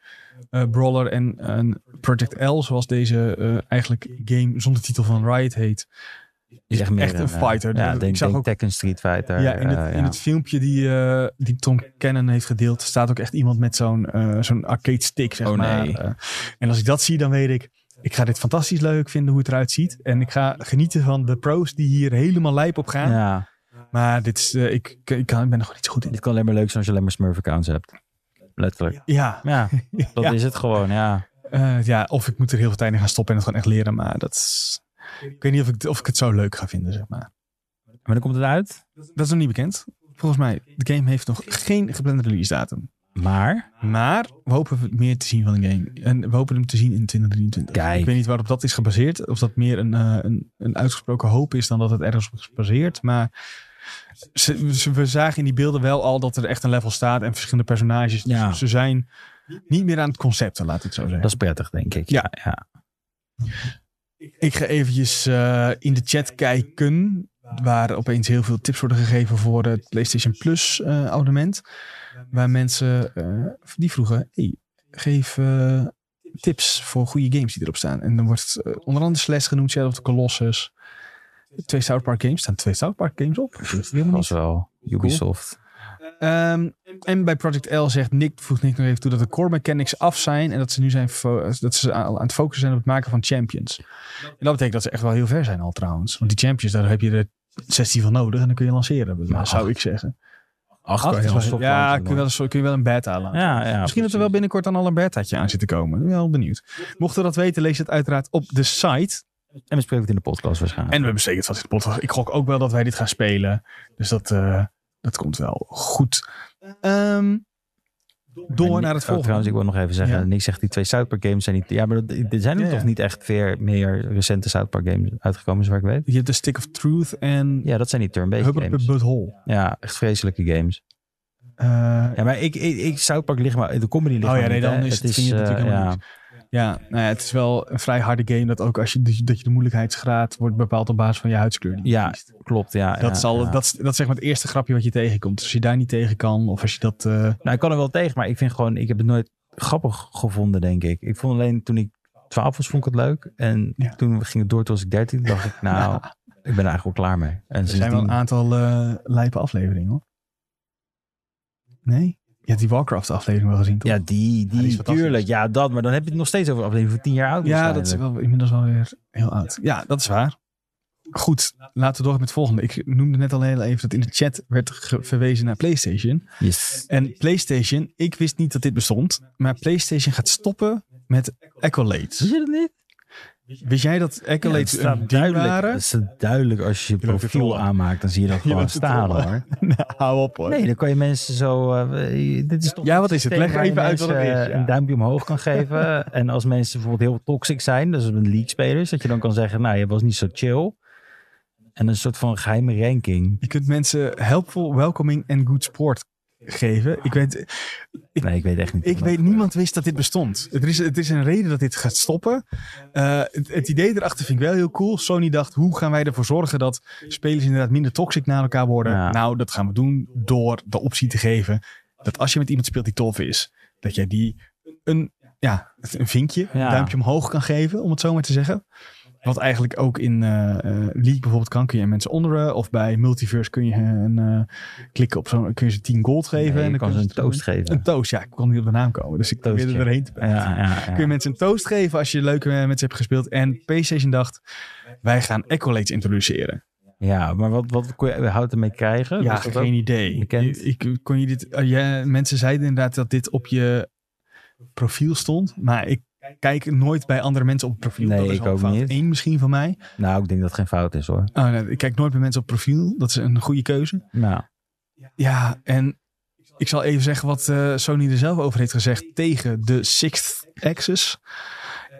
Speaker 1: eh, brawler en een Project L, zoals deze eh, eigenlijk game zonder titel van Riot heet.
Speaker 2: Is echt, meer
Speaker 1: echt een
Speaker 2: eh,
Speaker 1: fighter.
Speaker 2: Ja,
Speaker 1: Dat-
Speaker 2: denk,
Speaker 1: ik zag
Speaker 2: denk
Speaker 1: ook-
Speaker 2: Tekken Street Fighter.
Speaker 1: ja, in het,
Speaker 2: eh,
Speaker 1: in het filmpje die, eh, die Tom Cannon heeft gedeeld, staat ook echt iemand met zo'n eh, zo'n arcade stick, zeg
Speaker 2: Oh,
Speaker 1: maar.
Speaker 2: nee.
Speaker 1: Eh, en als ik dat zie, dan weet ik, ik ga dit fantastisch leuk vinden hoe het eruit ziet. En ik ga genieten van de pro's die hier helemaal lijp op gaan.
Speaker 2: ja.
Speaker 1: Maar dit is, eh, ik, ik, kan, ik ben er gewoon niet zo goed in.
Speaker 2: Dit kan alleen maar leuk zijn als je alleen maar Smurf accounts hebt. Letterlijk.
Speaker 1: Ja,
Speaker 2: Ja, dat
Speaker 1: Ja.
Speaker 2: is het gewoon, ja.
Speaker 1: Eh, ja, of ik moet er heel veel tijd in gaan stoppen en het gewoon echt leren. Maar dat is... Ik weet niet of ik, of ik het zo leuk ga vinden, zeg maar.
Speaker 2: Maar dan komt het uit.
Speaker 1: Dat is nog niet bekend. Volgens mij, de game heeft nog geen geplande release datum.
Speaker 2: Maar,
Speaker 1: Maar we hopen meer te zien van de game. En we hopen hem te zien in 2023.
Speaker 2: Kijk.
Speaker 1: Ik weet niet waarop dat is gebaseerd. Of dat meer een, eh, een, een uitgesproken hoop is dan dat het ergens op is gebaseerd. Maar ze, ze- we zagen in die beelden wel al dat er echt een level staat en verschillende personages. Dus
Speaker 2: Ja.
Speaker 1: ze zijn niet meer aan het concepten, laat het zo zeggen.
Speaker 2: dat is prettig, denk ik.
Speaker 1: Ja.
Speaker 2: ja.
Speaker 1: Ik ga eventjes eh, in de chat kijken. Waar opeens heel veel tips worden gegeven voor het PlayStation Plus eh, abonnement. Waar mensen eh, die vroegen: hey, geef eh, tips voor goede games die erop staan. En dan wordt eh, onder andere Slash genoemd, Shadow of the Colossus. Twee South Park games staan twee South Park games op. Dat wist ik helemaal niet.
Speaker 2: was wel Ubisoft.
Speaker 1: Ehm, en bij Project L zegt Nick, voegt Nick nog even toe dat de core mechanics af zijn. En dat ze nu zijn fo- dat ze aan aan het focussen zijn op het maken van champions. En dat betekent dat ze echt wel heel ver zijn al trouwens. Want die champions, daar heb je er 16 van nodig. En dan kun je lanceren,
Speaker 2: Maar
Speaker 1: zou
Speaker 2: Nou, acht-
Speaker 1: ik zeggen.
Speaker 2: Acht
Speaker 1: Acht
Speaker 2: kan je
Speaker 1: is
Speaker 2: wel
Speaker 1: wel-
Speaker 2: stop
Speaker 1: ja,
Speaker 2: laten
Speaker 1: kun je, wel,
Speaker 2: doen.
Speaker 1: een soort- kun je wel een beta laten.
Speaker 2: eh, ja, ja,
Speaker 1: Misschien dat er wel binnenkort dan al een betaatje aan zit te komen. Ik ben wel benieuwd. Mochten we dat weten, lees het uiteraard op de site.
Speaker 2: En we spreken het in de podcast waarschijnlijk.
Speaker 1: En we bespreken het vast in de podcast. Ik gok ook wel dat wij dit gaan spelen. Dus dat, eh, dat komt wel goed. Ehm, door naar
Speaker 2: En-
Speaker 1: het
Speaker 2: oh,
Speaker 1: volgende.
Speaker 2: trouwens, ik wil nog even zeggen.
Speaker 1: Ja.
Speaker 2: Nick zegt die twee South Park games zijn niet... Ja, maar dat, er zijn er
Speaker 1: Ja,
Speaker 2: toch
Speaker 1: ja.
Speaker 2: niet echt weer meer recente South Park games uitgekomen, zover ik weet.
Speaker 1: Je hebt de Stick of Truth en
Speaker 2: Ja, dat zijn die turn-based
Speaker 1: Hubbard
Speaker 2: games.
Speaker 1: Butthole.
Speaker 2: Ja, echt vreselijke games.
Speaker 1: Eh,
Speaker 2: Ja, maar ik, ik, ik South Park ligt maar... De comedy ligt
Speaker 1: Oh ja,
Speaker 2: maar
Speaker 1: nee,
Speaker 2: niet, hè.
Speaker 1: dan is het- vind je het
Speaker 2: eh,
Speaker 1: natuurlijk helemaal
Speaker 2: ja.
Speaker 1: ja, nou ja, het is wel een vrij harde game. Dat ook als je, dat je de moeilijkheidsgraad wordt bepaald op basis van je huidskleur. die je
Speaker 2: Ja,
Speaker 1: kiest.
Speaker 2: klopt. Ja,
Speaker 1: Dat,
Speaker 2: ja,
Speaker 1: is al,
Speaker 2: ja.
Speaker 1: dat, is, dat is zeg maar het eerste grapje wat je tegenkomt. Dus als je daar niet tegen kan, of als je dat... eh,
Speaker 2: Nou, ik kan er wel tegen, maar ik vind gewoon, ik heb het nooit grappig gevonden, denk ik. Ik vond alleen toen ik 12 was, vond ik het leuk. En
Speaker 1: Ja.
Speaker 2: toen ging het door tot als ik 13, dacht ik, nou, ik ben er eigenlijk wel klaar mee. En
Speaker 1: Er zijn wel een
Speaker 2: sindsdien-
Speaker 1: aantal eh lijpe afleveringen hoor. Nee? Je hebt die Warcraft aflevering wel gezien toch?
Speaker 2: Ja,
Speaker 1: Ja, die
Speaker 2: die,
Speaker 1: is
Speaker 2: die,
Speaker 1: fantastisch.
Speaker 2: tuurlijk. Ja, dat. Maar dan heb je het nog steeds over een aflevering van 10 jaar oud.
Speaker 1: Ja, dat is
Speaker 2: waarschijnlijk.
Speaker 1: wel inmiddels wel weer heel oud. Ja, dat is waar. Goed, laten we door met het volgende. Ik noemde net al heel even dat in de chat werd ge- verwezen naar PlayStation.
Speaker 2: Yes.
Speaker 1: En PlayStation, ik wist niet dat dit bestond, maar PlayStation gaat stoppen met accolades.
Speaker 2: Zie je dat niet?
Speaker 1: Wist jij dat accolades
Speaker 2: Ja,
Speaker 1: een
Speaker 2: het staat
Speaker 1: ding
Speaker 2: duidelijk.
Speaker 1: waren?
Speaker 2: Het staat duidelijk als je je
Speaker 1: Je bent te
Speaker 2: profiel
Speaker 1: trollen.
Speaker 2: aanmaakt, dan zie je dat gewoon
Speaker 1: bent te
Speaker 2: staan
Speaker 1: trollen.
Speaker 2: hoor.
Speaker 1: Nou, hou op hoor.
Speaker 2: Nee, dan kan je mensen zo. eh, dit is toch
Speaker 1: Ja, wat is het?
Speaker 2: systeem
Speaker 1: Leg
Speaker 2: waar je
Speaker 1: even uit wat het
Speaker 2: mensen,
Speaker 1: is,
Speaker 2: eh,
Speaker 1: ja.
Speaker 2: Een duimpje omhoog kan geven. en als mensen bijvoorbeeld heel toxic zijn, dus een league spelers, dat je dan kan zeggen, nou, je was niet zo chill. En een soort van geheime ranking.
Speaker 1: Je kunt mensen helpful, welcoming en good sport geven. Ik weet,
Speaker 2: Nee, ik weet echt niet.
Speaker 1: Ik weet, niemand wist dat dit bestond. Er is, het is een reden dat dit gaat stoppen. Eh, het, het idee erachter vind ik wel heel cool. Sony dacht, hoe gaan wij ervoor zorgen dat spelers inderdaad minder toxic naar elkaar worden?
Speaker 2: Ja.
Speaker 1: Nou, dat gaan we doen door de optie te geven dat als je met iemand speelt die tof is, dat jij die een, ja, een vinkje,
Speaker 2: Ja.
Speaker 1: een duimpje omhoog kan geven, om het zo maar te zeggen. Wat eigenlijk ook in eh, eh, League bijvoorbeeld kan, kun je mensen onderen. Of bij Multiverse kun je een, eh, klikken op zo'n, kun je ze 10 gold geven.
Speaker 2: Nee,
Speaker 1: en dan
Speaker 2: je kan ze
Speaker 1: kunnen
Speaker 2: een toast
Speaker 1: een
Speaker 2: geven.
Speaker 1: toast, ja. Ik kon niet op de naam komen, dus ik
Speaker 2: Toastje.
Speaker 1: probeerde erheen te
Speaker 2: Ja, ja,
Speaker 1: Kun je
Speaker 2: ja.
Speaker 1: mensen een toast geven als je leuk eh, met ze hebt gespeeld. En PlayStation dacht, wij gaan accolades introduceren.
Speaker 2: ja, maar wat, wat kon je, houdt ermee krijgen?
Speaker 1: ja,
Speaker 2: Was dat
Speaker 1: geen
Speaker 2: ook-
Speaker 1: idee.
Speaker 2: bekend?
Speaker 1: Ik, ik- kon je dit, eh, ja, mensen zeiden inderdaad dat dit op je profiel stond. Maar ik kijk nooit bij andere mensen op het profiel.
Speaker 2: Nee,
Speaker 1: dat is
Speaker 2: ik
Speaker 1: wel
Speaker 2: ook
Speaker 1: fout.
Speaker 2: niet.
Speaker 1: Eén misschien van mij.
Speaker 2: Nou, ik denk dat het geen fout is hoor.
Speaker 1: Oh, nee, ik kijk nooit bij mensen op profiel. Dat is een goede keuze.
Speaker 2: Nou,
Speaker 1: Ja, en ik zal even zeggen wat eh, Sony er zelf over heeft gezegd tegen de Sixth Axis.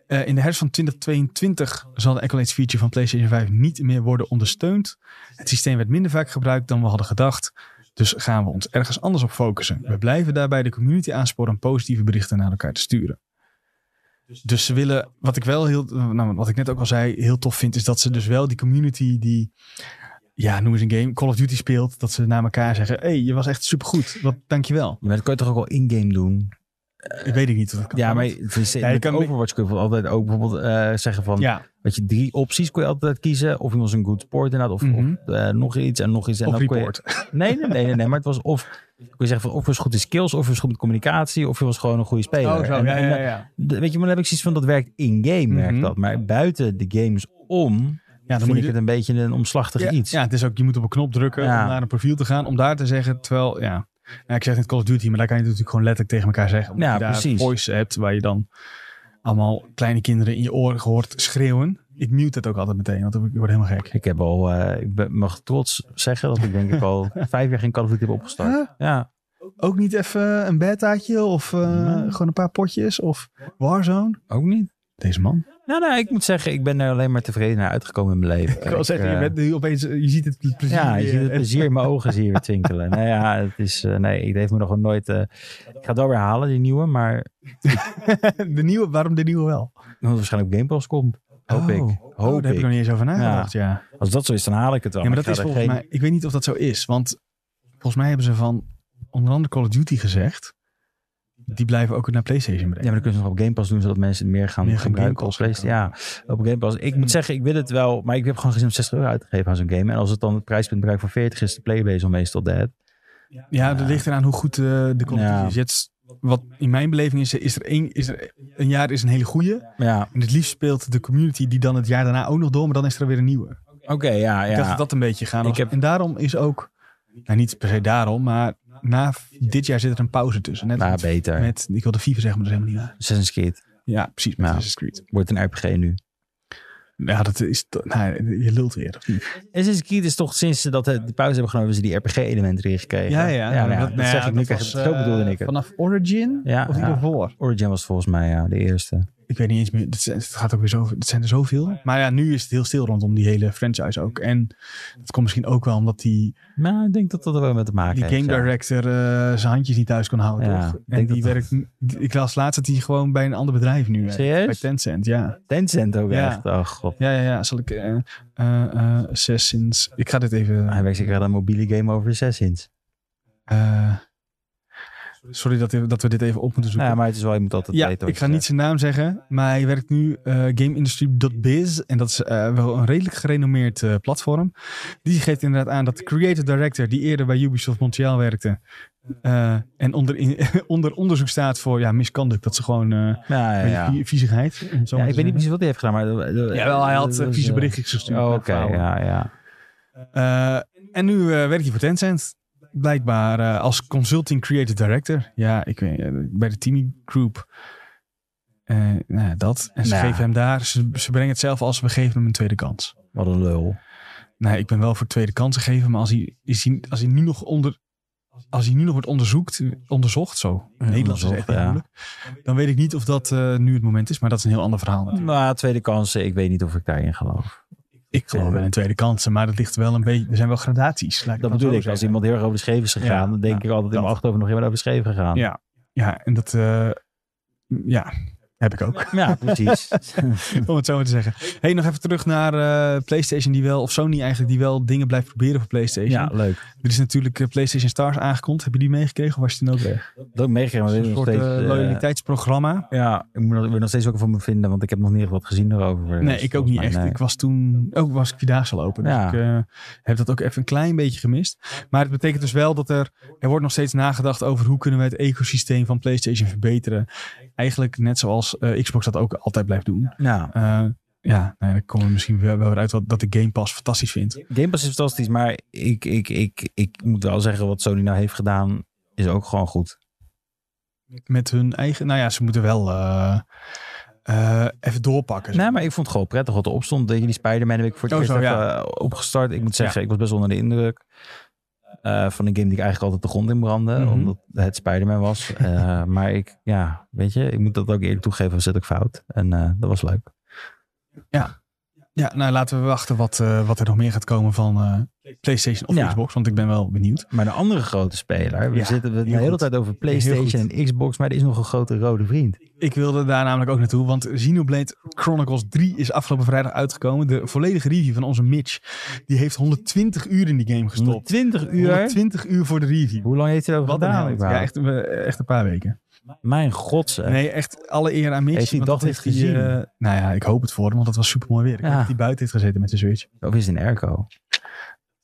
Speaker 1: Eh, in de herfst van 2022 zal de Accolades feature van PlayStation 5 niet meer worden ondersteund. Het systeem werd minder vaak gebruikt dan we hadden gedacht. Dus gaan we ons ergens anders op focussen. We blijven daarbij de community aansporen om positieve berichten naar elkaar te sturen. Dus ze willen, wat ik wel heel, nou, wat ik net ook al zei, heel tof vind, is dat ze dus wel die community die, ja, noem eens een game, Call of Duty speelt, dat ze naar elkaar zeggen, hé, hey, je was echt supergoed, wat, dankjewel.
Speaker 2: maar dat kan je toch ook wel in-game doen?
Speaker 1: Ik weet het niet. of dat kan.
Speaker 2: Ja, maar het is-
Speaker 1: Ja, je
Speaker 2: met
Speaker 1: kan-
Speaker 2: Overwatch kun je bijvoorbeeld altijd ook bijvoorbeeld eh, zeggen van...
Speaker 1: ja,
Speaker 2: Weet je, drie opties kon je altijd kiezen. Of iemand een good sport inderdaad. Of,
Speaker 1: Mhm.
Speaker 2: of eh, nog iets en nog iets. En
Speaker 1: of
Speaker 2: dan kon je-
Speaker 1: report.
Speaker 2: nee, nee, nee, nee, nee, Maar het was of... Kun je zeggen van of je was goed in skills, of je was goed in communicatie, of je was gewoon een goede speler.
Speaker 1: Oh, zo,
Speaker 2: En-
Speaker 1: ja,
Speaker 2: en
Speaker 1: ja,
Speaker 2: dan-
Speaker 1: ja.
Speaker 2: d- Weet je, maar dan heb ik zoiets van dat werkt in-game, werkt
Speaker 1: Mhm.
Speaker 2: dat. Maar buiten de games om,
Speaker 1: Ja,
Speaker 2: dan
Speaker 1: dan moet
Speaker 2: vind ik
Speaker 1: je
Speaker 2: het een beetje een omslachtig
Speaker 1: ja,
Speaker 2: iets.
Speaker 1: Ja, het is ook, je moet op een knop drukken
Speaker 2: Ja.
Speaker 1: om naar een profiel te gaan, om daar te zeggen, terwijl, ja, nou, ik zeg niet Call of Duty, maar daar kan je het natuurlijk gewoon letterlijk tegen elkaar zeggen. Omdat
Speaker 2: Ja,
Speaker 1: je daar
Speaker 2: precies.
Speaker 1: voice hebt waar je dan allemaal kleine kinderen in je oren hoort schreeuwen. Ik mute het ook altijd meteen, want dan word ik word helemaal gek.
Speaker 2: Ik heb al, eh, ik ben- mag trots zeggen dat ik denk ik al vijf jaar geen Call of Duty heb opgestart.
Speaker 1: Huh?
Speaker 2: Ja,
Speaker 1: Ook niet even een betaatje of eh,
Speaker 2: Nee.
Speaker 1: gewoon een paar potjes of Warzone?
Speaker 2: ook niet.
Speaker 1: Deze man.
Speaker 2: Nou, nou, ik moet zeggen, ik ben er alleen maar tevreden naar uitgekomen in mijn leven.
Speaker 1: Ik wil zeggen, je
Speaker 2: eh,
Speaker 1: bent nu opeens, eh, je ziet het plezier.
Speaker 2: Ja, je
Speaker 1: weer.
Speaker 2: ziet het
Speaker 1: En-
Speaker 2: plezier in mijn ogen zie je weer twinkelen. nou ja, het is, eh, nee, het heeft me nog nooit... eh, ik ga het wel weer halen, die nieuwe, maar
Speaker 1: de nieuwe, waarom de nieuwe wel?
Speaker 2: omdat het waarschijnlijk op Game Pass komt. Hoop
Speaker 1: Oh.
Speaker 2: ik.
Speaker 1: Oh,
Speaker 2: Hoop
Speaker 1: daar heb
Speaker 2: ik.
Speaker 1: ik nog niet eens over nagedacht, ja.
Speaker 2: Als dat zo is, dan haal ik het wel.
Speaker 1: Ja, maar
Speaker 2: ik
Speaker 1: dat is
Speaker 2: ga er
Speaker 1: volgens
Speaker 2: geen-
Speaker 1: mij... Ik weet niet of dat zo is, want volgens mij hebben ze van onder andere Call of Duty gezegd, die blijven ook naar PlayStation
Speaker 2: Ja,
Speaker 1: brengen.
Speaker 2: maar dan kunnen ze nog op Game Pass doen, zodat mensen het meer gaan
Speaker 1: Meer gaan
Speaker 2: gebruiken.
Speaker 1: Game
Speaker 2: Op
Speaker 1: Pass
Speaker 2: PlayStation. Ja, op Game Pass. Ik moet zeggen, ik wil het wel, maar ik heb gewoon gezien om 60 euro uit te geven aan zo'n game. En als het dan het prijspunt bereikt van 40 is, de Playbase al meestal dead.
Speaker 1: Ja, dat ligt eraan hoe goed eh, de competitie
Speaker 2: Ja.
Speaker 1: is. Jetzt, wat in mijn beleving is, is er één, is er, een jaar is een hele goeie.
Speaker 2: Ja,
Speaker 1: En het liefst speelt de community die dan het jaar daarna ook nog door, maar dan is er weer een nieuwe.
Speaker 2: oké, ja,
Speaker 1: Ik dacht
Speaker 2: ja.
Speaker 1: dat dat een beetje gaan
Speaker 2: Ik
Speaker 1: was.
Speaker 2: heb-
Speaker 1: En daarom is ook, nou niet per se daarom, maar na v- dit jaar zit er een pauze tussen. Net
Speaker 2: Nou,
Speaker 1: als
Speaker 2: beter. Met...
Speaker 1: met, ik wilde FIFA zeggen, maar dat is helemaal niet waar.
Speaker 2: Assassin's Creed
Speaker 1: Ja, precies, met
Speaker 2: Ja.
Speaker 1: Assassin's Creed.
Speaker 2: wordt een RPG nu.
Speaker 1: Ja, dat is, to- nou, je lult weer. of niet?
Speaker 2: Assassin's Creed is toch sinds ze dat eh, die pauze hebben genomen, hebben ze die RPG-elementen erin gekregen.
Speaker 1: Ja, ja.
Speaker 2: nou ja,
Speaker 1: nou
Speaker 2: dat,
Speaker 1: nou
Speaker 2: zeg
Speaker 1: ja,
Speaker 2: ik nu
Speaker 1: dat
Speaker 2: echt.
Speaker 1: was,
Speaker 2: Zo
Speaker 1: eh,
Speaker 2: bedoelde ik het.
Speaker 1: Vanaf Origin
Speaker 2: Ja,
Speaker 1: of
Speaker 2: ja.
Speaker 1: hiervoor?
Speaker 2: Origin was volgens mij ja, de eerste.
Speaker 1: Ik weet niet eens meer, het, is- het gaat ook weer zo, het zijn er zoveel. Maar ja, nu is het heel stil rondom die hele franchise ook. En dat komt misschien ook wel omdat die,
Speaker 2: Maar Nou, ik denk dat dat er wel mee te maken
Speaker 1: die
Speaker 2: heeft.
Speaker 1: game
Speaker 2: ja.
Speaker 1: director eh, zijn handjes niet thuis kon houden.
Speaker 2: Ja,
Speaker 1: toch?
Speaker 2: ik
Speaker 1: En
Speaker 2: denk
Speaker 1: die
Speaker 2: dat-
Speaker 1: werkt, die- ik las laatst dat hij gewoon bij een ander bedrijf nu werkt.
Speaker 2: Serieus?
Speaker 1: Bij Tencent, ja.
Speaker 2: Tencent ook
Speaker 1: Ja.
Speaker 2: echt. Oh god.
Speaker 1: Ja, ja, ja. Zal ik eh eh, eh, Assassins... Ik ga dit even...
Speaker 2: Hij werkt zeker aan een mobiele game over Assassins.
Speaker 1: eh, sorry dat, dat we dit even op moeten zoeken.
Speaker 2: Ja, maar het is wel, je moet altijd
Speaker 1: Ja,
Speaker 2: weten. wat
Speaker 1: ik
Speaker 2: je
Speaker 1: ga niet
Speaker 2: zegt.
Speaker 1: zijn naam zeggen, maar hij werkt nu eh GameIndustry.biz en dat is eh, wel een redelijk gerenommeerd eh, platform. Die geeft inderdaad aan dat de creative director die eerder bij Ubisoft Montreal werkte eh, en onder, in- onder onderzoek staat voor ja, misconduct, dat ze gewoon eh
Speaker 2: Ja, ja, ja.
Speaker 1: vie- viezigheid. om het zo
Speaker 2: Ja,
Speaker 1: maar
Speaker 2: ik
Speaker 1: te
Speaker 2: weet niet
Speaker 1: zeggen.
Speaker 2: precies wat hij heeft gedaan, maar...
Speaker 1: Jawel, hij had eh,
Speaker 2: Dat was,
Speaker 1: vieze
Speaker 2: eh,
Speaker 1: berichtjes gestuurd.
Speaker 2: oh,
Speaker 1: naar
Speaker 2: Oké,
Speaker 1: vrouwen.
Speaker 2: ja, ja.
Speaker 1: Eh, en nu eh, werkt hij voor Tencent. Blijkbaar eh, als consulting creative director. Ja, ik weet, eh, bij de Timi Group. Eh, nou, ja, dat. En ze
Speaker 2: Nou.
Speaker 1: geven hem daar. Ze, ze brengen het zelf als we geven hem een tweede kans.
Speaker 2: Wat een lul.
Speaker 1: Nou, ik ben wel voor tweede kansen geven. Maar als hij, is hij, als hij nu nog onder. Als hij nu nog wordt onderzoekt, onderzocht, zo. Nederlands is
Speaker 2: onderzocht,
Speaker 1: echt heel
Speaker 2: ja.
Speaker 1: moeilijk. Dan weet ik niet of dat eh, nu het moment is, maar dat is een heel ander verhaal. natuurlijk.
Speaker 2: Maar Nou, tweede kansen, ik weet niet of ik daarin geloof.
Speaker 1: Ik geloof wel in tweede kansen, maar dat ligt wel een beetje. Er zijn wel gradaties. laat
Speaker 2: Dat
Speaker 1: het dan
Speaker 2: bedoel
Speaker 1: zo
Speaker 2: ik, als
Speaker 1: zeggen.
Speaker 2: iemand heel erg over de scheef is gegaan,
Speaker 1: Ja,
Speaker 2: dan denk
Speaker 1: ja,
Speaker 2: ik altijd in mijn
Speaker 1: dat.
Speaker 2: achterhoofd nog helemaal over de scheef gegaan.
Speaker 1: Ja. Ja, en dat eh, ja, heb ik ook,
Speaker 2: Ja, precies.
Speaker 1: om het zo maar te zeggen. Hey, nog even terug naar eh, PlayStation die wel, of Sony eigenlijk, die wel dingen blijft proberen voor PlayStation.
Speaker 2: ja, leuk.
Speaker 1: Er is natuurlijk eh, PlayStation Stars aangekondigd. Heb je die meegekregen of was je toen ook weg?
Speaker 2: Dat heb ik meegekregen, maar
Speaker 1: Dat
Speaker 2: dit
Speaker 1: is
Speaker 2: is
Speaker 1: een
Speaker 2: nog
Speaker 1: soort eh,
Speaker 2: steeds... eh,
Speaker 1: loyaliteitsprogramma.
Speaker 2: ja, ik moet er ik wil nog steeds ook van me vinden, want ik heb nog niet echt wat gezien daarover.
Speaker 1: Nee, ik
Speaker 2: Dus
Speaker 1: ook
Speaker 2: volgens
Speaker 1: niet
Speaker 2: mij,
Speaker 1: echt.
Speaker 2: nee.
Speaker 1: Ik was toen, ook was ik Vierdaagse lopen. Dus
Speaker 2: Ja.
Speaker 1: ik eh, heb dat ook even een klein beetje gemist. Maar het betekent dus wel dat er, er wordt nog steeds nagedacht over hoe kunnen we het ecosysteem van PlayStation verbeteren. Eigenlijk net zoals eh, Xbox dat ook altijd blijft doen.
Speaker 2: Ja,
Speaker 1: Eh, ja, nou ja, dan komen we misschien wel, wel weer uit wat, dat de Game Pass fantastisch vindt.
Speaker 2: Game Pass is fantastisch, maar ik, ik, ik, ik moet wel zeggen wat Sony nou heeft gedaan is ook gewoon goed.
Speaker 1: Met hun eigen... Nou ja, ze moeten wel eh, eh, even doorpakken.
Speaker 2: Nee, maar ik vond het gewoon prettig wat erop stond. Weet je, die Spider-Man heb ik voor het
Speaker 1: Oh,
Speaker 2: eerst
Speaker 1: zo,
Speaker 2: even
Speaker 1: ja.
Speaker 2: eh, opgestart. Ik moet zeggen, ik was best onder de indruk eh, van een game die ik eigenlijk altijd de grond in brandde.
Speaker 1: Mhm.
Speaker 2: Omdat het Spider-Man was. Eh, maar ik, ja, weet je, ik moet dat ook eerlijk toegeven, dan zit ik fout. En eh, dat was leuk.
Speaker 1: Ja, nou laten we wachten wat, eh, wat er nog meer gaat komen van eh, PlayStation of
Speaker 2: Ja.
Speaker 1: Xbox. Want ik ben wel benieuwd.
Speaker 2: Maar de andere grote speler, we
Speaker 1: Ja,
Speaker 2: zitten we de
Speaker 1: heel
Speaker 2: hele
Speaker 1: goed.
Speaker 2: tijd over
Speaker 1: Heel
Speaker 2: PlayStation en Xbox, maar er is nog een grote rode vriend.
Speaker 1: Ik wilde daar namelijk ook naartoe. Want Xenoblade Chronicles 3 is afgelopen vrijdag uitgekomen. De volledige review van onze Mitch. Die heeft 120 uur in die game gestopt.
Speaker 2: 20 uur.
Speaker 1: 120 uur voor de review.
Speaker 2: Hoe lang heeft hij erover
Speaker 1: Wat een
Speaker 2: gedaan?
Speaker 1: held. Ja,
Speaker 2: überhaupt?
Speaker 1: echt, eh, echt een paar weken.
Speaker 2: Mijn god, zeg.
Speaker 1: Nee, echt alle eer aan Mitch.
Speaker 2: Heeft hij
Speaker 1: want
Speaker 2: dat
Speaker 1: heeft
Speaker 2: niet
Speaker 1: hij,
Speaker 2: gezien?
Speaker 1: eh, nou ja, ik hoop het voor hem, want dat was super mooi weer. Ik
Speaker 2: Ja.
Speaker 1: hoop dat hij buiten heeft gezeten met zijn Switch.
Speaker 2: Of is het een airco?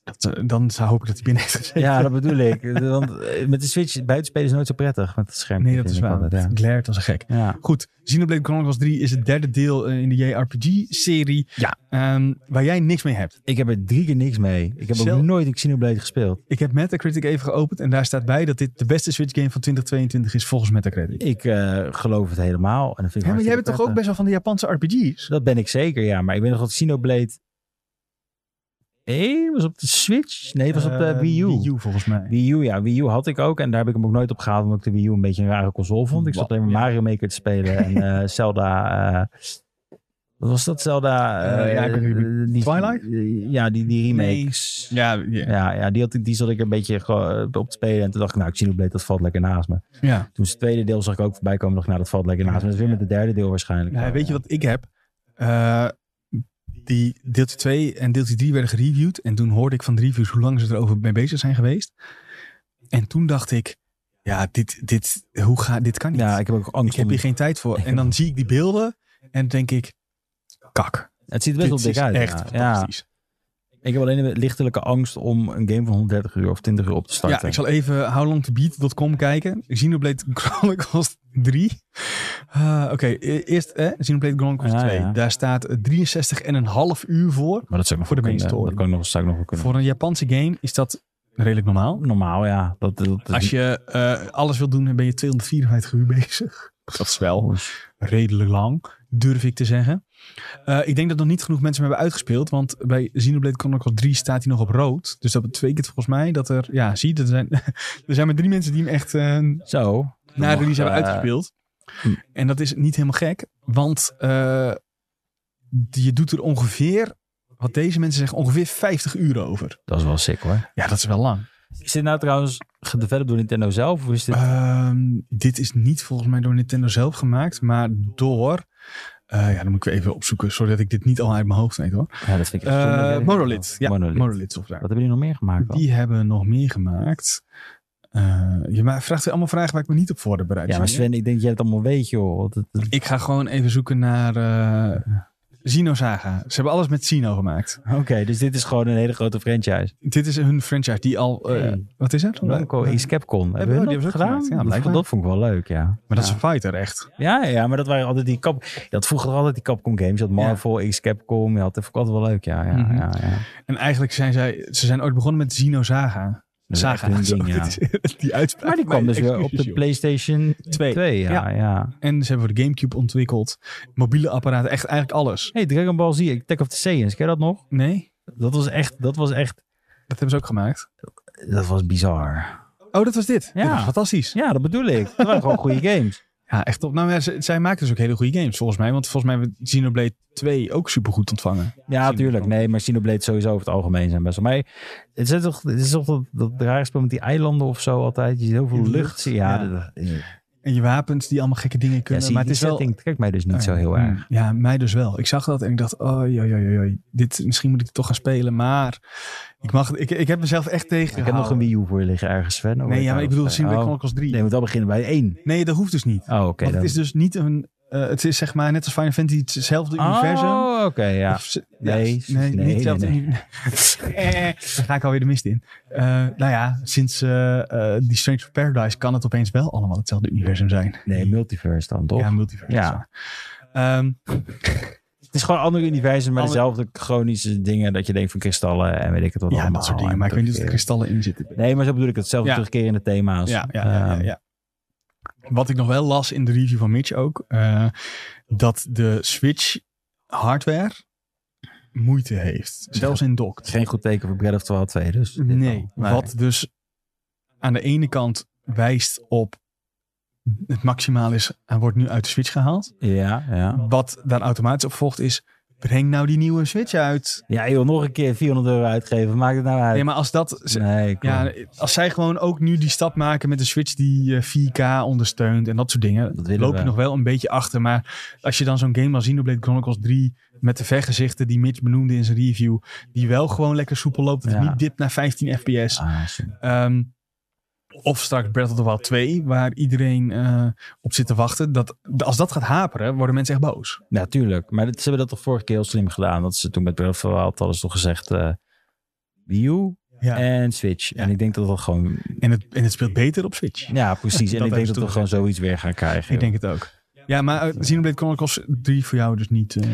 Speaker 1: Dat, eh, dan zou hoop ik dat hij binnen heeft gezeten.
Speaker 2: Ja, dat bedoel ik. Want eh, met de Switch buiten spelen is nooit zo prettig met het scherm.
Speaker 1: nee, dat
Speaker 2: vind
Speaker 1: is
Speaker 2: ik
Speaker 1: waar.
Speaker 2: altijd,
Speaker 1: Het glared als een gek.
Speaker 2: ja. ja.
Speaker 1: Goed, Xenoblade Chronicles 3 is het derde deel eh, in de JRPG-serie.
Speaker 2: Ja.
Speaker 1: ehm, waar jij niks mee hebt.
Speaker 2: Ik heb er drie keer niks mee. Ik heb
Speaker 1: Zelf-
Speaker 2: ook nooit een Xenoblade gespeeld.
Speaker 1: Ik heb Metacritic even geopend en daar staat bij dat dit de beste Switch-game van 2022 is volgens Metacritic.
Speaker 2: Ik eh, geloof het helemaal. En dat vind ik
Speaker 1: Ja, maar jij bent toch
Speaker 2: hartstikke
Speaker 1: ook
Speaker 2: prettig.
Speaker 1: best wel van de Japanse RPG's?
Speaker 2: Dat ben ik zeker, ja. Maar ik weet nog dat Xenoblade... Nee, was op de Switch? Nee, was op de
Speaker 1: Eh,
Speaker 2: Wii U.
Speaker 1: Wii U volgens mij.
Speaker 2: Wii U, ja. Wii U had ik ook. En daar heb ik hem ook nooit op gehaald, omdat ik de Wii U een beetje een rare console vond. Ik zat
Speaker 1: Wat?
Speaker 2: alleen
Speaker 1: Ja.
Speaker 2: maar Mario Maker te spelen en eh, Zelda... eh, wat was dat? Zelda... eh,
Speaker 1: Eh, ja, ik weet niet.
Speaker 2: eh, die-
Speaker 1: Twilight?
Speaker 2: eh, ja, die, die remakes.
Speaker 1: Ja, ja.
Speaker 2: Ja, ja die, had, ik- die zat ik een beetje ge- op te spelen. En toen dacht ik, nou, Xenoblade, dat valt lekker naast me.
Speaker 1: ja.
Speaker 2: Toen is het tweede deel zag ik ook voorbij komen. Dacht ik, nou, dat valt lekker naast me. Dat is weer met het derde deel waarschijnlijk.
Speaker 1: Ja, weet je wat ik heb? Eh, die deeltje 2 en deeltje 3 werden gereviewd. En toen hoorde ik van de reviews hoe lang ze erover mee bezig zijn geweest. En toen dacht ik, ja, dit, dit, hoe ga, dit kan niet.
Speaker 2: Ja,
Speaker 1: ik,
Speaker 2: ik heb ook angst
Speaker 1: heb
Speaker 2: om...
Speaker 1: hier geen tijd voor. En dan zie ik die beelden en denk ik, kak.
Speaker 2: Het ziet er
Speaker 1: Dit
Speaker 2: best wel
Speaker 1: is
Speaker 2: dik uit.
Speaker 1: echt
Speaker 2: ja. ja.
Speaker 1: fantastisch.
Speaker 2: Ik heb alleen een lichtelijke angst om een game van 130 uur of 20 uur op te starten.
Speaker 1: Ja, ik zal even howlongtobeat.com kijken. Xenoblade Chronicles 3. Eh, Oké, e- eerst eh, Xenoblade Chronicles
Speaker 2: Ja,
Speaker 1: 2.
Speaker 2: ja.
Speaker 1: Daar staat eh, 63,5 uur voor.
Speaker 2: Maar dat zou
Speaker 1: Voor de
Speaker 2: ik nog wel kunnen.
Speaker 1: mainstory.
Speaker 2: Dat kan ik nog, zou ik nog wel kunnen.
Speaker 1: Voor een Japanse game is dat redelijk normaal.
Speaker 2: Normaal, ja. Dat, dat, dat-
Speaker 1: Als je eh, alles wil doen, dan ben je 254 uur bezig. Dat is wel redelijk lang, durf ik te zeggen. Eh, ik denk dat nog niet genoeg mensen hem hebben uitgespeeld. Want bij Xenoblade Chronicles 3 staat hij nog op rood. Dus dat betekent volgens mij dat er... Ja, zie, er zijn, er zijn maar drie mensen die hem echt eh
Speaker 2: Zo.
Speaker 1: na release
Speaker 2: Eh,
Speaker 1: hebben uitgespeeld.
Speaker 2: hm.
Speaker 1: En dat is niet helemaal gek. Want eh, je doet er ongeveer... Wat deze mensen zeggen, ongeveer 50 uur over.
Speaker 2: Dat is wel sick hoor.
Speaker 1: Ja, dat is wel lang.
Speaker 2: Is dit nou trouwens gedeveloped door Nintendo zelf? Of is dit...
Speaker 1: Ehm, dit is niet volgens mij door Nintendo zelf gemaakt, maar door. eh, ja, dan moet ik weer even opzoeken, zodat ik dit niet al uit mijn hoofd weet hoor.
Speaker 2: ja, dat vind ik echt zonde.
Speaker 1: Eh Monolith. Ja, Monolith.
Speaker 2: Monolith.
Speaker 1: Software.
Speaker 2: Wat hebben jullie nog meer gemaakt dan?
Speaker 1: Die hebben nog meer gemaakt. Eh, je ma- vraagt weer allemaal vragen waar ik me niet op voorbereid
Speaker 2: Ja, maar
Speaker 1: ben, hè?
Speaker 2: Sven, ik denk dat jij het allemaal weet, joh. Dat- dat- dat-
Speaker 1: Ik ga gewoon even zoeken naar eh Sinosaga. Ze hebben alles met Sino gemaakt.
Speaker 2: Oké, dus dit is gewoon een hele grote franchise.
Speaker 1: Dit is hun franchise die al... eh,
Speaker 2: Hey.
Speaker 1: Wat is het?
Speaker 2: Namco is Capcom. Hebben
Speaker 1: oh,
Speaker 2: we
Speaker 1: die hebben
Speaker 2: dat
Speaker 1: ze ook
Speaker 2: gedaan?
Speaker 1: gemaakt. Ja,
Speaker 2: dat,
Speaker 1: blijkbaar.
Speaker 2: vond, dat vond ik wel leuk, ja.
Speaker 1: Maar dat
Speaker 2: ja.
Speaker 1: is een fighter, echt.
Speaker 2: Ja, ja, maar dat waren altijd die Cap... Je had vroeger altijd die Capcom games. Je had Marvel, X Capcom. Je had, dat vond ik altijd wel leuk, ja. ja,
Speaker 1: Mhm.
Speaker 2: ja, ja.
Speaker 1: En eigenlijk zijn zij... Ze zijn ooit begonnen met Sinosaga.
Speaker 2: Dat is
Speaker 1: Saga.
Speaker 2: echt hun
Speaker 1: Zo,
Speaker 2: ding, ja.
Speaker 1: dit is- die uitspraak.
Speaker 2: Maar die kwam dus weer op
Speaker 1: Excuses,
Speaker 2: de
Speaker 1: joh.
Speaker 2: PlayStation 2.
Speaker 1: Twee.
Speaker 2: ja,
Speaker 1: Ja.
Speaker 2: ja.
Speaker 1: En ze hebben voor de Gamecube ontwikkeld. Mobiele apparaten, echt eigenlijk alles.
Speaker 2: Hey, Dragon Ball Z, Attack of the Saiyans, ken je dat nog?
Speaker 1: Nee,
Speaker 2: Dat was echt, dat was echt,
Speaker 1: dat hebben ze ook gemaakt.
Speaker 2: dat was bizar.
Speaker 1: Oh, dat was dit.
Speaker 2: Ja.
Speaker 1: Dit was fantastisch.
Speaker 2: Ja, dat bedoel ik. Dat waren gewoon goede games.
Speaker 1: Ja, echt top. Nou, ja, ze- zij maakten dus ook hele goede games volgens mij. Want volgens mij hebben we Xenoblade 2 ook supergoed ontvangen.
Speaker 2: Ja, tuurlijk. Nee, maar Xenoblade sowieso over het algemeen zijn best wel. Maar het is toch, het is toch dat, dat rare spel met die eilanden of zo altijd. Je ziet heel veel
Speaker 1: Die
Speaker 2: lucht.
Speaker 1: lucht,
Speaker 2: zien. Ja,
Speaker 1: ja.
Speaker 2: dat- dat- ja,
Speaker 1: En je wapens die allemaal gekke dingen kunnen.
Speaker 2: zie je,
Speaker 1: maar het
Speaker 2: die
Speaker 1: is wel...
Speaker 2: setting trekt mij dus niet zo heel erg.
Speaker 1: Hmm, Ja, mij dus wel. Ik zag dat en ik dacht, oh, joi, joi, joi, dit, misschien moet ik het toch gaan spelen. Maar ik, mag, ik, ik heb mezelf echt tegen.
Speaker 2: Ik heb nog een Wii U voor je liggen ergens, Sven. Hoe
Speaker 1: Nee, ja,
Speaker 2: heet
Speaker 1: maar
Speaker 2: dat?
Speaker 1: ik bedoel,
Speaker 2: Oh.
Speaker 1: Xenoblade Chronicles 3.
Speaker 2: Nee, want dan beginnen bij één.
Speaker 1: Nee, dat hoeft dus niet.
Speaker 2: Oh, oké.
Speaker 1: Want het
Speaker 2: dan-
Speaker 1: is dus niet een. eh, het is zeg maar net als Final Fantasy hetzelfde universum.
Speaker 2: Oh, oké, ja.
Speaker 1: Of ze-
Speaker 2: Nee,
Speaker 1: ja,
Speaker 2: nee,
Speaker 1: nee,
Speaker 2: nee,
Speaker 1: niet hetzelfde.
Speaker 2: nee.
Speaker 1: uni- Eh, Daar ga ik alweer de mist in. Eh, nou ja, sinds eh, eh, die Strange of Paradise kan het opeens wel allemaal hetzelfde universum zijn.
Speaker 2: Nee, multiverse dan, toch?
Speaker 1: Ja, multiversum.
Speaker 2: Ja.
Speaker 1: Ehm,
Speaker 2: Het is gewoon een ander universum, maar
Speaker 1: Ander-
Speaker 2: dezelfde chronische dingen. Dat je denkt van kristallen en weet ik het wat
Speaker 1: ja,
Speaker 2: allemaal.
Speaker 1: dat
Speaker 2: eh.
Speaker 1: soort dingen.
Speaker 2: en
Speaker 1: Maar ik weet niet of er
Speaker 2: terugkeren.
Speaker 1: kristallen in zitten.
Speaker 2: Nee, maar zo bedoel ik het. Zelfde
Speaker 1: Ja.
Speaker 2: terugkerende thema's. Ehm,
Speaker 1: Ja, ja, ja, ja, ja. Wat ik nog wel las in de review van Mitch ook, eh, dat de Switch hardware moeite heeft. Zelfs in dock.
Speaker 2: Het is geen goed teken voor Breath of the Wild 2, dus. dit
Speaker 1: Nee,
Speaker 2: wel.
Speaker 1: wat dus aan de ene kant wijst op het maximaal is, hij wordt nu uit de Switch gehaald.
Speaker 2: Ja, ja.
Speaker 1: Wat daar automatisch op volgt is, breng nou die nieuwe Switch uit.
Speaker 2: Ja, joh, nog een keer 400 euro uitgeven. Maakt het nou uit?
Speaker 1: Nee, maar als dat... ze-
Speaker 2: Nee, kom.
Speaker 1: Ja, als zij gewoon ook nu die stap maken met een Switch die eh, 4K ondersteunt en dat soort dingen,
Speaker 2: Dat willen
Speaker 1: loop je
Speaker 2: we.
Speaker 1: nog wel een beetje achter. Maar als je dan zo'n game als Xenoblade Chronicles 3 met de vergezichten die Mitch benoemde in zijn review, die wel gewoon lekker soepel loopt, dat het
Speaker 2: Ja.
Speaker 1: niet dipt naar 15 fps.
Speaker 2: Ah, zo.
Speaker 1: Ehm, of straks Breath of the Wild 2, waar iedereen eh, op zit te wachten. Dat, als dat gaat haperen, worden mensen echt boos.
Speaker 2: ja, tuurlijk. Maar dat, ze hebben dat toch vorige keer heel slim gedaan. Dat ze toen met Breath of the Wild hadden ze toch gezegd... eh Wii U
Speaker 1: Ja.
Speaker 2: en Switch. En ik denk dat dat gewoon...
Speaker 1: En het, en het speelt beter op Switch.
Speaker 2: Ja, precies. En
Speaker 1: Dat
Speaker 2: ik
Speaker 1: hebben
Speaker 2: denk
Speaker 1: ze
Speaker 2: dat we
Speaker 1: toen
Speaker 2: gewoon zoiets weer gaan krijgen.
Speaker 1: Ik denk het ook. Ja, maar uh, Xenoblade Chronicles 3 voor jou dus niet. eh,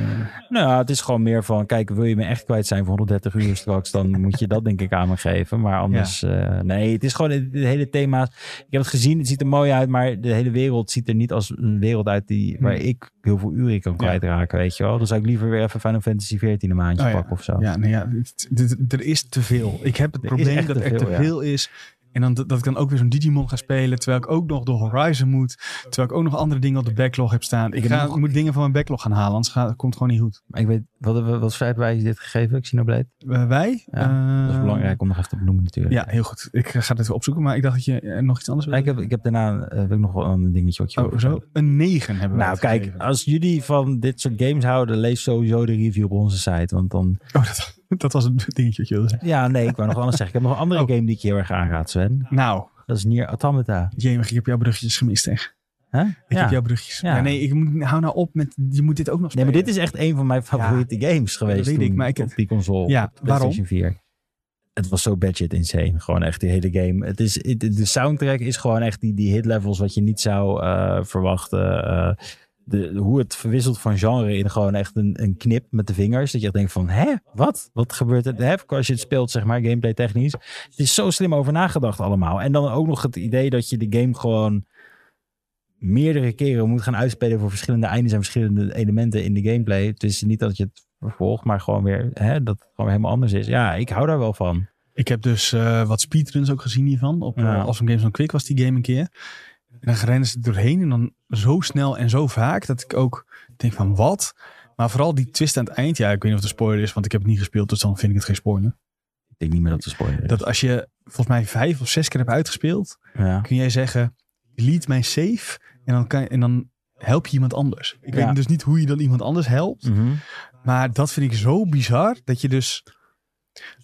Speaker 2: Nou, ja, het is gewoon meer van, kijk, wil je me echt kwijt zijn voor 130 uur straks, dan moet je dat denk ik aan me geven. Maar anders, eh, nee, het is gewoon het, het hele thema. Ik heb het gezien, het ziet er mooi uit, maar de hele wereld ziet er niet als een wereld uit die, waar
Speaker 1: Hmm.
Speaker 2: ik heel veel uren in kan kwijtraken, weet je wel. Dan zou ik liever weer even Final Fantasy 14 een maandje
Speaker 1: Oh ja.
Speaker 2: pakken of zo.
Speaker 1: Ja, nou ja, het- het- het- er is te veel. Ik heb het
Speaker 2: Er is
Speaker 1: probleem
Speaker 2: echt
Speaker 1: dat
Speaker 2: te
Speaker 1: er te
Speaker 2: veel, ja.
Speaker 1: veel is. En dan, dat dat ik dan ook weer zo'n Digimon ga spelen. Terwijl ik ook nog door Horizon moet. Terwijl ik ook nog andere dingen op de backlog heb staan. Ik,
Speaker 2: heb
Speaker 1: ga,
Speaker 2: nog-
Speaker 1: moet dingen van mijn backlog gaan halen. Anders gaat, komt het gewoon niet goed.
Speaker 2: Maar ik weet, wat, wat, wat vrijheid is dit gegeven, Ik Xenoblade?
Speaker 1: Eh, wij?
Speaker 2: Ja, Dat is
Speaker 1: Eh,
Speaker 2: belangrijk om nog even te benoemen natuurlijk.
Speaker 1: Ja, heel goed. Ik ga het even opzoeken. Maar ik dacht dat je eh, nog iets anders
Speaker 2: Maar
Speaker 1: wilde.
Speaker 2: ik heb, ik heb daarna eh, heb ik nog wel een dingetje wat je
Speaker 1: Oh,
Speaker 2: over-
Speaker 1: zo? Een 9 hebben we.
Speaker 2: Nou,
Speaker 1: het
Speaker 2: kijk,
Speaker 1: gegeven.
Speaker 2: als jullie van dit soort games houden, lees sowieso de review op onze site. Want dan.
Speaker 1: Oh, dat, dat was het dingetje wat je wilde zeggen.
Speaker 2: Ja, nee, ik wou nog wel anders zeggen. Ik heb nog een andere
Speaker 1: Oh.
Speaker 2: game die ik je heel erg aanraad, Sven.
Speaker 1: Nou,
Speaker 2: Dat is Nier Automata.
Speaker 1: jemig, ik heb jouw bruggetjes gemist, echt.
Speaker 2: Hè?
Speaker 1: Ik
Speaker 2: Ja.
Speaker 1: heb jouw brugjes.
Speaker 2: Ja.
Speaker 1: Ja. nee, ik moet, hou nou op met, je moet dit ook nog
Speaker 2: Nee,
Speaker 1: spelen.
Speaker 2: maar dit is echt een van mijn favoriete games geweest.
Speaker 1: dat weet ik,
Speaker 2: toen
Speaker 1: maar ik-
Speaker 2: op die console.
Speaker 1: Ja,
Speaker 2: op de PlayStation
Speaker 1: waarom?
Speaker 2: 4. Het was zo budget insane. Gewoon echt die hele game. Het is, het- de soundtrack is gewoon echt die, die hit levels wat je niet zou eh, verwachten. Eh, de, hoe het verwisselt van genre in gewoon echt een, een knip met de vingers. Dat je echt denkt van, hè, wat? Wat gebeurt er? Hè? Als je het speelt, zeg maar, gameplay technisch. Het is zo slim over nagedacht allemaal. En dan ook nog het idee dat je de game gewoon meerdere keren moet gaan uitspelen voor verschillende eindes en verschillende elementen in de gameplay. Het is niet dat je het vervolgt, maar gewoon weer hè, dat het gewoon weer helemaal anders is. Ja, ik hou daar wel van.
Speaker 1: Ik heb dus eh, wat speedruns ook gezien hiervan. Op eh,
Speaker 2: Ja.
Speaker 1: Awesome Games on Quick was die game een keer. En dan rennen ze er doorheen en dan zo snel en zo vaak dat ik ook denk van wat? Maar vooral die twist aan het eind. Ja, ik weet niet of het een spoiler is, want ik heb het niet gespeeld. Dus dan vind ik het geen spoiler.
Speaker 2: Ik denk niet meer dat het een spoiler is.
Speaker 1: Dat als je volgens mij vijf of zes keer hebt uitgespeeld,
Speaker 2: ja.
Speaker 1: kun jij zeggen, delete mijn save. En dan, kan, en dan help je iemand anders. Ik
Speaker 2: Ja.
Speaker 1: weet dus niet hoe je dan iemand anders helpt.
Speaker 2: Mhm.
Speaker 1: Maar dat vind ik zo bizar. Dat je dus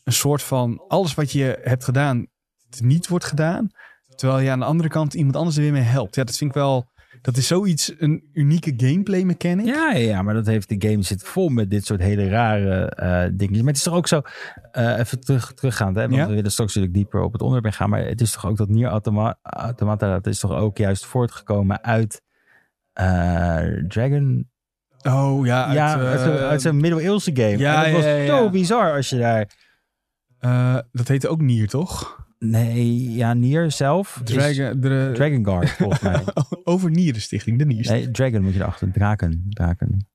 Speaker 1: een soort van alles wat je hebt gedaan het niet wordt gedaan. Terwijl je aan de andere kant iemand anders er weer mee helpt. Ja, dat vind ik wel. Dat is zoiets, een unieke gameplay mechanic.
Speaker 2: Ja, ja, ja, maar dat heeft de game zit vol met dit soort hele rare eh dingetjes. Maar het is toch ook zo, eh, even terug, teruggaand, hè, want
Speaker 1: Ja.
Speaker 2: we willen straks natuurlijk dieper op het onderwerp gaan. Maar het is toch ook dat Nier Automa- Automata, dat is toch ook juist voortgekomen uit eh, Dragon...
Speaker 1: Oh ja, uit,
Speaker 2: ja,
Speaker 1: eh,
Speaker 2: uit, zo'n- uit zo'n middeleeuwse game.
Speaker 1: ja,
Speaker 2: en dat was
Speaker 1: ja, ja,
Speaker 2: zo
Speaker 1: ja.
Speaker 2: bizar als je daar...
Speaker 1: eh, dat heette ook Nier, toch?
Speaker 2: Nee, ja, Nier zelf. is
Speaker 1: Dragon, de-
Speaker 2: Dragon Guard, volgens mij.
Speaker 1: over Nier, de stichting, de Nier.
Speaker 2: Nee, Dragon moet je erachter. Draken, draken.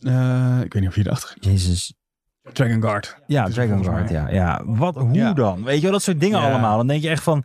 Speaker 1: Eh, ik weet niet of je erachter
Speaker 2: Jezus.
Speaker 1: Dragon Guard.
Speaker 2: Ja,
Speaker 1: Dus
Speaker 2: Dragon
Speaker 1: volgens
Speaker 2: Guard,
Speaker 1: mij-
Speaker 2: ja. ja. Wat, hoe
Speaker 1: Ja.
Speaker 2: dan? Weet je wel, dat soort dingen
Speaker 1: Ja.
Speaker 2: allemaal. Dan denk je echt van,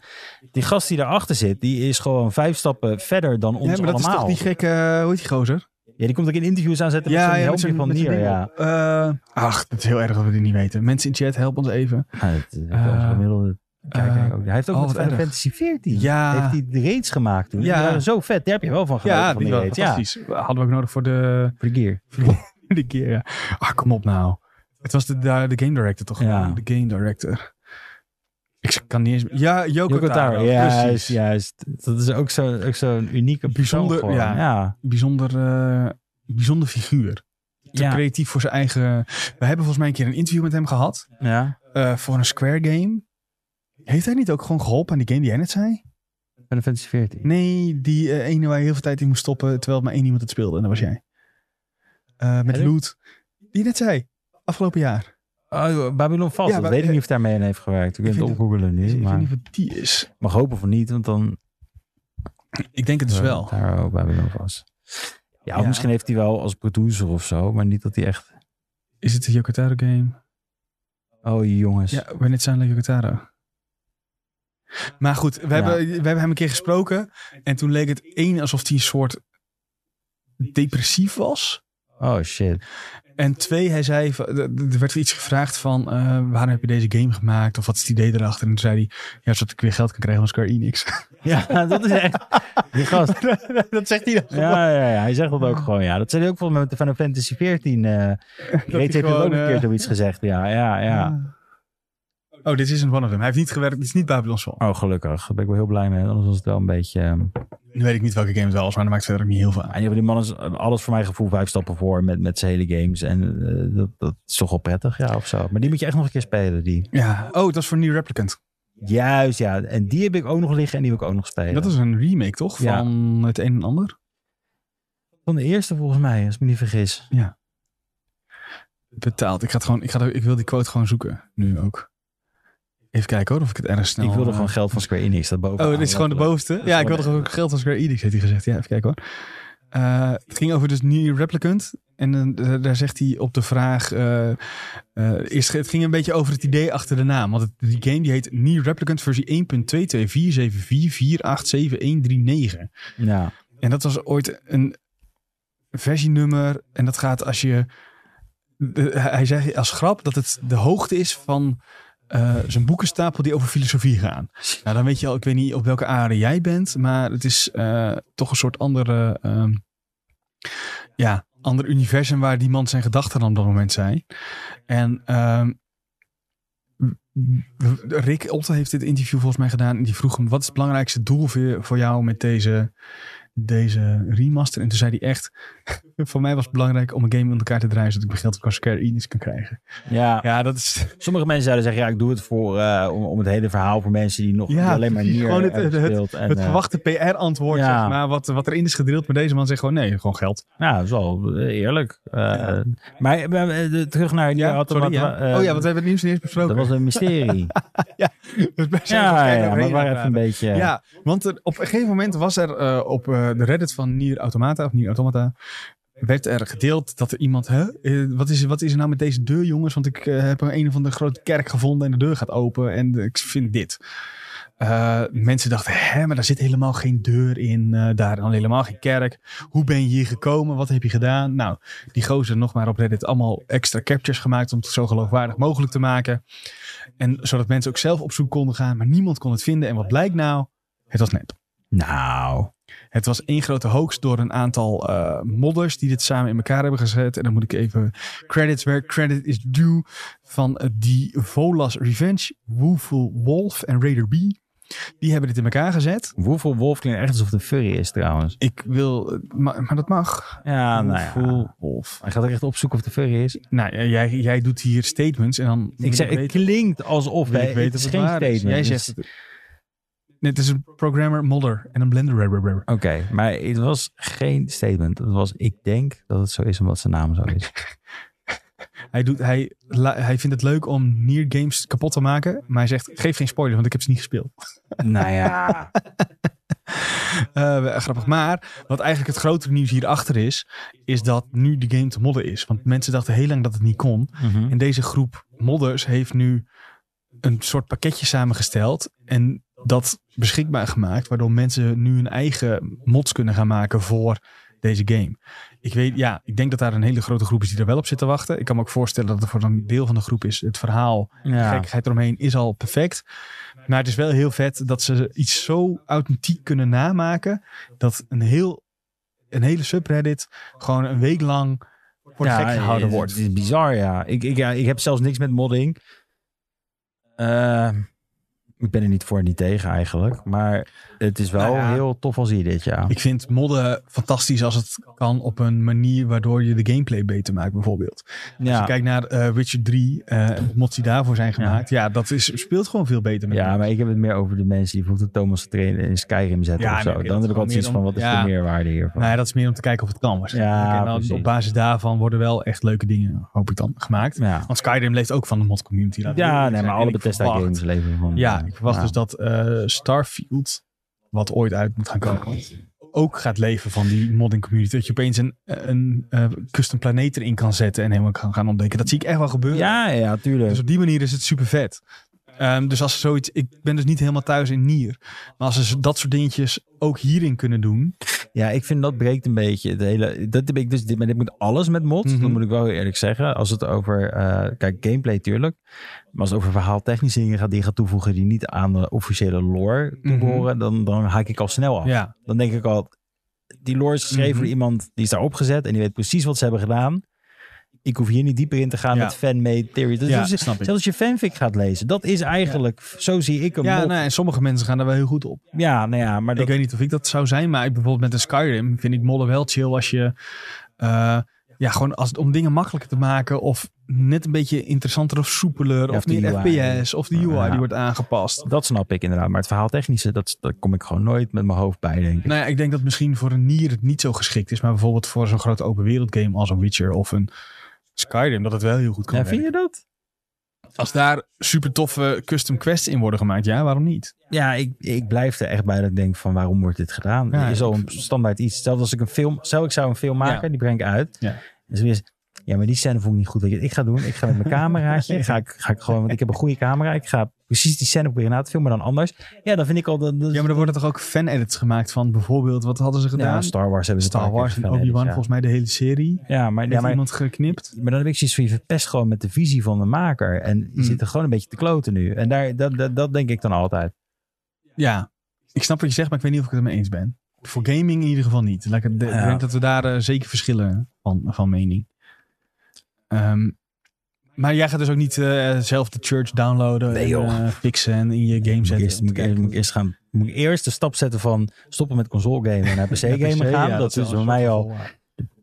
Speaker 2: die gast die daarachter zit, die is gewoon vijf stappen verder dan ons
Speaker 1: Ja, maar dat is toch
Speaker 2: allemaal.
Speaker 1: die gekke, eh, hoe heet die gozer?
Speaker 2: Ja, die komt ook in interviews aanzetten met zo'n helmpje
Speaker 1: zo'n-
Speaker 2: van
Speaker 1: met zo'n
Speaker 2: Nier,
Speaker 1: ding
Speaker 2: ja.
Speaker 1: op. Eh, ach, het is heel erg dat we dit niet weten. Mensen in chat, help ons even.
Speaker 2: Ja, het is
Speaker 1: Eh,
Speaker 2: onze gemiddelde kijker
Speaker 1: eh,
Speaker 2: ook. Hij heeft ook
Speaker 1: oh,
Speaker 2: met
Speaker 1: wat
Speaker 2: Final
Speaker 1: erg.
Speaker 2: Fantasy 14.
Speaker 1: Ja.
Speaker 2: Heeft hij de raids gemaakt toen.
Speaker 1: Ja.
Speaker 2: Die waren zo vet. Daar heb je wel van genoten
Speaker 1: Ja,
Speaker 2: van
Speaker 1: die
Speaker 2: die
Speaker 1: was
Speaker 2: raids. Ja,
Speaker 1: fantastisch. Hadden we ook nodig voor de,
Speaker 2: voor de gear.
Speaker 1: voor de keer. Ja. Ah, kom op nou. Het was de, de, de game director toch?
Speaker 2: Ja.
Speaker 1: De game director. Ik kan niet eens... Ja, Yoko,
Speaker 2: Yoko
Speaker 1: Taro.
Speaker 2: Taro, juist,
Speaker 1: precies.
Speaker 2: juist. Dat is ook zo'n ook zo'n unieke
Speaker 1: Bijzonder,
Speaker 2: persoon gewoon.
Speaker 1: ja.
Speaker 2: ja.
Speaker 1: Bijzonder, eh, bijzonder figuur. Te
Speaker 2: Ja.
Speaker 1: creatief voor zijn eigen... We hebben volgens mij een keer een interview met hem gehad.
Speaker 2: Ja.
Speaker 1: eh, voor een Square game. Heeft hij niet ook gewoon geholpen aan die game die jij net zei?
Speaker 2: Final Fantasy 14.
Speaker 1: Nee, die eh, ene waar je heel veel tijd in moest stoppen, terwijl maar één iemand het speelde. En dat was jij. Eh, met
Speaker 2: Eigenlijk?
Speaker 1: Loot. Die je net zei. Afgelopen jaar.
Speaker 2: Oh, Babylon Vast.
Speaker 1: Ja, maar-
Speaker 2: dat
Speaker 1: eh,
Speaker 2: weet ik niet of daar mee aan heeft gewerkt. We
Speaker 1: Ik
Speaker 2: kunnen het
Speaker 1: vind
Speaker 2: opgoogelen
Speaker 1: Dus
Speaker 2: nu.
Speaker 1: Ik weet
Speaker 2: Maar
Speaker 1: niet wat die is.
Speaker 2: mag hopen van niet, want dan...
Speaker 1: Ik denk het dus
Speaker 2: eh,
Speaker 1: wel.
Speaker 2: Daar ook Babylon Vast. Ja, of
Speaker 1: Ja.
Speaker 2: misschien heeft hij wel als producer of zo, maar niet dat hij echt...
Speaker 1: Is het de Yokotaro game?
Speaker 2: Oh, jongens.
Speaker 1: Ja, When It Sounds Like Yokotaro. Maar goed, we,
Speaker 2: Ja.
Speaker 1: hebben, we hebben hem een keer gesproken. En toen leek het één alsof hij een soort depressief was.
Speaker 2: Oh, shit.
Speaker 1: En twee, hij zei, van- er er werd iets gevraagd van, eh, waarom heb je deze game gemaakt? Of wat is het idee erachter? En toen zei hij, ja, zodat ik weer geld kan krijgen van Square Enix.
Speaker 2: Ja, dat is echt... Die gast.
Speaker 1: dat Ah. zegt hij dan
Speaker 2: Ja, ja, ja, hij zegt dat ook gewoon, ja. Dat zei hij ook volgens mij met de Final Fantasy 14. eh
Speaker 1: hij
Speaker 2: Reeds heeft hij ook
Speaker 1: gewoon,
Speaker 2: een keer
Speaker 1: eh,
Speaker 2: zoiets gezegd, ja, ja, ja.
Speaker 1: Oh, dit is een one of them. Hij heeft niet gewerkt, dit is niet Babylon's Fall.
Speaker 2: Oh, gelukkig. Daar ben ik wel heel blij mee. Anders was het wel een beetje... ehm,
Speaker 1: Nu weet ik niet welke game het wel is, maar dat maakt verder ook niet heel veel
Speaker 2: Nou, in
Speaker 1: uit.
Speaker 2: ieder geval, die man is alles voor mijn gevoel vijf stappen voor met, met zijn hele games. En eh, dat, dat is toch wel prettig, ja, of zo. Maar die moet je echt nog een keer spelen, die.
Speaker 1: Ja. Oh, dat is voor New Replicant.
Speaker 2: Juist, ja. En die heb ik ook nog liggen en die wil ik ook nog spelen.
Speaker 1: Dat is een remake, toch?
Speaker 2: Ja.
Speaker 1: Van het een en ander.
Speaker 2: van de eerste volgens mij, als ik me niet vergis.
Speaker 1: Betaald. Ik, ga het gewoon, ik, ga, er- ik wil die quote gewoon zoeken. Nu ook. Even kijken hoor, of ik het erg snel...
Speaker 2: ik wilde
Speaker 1: eh,
Speaker 2: gewoon geld van Square Enix, dat boven.
Speaker 1: Oh, dit is gewoon de bovenste.
Speaker 2: is
Speaker 1: Ja, ik
Speaker 2: gewoon
Speaker 1: wilde gewoon geld als Square Enix, heeft hij gezegd. Ja, even kijken hoor. Eh, het ging over dus New Replicant. En eh, daar- daar zegt hij op de vraag... eh, eh, eerst, het ging een beetje over het idee achter de naam. Want het, die game die heet New Replicant versie 1.22474487139.
Speaker 2: Ja,
Speaker 1: En dat was ooit een versienummer. En dat gaat als je... de- hij zei als grap dat het de hoogte is van eh, zijn boekenstapel die over filosofie gaan. Nou, dan weet je al, ik weet niet op welke aarde jij bent, maar het is eh, toch een soort andere, ehm, ja, ander universum waar die man zijn gedachten dan op dat moment zijn. En ehm, Rick Olte heeft dit interview volgens mij gedaan. En die vroeg hem, wat is het belangrijkste doel voor, voor jou met deze, deze remaster? En toen zei hij echt, voor mij was het belangrijk om een game in elkaar te draaien. Zodat ik mijn geld op Square Enix kan krijgen.
Speaker 2: Ja.
Speaker 1: Ja, dat is...
Speaker 2: Sommige mensen zouden zeggen, ja, ik doe het voor, eh, om, om het hele verhaal voor mensen die nog
Speaker 1: Ja,
Speaker 2: die alleen maar
Speaker 1: precies.
Speaker 2: hier
Speaker 1: Gewoon het-
Speaker 2: hebben
Speaker 1: het-
Speaker 2: gespeeld. en,
Speaker 1: het
Speaker 2: eh,
Speaker 1: verwachte PR-antwoord,
Speaker 2: ja.
Speaker 1: zeg maar, wat, wat erin is gedrild. Maar deze man zegt gewoon, nee, gewoon geld.
Speaker 2: Nou, dat is wel eh, eerlijk. Eh, Maar eh, eh, terug naar...
Speaker 1: Ja,
Speaker 2: had er
Speaker 1: sorry,
Speaker 2: wat-
Speaker 1: ja.
Speaker 2: eh,
Speaker 1: oh ja, want we hebben het nieuws niet eens besproken.
Speaker 2: Dat was een mysterie.
Speaker 1: Dus wij zijn
Speaker 2: ja,
Speaker 1: waarschijnlijk
Speaker 2: ja, maar
Speaker 1: overheen
Speaker 2: waar
Speaker 1: aan
Speaker 2: even
Speaker 1: het praten.
Speaker 2: een beetje...
Speaker 1: Ja, want er, op een gegeven moment was er eh, op eh, de Reddit van Nier Automata, of Nier Automata, werd er gedeeld dat er iemand, hè, eh, wat, is, wat is er nou met deze deur jongens? Want ik eh, heb een of andere grote kerk gevonden en de deur gaat open en eh, ik vind dit. Eh, mensen dachten, hè, maar daar zit helemaal geen deur in, eh, daar en helemaal geen kerk. Hoe ben je hier gekomen? Wat heb je gedaan? Nou, die gozer nog maar op Reddit allemaal extra captures gemaakt om het zo geloofwaardig mogelijk te maken. En zodat mensen ook zelf op zoek konden gaan, maar niemand kon het vinden. En wat blijkt nou? Het was nep.
Speaker 2: Nou,
Speaker 1: Het was één grote hoax door een aantal eh, modders die dit samen in elkaar hebben gezet. En dan moet ik even credits where credit is due van eh, die Volas Revenge, Woeful Wolf en Raider B. Die hebben dit in elkaar gezet.
Speaker 2: Woefel Wolf klinkt echt alsof het een furry is trouwens.
Speaker 1: Ik wil, eh, maar, maar dat mag.
Speaker 2: Ja, nou
Speaker 1: Woeful
Speaker 2: ja.
Speaker 1: Wolf.
Speaker 2: Hij gaat er echt opzoeken of het een furry is.
Speaker 1: Nou, eh, jij, jij doet hier statements en dan wil
Speaker 2: Ik zeg, het
Speaker 1: weten-
Speaker 2: klinkt alsof
Speaker 1: wil
Speaker 2: wij,
Speaker 1: ik weten
Speaker 2: het is
Speaker 1: of
Speaker 2: geen
Speaker 1: waar
Speaker 2: statement.
Speaker 1: Jij
Speaker 2: Dus-
Speaker 1: zegt, Nee, het is een programmer, modder en een blender.
Speaker 2: Oké, maar het was geen statement. Het was, ik denk dat het zo is omdat zijn naam zo is.
Speaker 1: Hij, doet, hij, la- hij vindt het leuk om Nier games kapot te maken. Maar hij zegt, geef geen spoiler, want ik heb ze niet gespeeld.
Speaker 2: nou ja.
Speaker 1: Eh, grappig. Maar wat eigenlijk het grotere nieuws hierachter is... is dat nu de game te modden is. Want mensen dachten heel lang dat het niet kon. En deze groep modders heeft nu een soort pakketje samengesteld. En dat beschikbaar gemaakt. Waardoor mensen nu hun eigen mods kunnen gaan maken voor deze game. Ik weet, ja, ik denk dat daar een hele grote groep is die er wel op zit te wachten. Ik kan me ook voorstellen dat er voor een deel van de groep is het verhaal de
Speaker 2: ja.
Speaker 1: gekkigheid eromheen is al perfect. Maar het is wel heel vet dat ze iets zo authentiek kunnen namaken. Dat een, heel, een hele subreddit gewoon een week lang voor de
Speaker 2: ja,
Speaker 1: gek gehouden
Speaker 2: het-
Speaker 1: wordt.
Speaker 2: Het is bizar, ja. Ik, ik, ja, ik heb zelfs niks met modding. Eh, ik ben er niet voor en niet tegen eigenlijk. Maar het is wel
Speaker 1: Nou ja.
Speaker 2: heel tof als je dit, ja.
Speaker 1: Ik vind modden fantastisch als het kan op een manier waardoor je de gameplay beter maakt bijvoorbeeld. Als je
Speaker 2: ja.
Speaker 1: kijkt naar eh, Witcher 3, eh mods die daarvoor zijn gemaakt. Ja, dat is, speelt gewoon veel beter. Met
Speaker 2: ja,
Speaker 1: mensen.
Speaker 2: maar ik heb het meer over de mensen die bijvoorbeeld de Thomas trainen in Skyrim zetten
Speaker 1: Ja,
Speaker 2: of zo.
Speaker 1: nee, oké,
Speaker 2: Dan
Speaker 1: dat is
Speaker 2: heb ik altijd
Speaker 1: gewoon
Speaker 2: iets
Speaker 1: meer
Speaker 2: van, wat
Speaker 1: om-
Speaker 2: is
Speaker 1: ja.
Speaker 2: de meerwaarde hiervan?
Speaker 1: Nou ja, dat is meer om te kijken of het kan waarschijnlijk.
Speaker 2: Ja,
Speaker 1: En dan
Speaker 2: precies.
Speaker 1: op basis daarvan worden wel echt leuke dingen, hoop ik dan, gemaakt.
Speaker 2: ja,
Speaker 1: Want Skyrim leeft ook van de mod community. laten we
Speaker 2: ja
Speaker 1: eerlijk
Speaker 2: nee,
Speaker 1: zijn.
Speaker 2: maar
Speaker 1: En
Speaker 2: alle
Speaker 1: ik
Speaker 2: Bethesda
Speaker 1: verwacht-
Speaker 2: games leven van...
Speaker 1: Ja, ik verwacht
Speaker 2: Mm-hmm. ja.
Speaker 1: dus dat eh, Starfield, wat ooit uit moet gaan komen, ook gaat leven van die modding community. Dat je opeens een, een eh, custom planeet erin kan zetten en helemaal kan gaan ontdekken. Dat zie ik echt wel gebeuren.
Speaker 2: Ja, ja, tuurlijk.
Speaker 1: Dus op die manier is het super vet. Ehm, dus als ze zoiets, ik ben dus niet helemaal thuis in Nier. Maar als ze dat soort dingetjes ook hierin kunnen doen.
Speaker 2: Ja, ik vind dat breekt een beetje het hele. Dat heb ik dus dit, maar dit moet alles met mods.
Speaker 1: Mhm.
Speaker 2: Dat moet ik wel heel eerlijk zeggen. Als het over eh, kijk gameplay tuurlijk, maar als het over verhaaltechnische dingen gaat die je gaat toevoegen die niet aan de officiële lore
Speaker 1: Mhm.
Speaker 2: behoren, dan dan haak ik al snel af.
Speaker 1: Ja,
Speaker 2: Dan denk ik al, die lore is geschreven
Speaker 1: Mhm.
Speaker 2: door iemand die is daar opgezet en die weet precies wat ze hebben gedaan. Ik hoef hier niet dieper in te gaan
Speaker 1: Ja.
Speaker 2: met fan-made theory. Dat is-
Speaker 1: ja
Speaker 2: dus-
Speaker 1: snap ik.
Speaker 2: Zelfs als je fanfic gaat lezen, dat is eigenlijk, zo zie ik hem.
Speaker 1: Ja,
Speaker 2: Ja,
Speaker 1: nou, en sommige mensen gaan daar wel heel goed op.
Speaker 2: ja, nou ja, maar dat,
Speaker 1: Ik weet niet of ik dat zou zijn, maar ik, bijvoorbeeld met een Skyrim vind ik modden wel chill als je. eh, ja, gewoon als, om dingen makkelijker te maken of net een beetje interessanter of soepeler.
Speaker 2: Ja,
Speaker 1: of
Speaker 2: of de
Speaker 1: meer
Speaker 2: UI.
Speaker 1: FPS of de UI
Speaker 2: Ja.
Speaker 1: die wordt aangepast.
Speaker 2: Dat snap ik inderdaad. Maar het verhaal technische, dat, daar kom ik gewoon nooit met mijn hoofd bij, denk ik.
Speaker 1: Nou ja, ik denk dat misschien voor een Nier het niet zo geschikt is, maar bijvoorbeeld voor zo'n grote open wereld game als een Witcher of een Skyrim, dat het wel heel goed kan
Speaker 2: Ja,
Speaker 1: werken.
Speaker 2: vind je dat?
Speaker 1: Als daar super toffe custom quests in worden gemaakt, ja, waarom niet?
Speaker 2: Ja, ik, ik blijf er echt bij dat ik denk van waarom wordt dit gedaan?
Speaker 1: Ja,
Speaker 2: Er is al
Speaker 1: ik-
Speaker 2: een standaard iets. Zelfs als ik een film, stel ik zou een film maken,
Speaker 1: Ja.
Speaker 2: die breng ik uit.
Speaker 1: Ja.
Speaker 2: En zo is, ja, maar die scène vond ik niet goed. Weet je wat ik ga doen? Ik ga met mijn cameraatje, ga ik, ga ik gewoon, want ik heb een goede camera. Ik ga precies die scène proberen na te filmen, maar dan anders. Ja, dan vind ik al... Dat, dat-
Speaker 1: Ja, maar er worden toch ook fan-edits gemaakt van bijvoorbeeld, wat hadden ze
Speaker 2: Ja,
Speaker 1: gedaan?
Speaker 2: Star Wars hebben ze
Speaker 1: Star
Speaker 2: een paar
Speaker 1: Wars
Speaker 2: keer
Speaker 1: en
Speaker 2: gedaan, dus
Speaker 1: Obi-Wan,
Speaker 2: ja.
Speaker 1: volgens mij de hele serie.
Speaker 2: Ja, maar, ja,
Speaker 1: Heeft
Speaker 2: maar
Speaker 1: iemand geknipt?
Speaker 2: Maar dan heb ik zoiets van je verpest gewoon met de visie van de maker. En je
Speaker 1: Hmm.
Speaker 2: zit er gewoon een beetje te kloten nu. En daar, dat, dat, dat denk ik dan altijd.
Speaker 1: Ja, ik snap wat je zegt, maar ik weet niet of ik het ermee eens ben. Voor gaming in ieder geval niet. Laat ik het-
Speaker 2: Ja.
Speaker 1: Ik denk dat we daar eh, zeker verschillen van, van mening. Ehm, Maar jij gaat dus ook niet eh, zelf de church downloaden
Speaker 2: Nee,
Speaker 1: en
Speaker 2: joh.
Speaker 1: eh, fixen en in je game
Speaker 2: Moet ik
Speaker 1: zetten.
Speaker 2: eerst, moet ik eerst- moet ik eerst gaan, moet ik eerst de stap zetten van stoppen met console gamen en naar PC
Speaker 1: Ja,
Speaker 2: gamen
Speaker 1: PC,
Speaker 2: gaan.
Speaker 1: ja,
Speaker 2: dat is
Speaker 1: wel
Speaker 2: bij mij
Speaker 1: een
Speaker 2: al,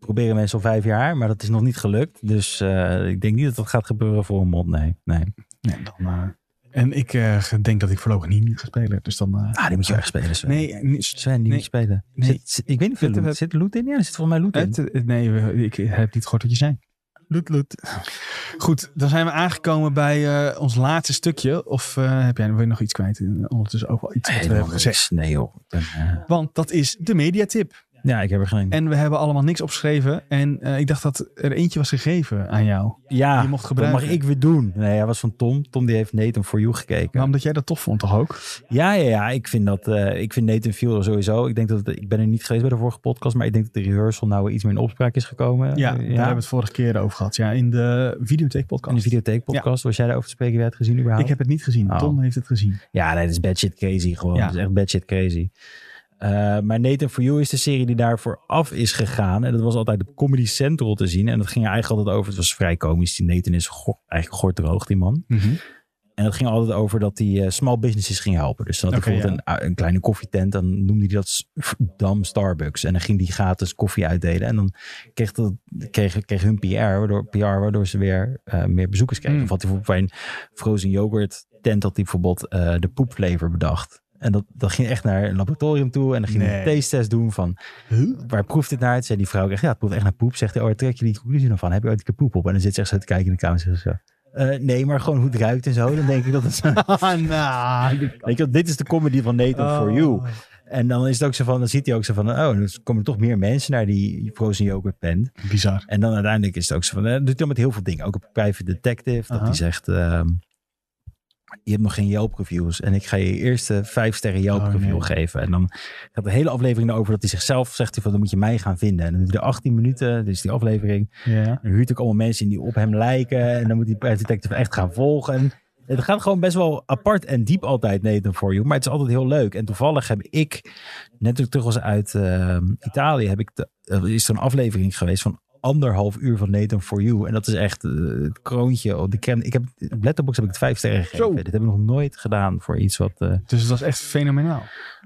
Speaker 2: proberen mensen al vijf jaar, maar dat is nog niet gelukt. Dus eh, ik denk niet dat dat gaat gebeuren voor een mod, nee. nee.
Speaker 1: Nee, dan, eh, en ik eh, denk dat ik voorlopig niet ga spelen. Dus dan. eh,
Speaker 2: Ah, die moet je echt spelen, Sven.
Speaker 1: nee, nee, st-
Speaker 2: Sven, die
Speaker 1: Nee.
Speaker 2: moet je spelen.
Speaker 1: Nee.
Speaker 2: Zit, zit- ik weet niet of er
Speaker 1: Zit er-
Speaker 2: loot, zit er loot in? Ja, er zit volgens mij loot in.
Speaker 1: het- het- nee, we- ik heb niet gehoord wat je zei.
Speaker 2: Loot, loot.
Speaker 1: Goed, dan zijn we aangekomen bij eh, ons laatste stukje. Of eh, heb jij wil je nog iets kwijt? Eh, Ondertussen ook wel iets wat we hebben gezegd.
Speaker 2: Nee joh. Ik ben, eh,
Speaker 1: Want dat is de mediatip.
Speaker 2: ja, ik heb er geen...
Speaker 1: En we hebben allemaal niks opgeschreven. En eh, ik dacht dat er eentje was gegeven aan jou.
Speaker 2: ja,
Speaker 1: je mocht
Speaker 2: dat
Speaker 1: gebruiken.
Speaker 2: mag ik weer doen. Nee, hij was van Tom. Tom die heeft Nathan For You gekeken.
Speaker 1: Maar omdat jij dat tof vond toch ook?
Speaker 2: Ja, ja, ja. Ik vind dat. eh, ik vind Nathan Fielder sowieso. Ik denk dat het- ik ben er niet geweest bij de vorige podcast, maar ik denk dat de rehearsal nou weer iets meer in opspraak is gekomen.
Speaker 1: Ja,
Speaker 2: Eh,
Speaker 1: daar hebben we het vorige keer over gehad. Ja, in de videotheek
Speaker 2: In
Speaker 1: podcast.
Speaker 2: de videotheek podcast was jij daarover te spreken? Wie had het gezien überhaupt?
Speaker 1: Ik heb het niet gezien.
Speaker 2: Oh.
Speaker 1: Tom heeft het gezien.
Speaker 2: Ja, nee, dat is bad shit crazy gewoon.
Speaker 1: Ja.
Speaker 2: Dat is echt bad shit crazy. Eh, maar Nathan For You is de serie die daarvoor af is gegaan. En dat was altijd op Comedy Central te zien. En dat ging er eigenlijk altijd over. Het was vrij komisch. Die Nathan is go- eigenlijk gordroog, die man. En dat ging altijd over dat hij eh, small businesses ging helpen. Dus dan had hij
Speaker 1: Oké,
Speaker 2: bijvoorbeeld een, een kleine koffietent. Dan noemde hij dat s- Dam Starbucks. En dan ging die gratis koffie uitdelen. En dan kreeg, dat, kreeg, kreeg hun PR waardoor, PR, waardoor ze weer eh, meer bezoekers kregen.
Speaker 1: Mm.
Speaker 2: Of had hij bijvoorbeeld bij een frozen yoghurt tent... had hij bijvoorbeeld eh, de poepflavor bedacht. En dat, dat ging echt naar een laboratorium toe. En dan ging hij
Speaker 1: Nee.
Speaker 2: een taste-test doen van... waar proeft dit naar? Toen zei die vrouw ook echt... ja, het proeft echt naar poep. Zegt hij, oh, waar trek je die conclusie dan van? Heb je ooit een keer poep op? En dan zit ze echt zo te kijken in de kamer en zegt ze zo... "Eh, nee, maar gewoon hoe het ruikt en zo. Dan denk ik dat het zo-
Speaker 1: Nou.
Speaker 2: Weet je, wel, dit is de comedy van Nathan
Speaker 1: Oh.
Speaker 2: for You. En dan is het ook zo van, dan ziet hij ook zo van, oh, dan komen er toch meer mensen naar die frozen yoghurt pen.
Speaker 1: Bizar.
Speaker 2: En dan uiteindelijk is het ook zo van, eh, dat doet hij met heel veel dingen. Ook op Private Detective, dat
Speaker 1: Aha.
Speaker 2: hij zegt, ehm, je hebt nog geen Yelp reviews en ik ga je eerste vijf sterren Yelp
Speaker 1: Oh,
Speaker 2: review
Speaker 1: nee.
Speaker 2: geven. En dan gaat de hele aflevering erover dat hij zichzelf zegt, hij van, dan moet je mij gaan vinden. En dan doet hij er 18 minuten, dus die aflevering.
Speaker 1: Ja.
Speaker 2: Hij huurt ook allemaal mensen in die op hem lijken. En dan moet die private detective echt gaan volgen. En het gaat gewoon best wel apart en diep altijd, Nathan For You. Maar het is altijd heel leuk. En toevallig heb ik, net toen ik terug was uit ehm, Italië, heb ik de, er is er een aflevering geweest van anderhalf uur van Nathan For You. En dat is echt eh, het kroontje. op De crème. Ik heb, op Letterboxd heb ik het vijf sterren gegeven.
Speaker 1: Zo.
Speaker 2: Dit heb ik nog nooit gedaan voor iets wat... eh,
Speaker 1: Dus het was echt fenomenaal.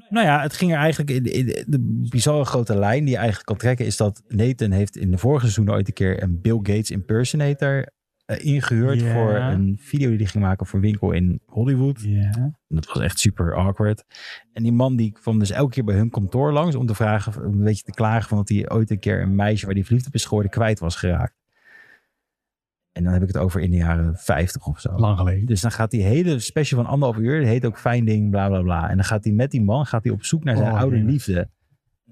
Speaker 2: nou ja, het ging er eigenlijk in, in- de bizarre grote lijn die je eigenlijk kan trekken is dat Nathan heeft in de vorige seizoen ooit een keer een Bill Gates impersonator eh, ingehuurd
Speaker 1: Ja.
Speaker 2: voor een video die hij ging maken voor een winkel in Hollywood.
Speaker 1: Ja.
Speaker 2: En dat was echt super awkward. En die man die kwam dus elke keer bij hun kantoor langs om te vragen, om een beetje te klagen van dat hij ooit een keer een meisje waar hij verliefd op is geworden kwijt was geraakt. En dan heb ik het over in de jaren 50 of zo.
Speaker 1: Lang geleden.
Speaker 2: Dus dan gaat die hele special van anderhalf uur, die heet ook Fijn Ding, bla bla bla. En dan gaat hij met die man gaat hij op zoek naar zijn
Speaker 1: Oh,
Speaker 2: oude
Speaker 1: heerlijk.
Speaker 2: liefde.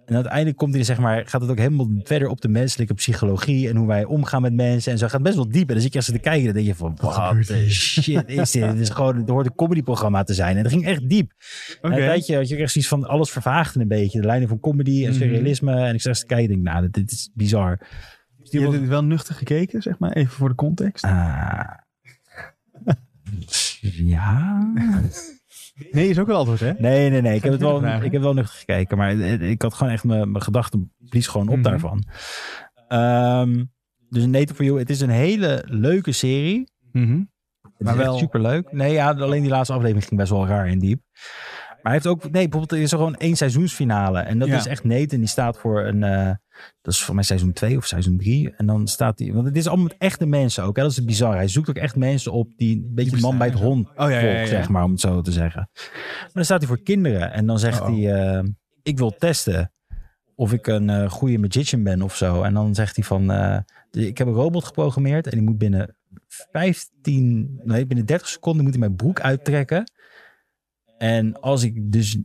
Speaker 2: En uiteindelijk komt hij, zeg maar, gaat het ook helemaal verder op de menselijke psychologie en hoe wij omgaan met mensen. En zo Het gaat best wel diep. En dan zit je als ze te kijken, dan denk je van, wat
Speaker 1: gebeurt
Speaker 2: de
Speaker 1: hier?
Speaker 2: shit is dit? Het, is gewoon, het hoort een comedyprogramma te zijn. En dat ging echt diep.
Speaker 1: Oké.
Speaker 2: En een tijdje had je ook echt zoiets van, alles vervaagde een beetje. De lijnen van comedy en
Speaker 1: Mhm.
Speaker 2: surrealisme. En ik zag ze te kijken, denk, nou, dit, dit is bizar. Dus
Speaker 1: Je
Speaker 2: die
Speaker 1: hebt
Speaker 2: was-
Speaker 1: het wel nuchter gekeken, zeg maar, even voor de context.
Speaker 2: Ah. ja.
Speaker 1: Nee, is ook wel antwoord, hè?
Speaker 2: Nee, nee, nee. Ik heb het wel,
Speaker 1: vragen?
Speaker 2: ik heb wel nuchter gekeken. Maar eh, ik had gewoon echt mijn, mijn gedachten blies gewoon op
Speaker 1: Mhm.
Speaker 2: daarvan. Ehm, dus Nathan For You, het is een hele leuke serie.
Speaker 1: Mhm.
Speaker 2: Het
Speaker 1: Maar
Speaker 2: is
Speaker 1: wel-
Speaker 2: echt superleuk. Nee, ja, alleen die laatste aflevering ging best wel raar en diep. Maar hij heeft ook... Nee, bijvoorbeeld er is er gewoon één seizoensfinale. En dat
Speaker 1: Ja.
Speaker 2: is echt Nathan. Die staat voor een... eh, dat is voor mij seizoen 2 of seizoen 3. En dan staat hij... Want het is allemaal met echte mensen ook. Hè? Dat is bizar. Hij zoekt ook echt mensen op die... Een beetje man bij het
Speaker 1: bestaan.
Speaker 2: hond
Speaker 1: Oh ja, ja,
Speaker 2: volk,
Speaker 1: ja, ja.
Speaker 2: zeg maar, om het zo te zeggen. Maar dan staat hij voor kinderen en dan zegt
Speaker 1: Oh.
Speaker 2: hij, eh, ik wil testen of ik een eh, goede magician ben of zo. En dan zegt hij van, eh, de- ik heb een robot geprogrammeerd en die moet binnen 15, nee, binnen 30 seconden moet hij mijn broek uittrekken. En als ik dus,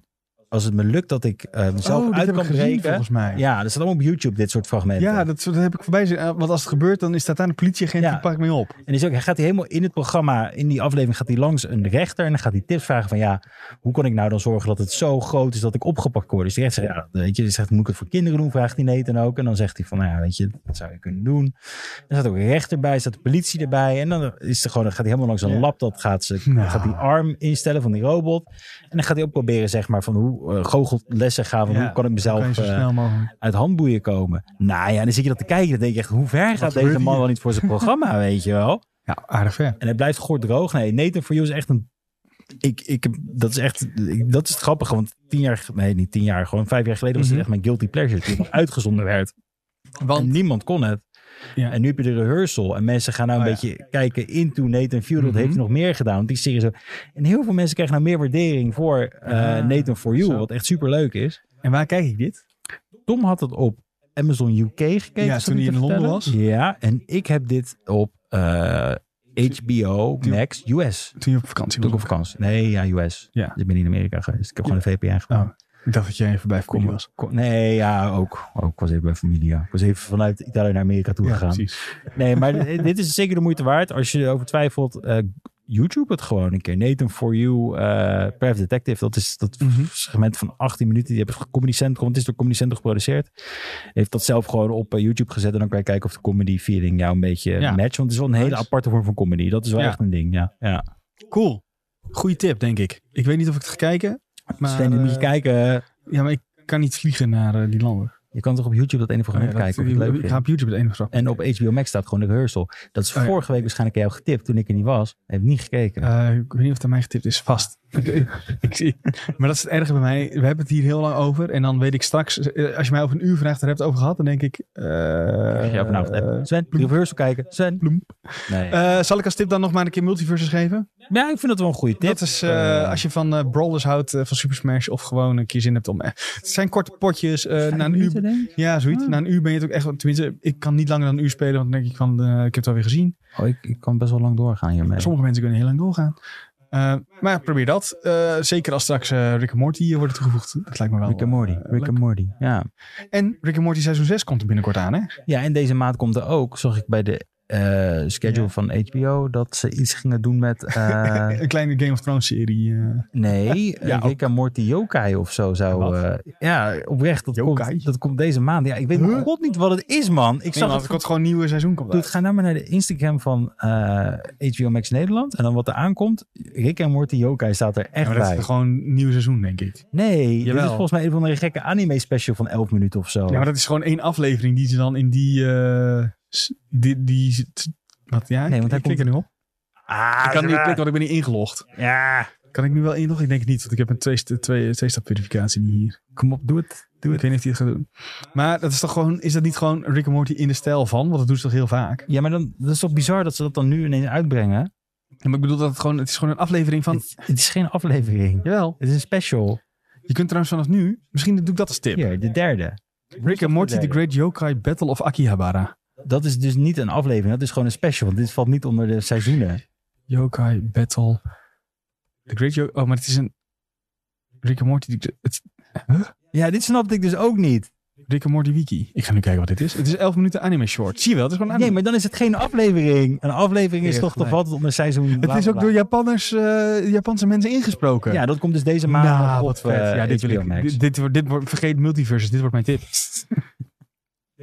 Speaker 2: als het me lukt dat ik eh, mezelf
Speaker 1: Oh, dit
Speaker 2: uit
Speaker 1: heb ik
Speaker 2: kan
Speaker 1: gezien,
Speaker 2: breken.
Speaker 1: volgens mij.
Speaker 2: Ja, dat staat allemaal op YouTube, dit soort fragmenten.
Speaker 1: Ja, dat, dat heb ik voorbij zien. Eh, Want als het gebeurt, dan staat daar een politieagent
Speaker 2: Ja.
Speaker 1: die pakt mee op.
Speaker 2: En is ook, hij gaat hij helemaal in het programma, in die aflevering gaat hij langs een rechter en dan gaat hij tips vragen van ja, hoe kan ik nou dan zorgen dat het zo groot is dat ik opgepakt word? Dus de rechter zegt, ja, weet je, die zegt, moet ik het voor kinderen doen? Vraagt hij Nathan ook. En dan zegt hij van, nou ja, weet je, dat zou je kunnen doen. Er staat ook een rechter bij, er staat de politie erbij. En dan, is er gewoon, dan gaat hij helemaal langs een
Speaker 1: Ja.
Speaker 2: lab, dat gaat, ze,
Speaker 1: Nou.
Speaker 2: gaat die arm instellen van die robot. En dan gaat hij ook proberen, zeg maar, van hoe eh, goochellessen gaan, van
Speaker 1: Ja,
Speaker 2: hoe kan ik mezelf...
Speaker 1: Kan je zo
Speaker 2: eh,
Speaker 1: snel mogelijk.
Speaker 2: uit handboeien komen. Nou ja, dan zit je dat te kijken. Dan denk je echt, hoe ver gaat
Speaker 1: gebeurt
Speaker 2: deze man
Speaker 1: hier?
Speaker 2: wel niet voor zijn programma, weet je wel?
Speaker 1: Ja, aardig ver.
Speaker 2: En het blijft goor droog. Nee, Nathan for You is echt een... Ik, ik, heb- dat is echt... ik- dat is het grappige. Want tien jaar... ge- Nee, niet tien jaar. Gewoon vijf jaar geleden was
Speaker 1: Mhm.
Speaker 2: het echt mijn guilty pleasure. Toen het uitgezonden werd. En
Speaker 1: Want
Speaker 2: niemand kon het.
Speaker 1: Ja.
Speaker 2: En nu heb je de rehearsal. En mensen gaan nou een
Speaker 1: Oh, ja.
Speaker 2: beetje kijken into Nathan Field. Wat
Speaker 1: Mhm.
Speaker 2: heeft hij nog meer gedaan? Want die serie zo... En heel veel mensen krijgen nou meer waardering voor eh,
Speaker 1: Ah,
Speaker 2: Nathan For You.
Speaker 1: zo.
Speaker 2: Wat echt super leuk is.
Speaker 1: en waar kijk ik dit?
Speaker 2: Tom had het op Amazon UK gekeken.
Speaker 1: Ja,
Speaker 2: zat
Speaker 1: toen hij
Speaker 2: te
Speaker 1: in Londen
Speaker 2: vertellen. Ja, en ik heb dit op eh, HBO Max US.
Speaker 1: Toen je op vakantie
Speaker 2: Toen ik op
Speaker 1: was.
Speaker 2: vakantie. Nee, ja, US.
Speaker 1: Ja.
Speaker 2: Dus ik ben niet in Amerika geweest. Ik heb gewoon een VPN gedaan.
Speaker 1: Oh, ik dacht dat je even bij vakantie was.
Speaker 2: Ko- Nee, ja, ook. ook. Ik was even bij familie. ja. Ik was even vanuit Italië naar Amerika toe
Speaker 1: Ja,
Speaker 2: gegaan.
Speaker 1: precies.
Speaker 2: Nee, maar d- dit is zeker de moeite waard. Als je erover twijfelt, eh, YouTube het gewoon een keer. Nathan For You, eh Private Detective. Dat is dat
Speaker 1: Mhm.
Speaker 2: segment van 18 minuten. Die hebben Comedy Central, want het is door Comedy Central geproduceerd. Heeft dat zelf gewoon op eh, YouTube gezet. En dan kan je kijken of de comedy feeling jou een beetje
Speaker 1: Ja.
Speaker 2: matcht. Want het is wel een hele
Speaker 1: Nice.
Speaker 2: aparte vorm van comedy. Dat is wel
Speaker 1: Ja.
Speaker 2: echt een ding, ja. ja.
Speaker 1: Cool. Goeie tip, denk ik. Ik weet niet of ik het ga kijken. Maar,
Speaker 2: Sven, dan moet je
Speaker 1: eh,
Speaker 2: kijken.
Speaker 1: Ja, maar ik kan niet vliegen naar eh, die landen.
Speaker 2: Je kan toch op YouTube dat ene
Speaker 1: Oh ja,
Speaker 2: programma
Speaker 1: dat-
Speaker 2: kijken of je het leuk
Speaker 1: ik
Speaker 2: vindt.
Speaker 1: ga op YouTube het enige grap.
Speaker 2: En op HBO Max staat gewoon de rehearsal. Dat is
Speaker 1: Oh ja.
Speaker 2: vorige week waarschijnlijk aan jou getipt toen ik er niet was. Heb niet gekeken.
Speaker 1: Eh, ik weet niet of het aan mij getipt is, vast. ik zie. Maar dat is het erge bij mij. We hebben het hier heel lang over. En dan weet ik straks, eh, als je mij over een uur vraagt, daar heb je het over gehad, dan denk ik. eh,
Speaker 2: Zeg jij vanavond, eh, Sven, de reversal kijken. Sven. Nee.
Speaker 1: eh, zal ik als tip dan nog maar een keer multiverses geven?
Speaker 2: ja, ik vind dat wel een goede tip.
Speaker 1: Dat is eh, als je van eh, brawlers houdt, eh, van Super Smash, of gewoon een keer zin hebt om. eh, het zijn korte potjes. eh, na een uur, ja, zoiets.
Speaker 2: Ah.
Speaker 1: Na een uur ben je het ook echt. Tenminste, ik kan niet langer dan een uur spelen, want dan denk ik van, eh, ik heb het alweer gezien.
Speaker 2: Oh, ik, ik kan best wel lang doorgaan hiermee.
Speaker 1: Sommige mensen kunnen heel lang doorgaan. Eh, maar ja, probeer dat. Eh, zeker als straks eh, Rick en Morty hier wordt toegevoegd. Dat lijkt me wel.
Speaker 2: Rick and Morty.
Speaker 1: eh,
Speaker 2: Rick and Morty. Ja.
Speaker 1: leuk. En Rick en Morty seizoen 6 komt er binnenkort aan, hè?
Speaker 2: ja, en deze maand komt er ook, zag ik bij de eh, schedule
Speaker 1: Ja.
Speaker 2: van HBO, dat ze iets gingen doen met. eh,
Speaker 1: Een kleine Game of Thrones serie. eh.
Speaker 2: nee,
Speaker 1: Ja,
Speaker 2: eh, Rick and Morty Yokai of zo zou.
Speaker 1: Ja,
Speaker 2: eh, ja, oprecht. Dat
Speaker 1: Yokai?
Speaker 2: komt, dat komt deze maand. Ja, ik weet nog
Speaker 1: Huh?
Speaker 2: god niet wat het is, man. Ik
Speaker 1: Nee,
Speaker 2: zag
Speaker 1: want
Speaker 2: het
Speaker 1: er komt gewoon een nieuwe seizoen komt
Speaker 2: Doe het,
Speaker 1: uit.
Speaker 2: ga nou maar naar de Instagram van eh HBO Max Nederland. En dan wat er aankomt. Rick en Morty Yokai staat er
Speaker 1: Ja,
Speaker 2: echt
Speaker 1: maar dat
Speaker 2: bij. Oh.
Speaker 1: is gewoon een nieuw seizoen, denk ik.
Speaker 2: Nee, dit
Speaker 1: Jawel.
Speaker 2: is volgens mij een van de gekke anime special van 11 minuten of zo.
Speaker 1: Ja, maar dat is gewoon één aflevering die ze dan in die... eh, s- die, die s- wat, ja,
Speaker 2: Nee, want
Speaker 1: ik,
Speaker 2: hij
Speaker 1: ik klik er nu op.
Speaker 2: Ah,
Speaker 1: ik kan niet
Speaker 2: zwaar.
Speaker 1: klikken, want ik ben niet ingelogd.
Speaker 2: Ja,
Speaker 1: Kan ik nu wel inloggen? Ik denk het niet, want ik heb een twee, twee, twee-stap verificatie niet hier.
Speaker 2: kom op, doe het. Doe
Speaker 1: Ik
Speaker 2: het.
Speaker 1: weet niet of hij het gaat doen. Maar dat is toch gewoon, is dat niet gewoon Rick and Morty in de stijl van? Want dat doen ze toch heel vaak?
Speaker 2: Ja, maar dan, dat is toch bizar dat ze dat dan nu ineens uitbrengen?
Speaker 1: Ja, maar ik bedoel dat het gewoon, het is gewoon een aflevering van...
Speaker 2: Het, het is geen aflevering.
Speaker 1: Jawel.
Speaker 2: Het is een special.
Speaker 1: Je kunt trouwens vanaf nu, misschien doe ik dat als tip.
Speaker 2: Hier, de derde.
Speaker 1: Rick and Morty, The
Speaker 2: derde.
Speaker 1: Great Yokai Battle of Akihabara.
Speaker 2: Dat is dus niet een aflevering. Dat is gewoon een special. Want dit valt niet onder de seizoenen.
Speaker 1: Yokai Battle... The Great Yokai... Oh, maar het is een... Rick and Morty... die- Het,
Speaker 2: Ja, dit snapte ik dus ook niet.
Speaker 1: Rick and Morty Wiki. Ik ga nu kijken wat dit is. Het is 11 minuten anime short. Zie je wel, het is gewoon anime.
Speaker 2: Nee, maar dan is het geen aflevering. Een aflevering is
Speaker 1: Ja,
Speaker 2: toch toch
Speaker 1: gelijk.
Speaker 2: altijd onder seizoen. bla,
Speaker 1: het is
Speaker 2: bla,
Speaker 1: ook
Speaker 2: bla.
Speaker 1: door Japanners, eh, Japanse mensen ingesproken.
Speaker 2: Ja, dat komt dus deze maand
Speaker 1: Nou,
Speaker 2: op,
Speaker 1: wat vet.
Speaker 2: eh,
Speaker 1: ja, dit
Speaker 2: HBO
Speaker 1: wil ik.
Speaker 2: Max.
Speaker 1: Dit, dit, wordt- dit wordt, vergeet multiverses, dit wordt mijn tip.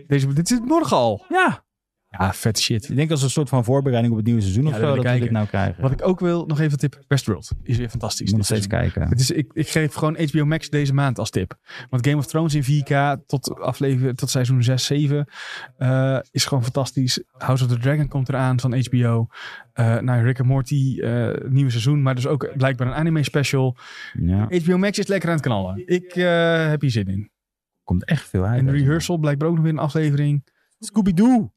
Speaker 1: Deze, dit is morgen al.
Speaker 2: ja,
Speaker 1: Ja, vet shit.
Speaker 2: ik denk als een soort van voorbereiding op het nieuwe seizoen of
Speaker 1: dat
Speaker 2: zo,
Speaker 1: wil
Speaker 2: dat
Speaker 1: ik
Speaker 2: we dit
Speaker 1: kijken.
Speaker 2: nou krijgen.
Speaker 1: Wat ik ook wil, nog even tip. Westworld is weer fantastisch.
Speaker 2: ik moet nog
Speaker 1: dit
Speaker 2: steeds
Speaker 1: seizoen.
Speaker 2: kijken.
Speaker 1: Het is, ik, ik geef gewoon HBO Max deze maand als tip. Want Game of Thrones in 4K tot, aflever, tot seizoen 6, 7 eh, is gewoon fantastisch. House of the Dragon komt eraan van HBO. Eh nou, Rick and Morty, eh, nieuwe seizoen. Maar dus ook blijkbaar een anime special.
Speaker 2: Ja,
Speaker 1: HBO Max is lekker aan het knallen. Ik eh, heb hier zin in.
Speaker 2: komt echt veel uit.
Speaker 1: En de
Speaker 2: deze
Speaker 1: rehearsal blijkbaar ook nog weer een aflevering.
Speaker 2: maand. Scooby-Doo.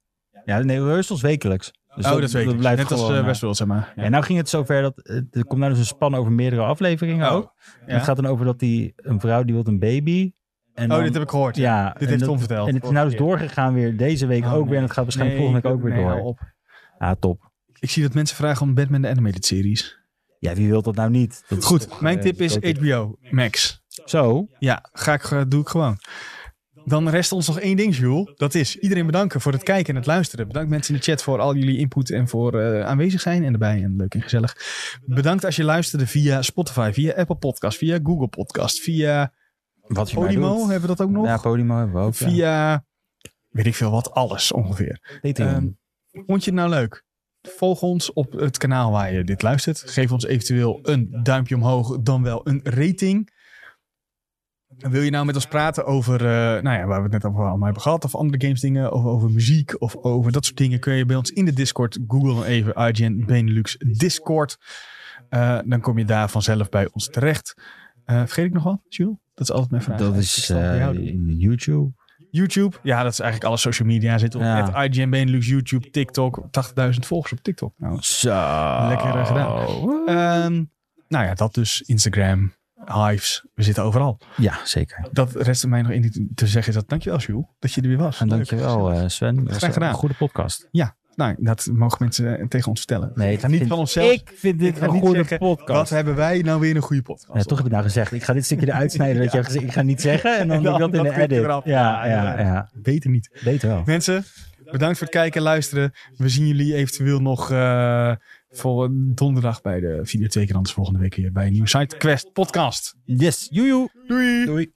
Speaker 2: Ja, nee, rehearsals wekelijks.
Speaker 1: Oh,
Speaker 2: Dus blijft
Speaker 1: Net als
Speaker 2: gewoon,
Speaker 1: eh,
Speaker 2: eh,
Speaker 1: Westworld, zeg maar.
Speaker 2: En nou ging het zover dat eh, er komt nou dus een span over meerdere afleveringen
Speaker 1: Oh,
Speaker 2: ook. En
Speaker 1: ja.
Speaker 2: Het gaat dan over dat die een vrouw die wil een baby. En
Speaker 1: Oh,
Speaker 2: dan-
Speaker 1: dit heb ik gehoord.
Speaker 2: ja,
Speaker 1: Dit
Speaker 2: en
Speaker 1: heeft
Speaker 2: dat-
Speaker 1: Tom verteld.
Speaker 2: En het is nou dus
Speaker 1: Vorige
Speaker 2: doorgegaan weer deze week
Speaker 1: Oh,
Speaker 2: ook
Speaker 1: nee.
Speaker 2: weer. En het gaat
Speaker 1: keer.
Speaker 2: waarschijnlijk
Speaker 1: Nee,
Speaker 2: volgende week ook weer
Speaker 1: nee,
Speaker 2: door.
Speaker 1: hou op.
Speaker 2: Ah, top.
Speaker 1: Ik zie dat mensen vragen om Batman de Animated Series.
Speaker 2: Ja, wie wil dat nou niet? Dat is
Speaker 1: Goed,
Speaker 2: toch,
Speaker 1: mijn
Speaker 2: eh,
Speaker 1: tip is
Speaker 2: grote-
Speaker 1: HBO Max.
Speaker 2: Zo,
Speaker 1: Ja, ga ik, eh, doe ik gewoon. Dan rest ons nog één ding, Jules. Dat is iedereen bedanken voor het kijken en het luisteren. Bedankt mensen in de chat voor al jullie input en voor eh, aanwezig zijn en erbij en leuk en gezellig. Bedankt als je luisterde via Spotify, via Apple Podcast, via Google Podcast, via
Speaker 2: wat je maar
Speaker 1: Podimo.
Speaker 2: doet.
Speaker 1: Hebben we dat ook nog?
Speaker 2: Ja, Podimo hebben we ook. ja.
Speaker 1: via weet ik veel wat, alles ongeveer.
Speaker 2: Patreon.
Speaker 1: Ehm, Vond je het nou leuk? Volg ons op het kanaal waar je dit luistert. Geef ons eventueel een duimpje omhoog, dan wel een rating. En Wil je nou met ons praten over, eh, nou ja, waar we het net over allemaal hebben gehad, of andere games dingen, of over muziek, of over dat soort dingen, kun je bij ons in de Discord Google even IGN Benelux Discord. Eh, dan kom je daar vanzelf bij ons terecht. Eh, vergeet ik nog wat, Jules? Dat is altijd mijn vraag.
Speaker 2: Dat
Speaker 1: Ik
Speaker 2: is
Speaker 1: zal het bij jou doen.
Speaker 2: eh, YouTube.
Speaker 1: YouTube. Ja, dat is eigenlijk alle social media. Zit op
Speaker 2: Ja.
Speaker 1: het IGN Benelux, YouTube, TikTok. 80.000 volgers op TikTok. Nou,
Speaker 2: Zo.
Speaker 1: Lekker, eh, gedaan. ehm, nou ja, dat dus. Instagram, Hives. We zitten overal.
Speaker 2: Ja, zeker.
Speaker 1: Dat rest mij nog in die- te zeggen is dat dankjewel, Jules, dat je er weer was.
Speaker 2: En
Speaker 1: Leuk.
Speaker 2: dankjewel eh, Sven. Dat was
Speaker 1: Graag gedaan.
Speaker 2: Een goede podcast.
Speaker 1: Nou, dat mogen mensen eh, tegen ons vertellen.
Speaker 2: Nee,
Speaker 1: ik ga niet
Speaker 2: vind-
Speaker 1: van onszelf.
Speaker 2: Ik vind dit
Speaker 1: Ik ga
Speaker 2: een
Speaker 1: niet
Speaker 2: goede
Speaker 1: zeggen, Wat
Speaker 2: podcast.
Speaker 1: hebben wij nou weer een goede
Speaker 2: Ja,
Speaker 1: podcast?
Speaker 2: toch heb je nou gezegd, ik ga dit stukje eruit snijden. Dat je hebt gezegd, ik ga niet zeggen. En dan,
Speaker 1: En
Speaker 2: doe ik
Speaker 1: dan-
Speaker 2: dat in
Speaker 1: dat
Speaker 2: de
Speaker 1: knip je
Speaker 2: edit.
Speaker 1: eraf.
Speaker 2: Ja, ja, ja.
Speaker 1: Beter niet.
Speaker 2: Beter wel.
Speaker 1: Mensen, bedankt voor het kijken en luisteren. We zien jullie eventueel nog eh, voor donderdag bij de videotheek. En anders volgende week weer bij een nieuwe Side Quest podcast.
Speaker 2: Yes, joejoe.
Speaker 1: Doei!
Speaker 2: Doei.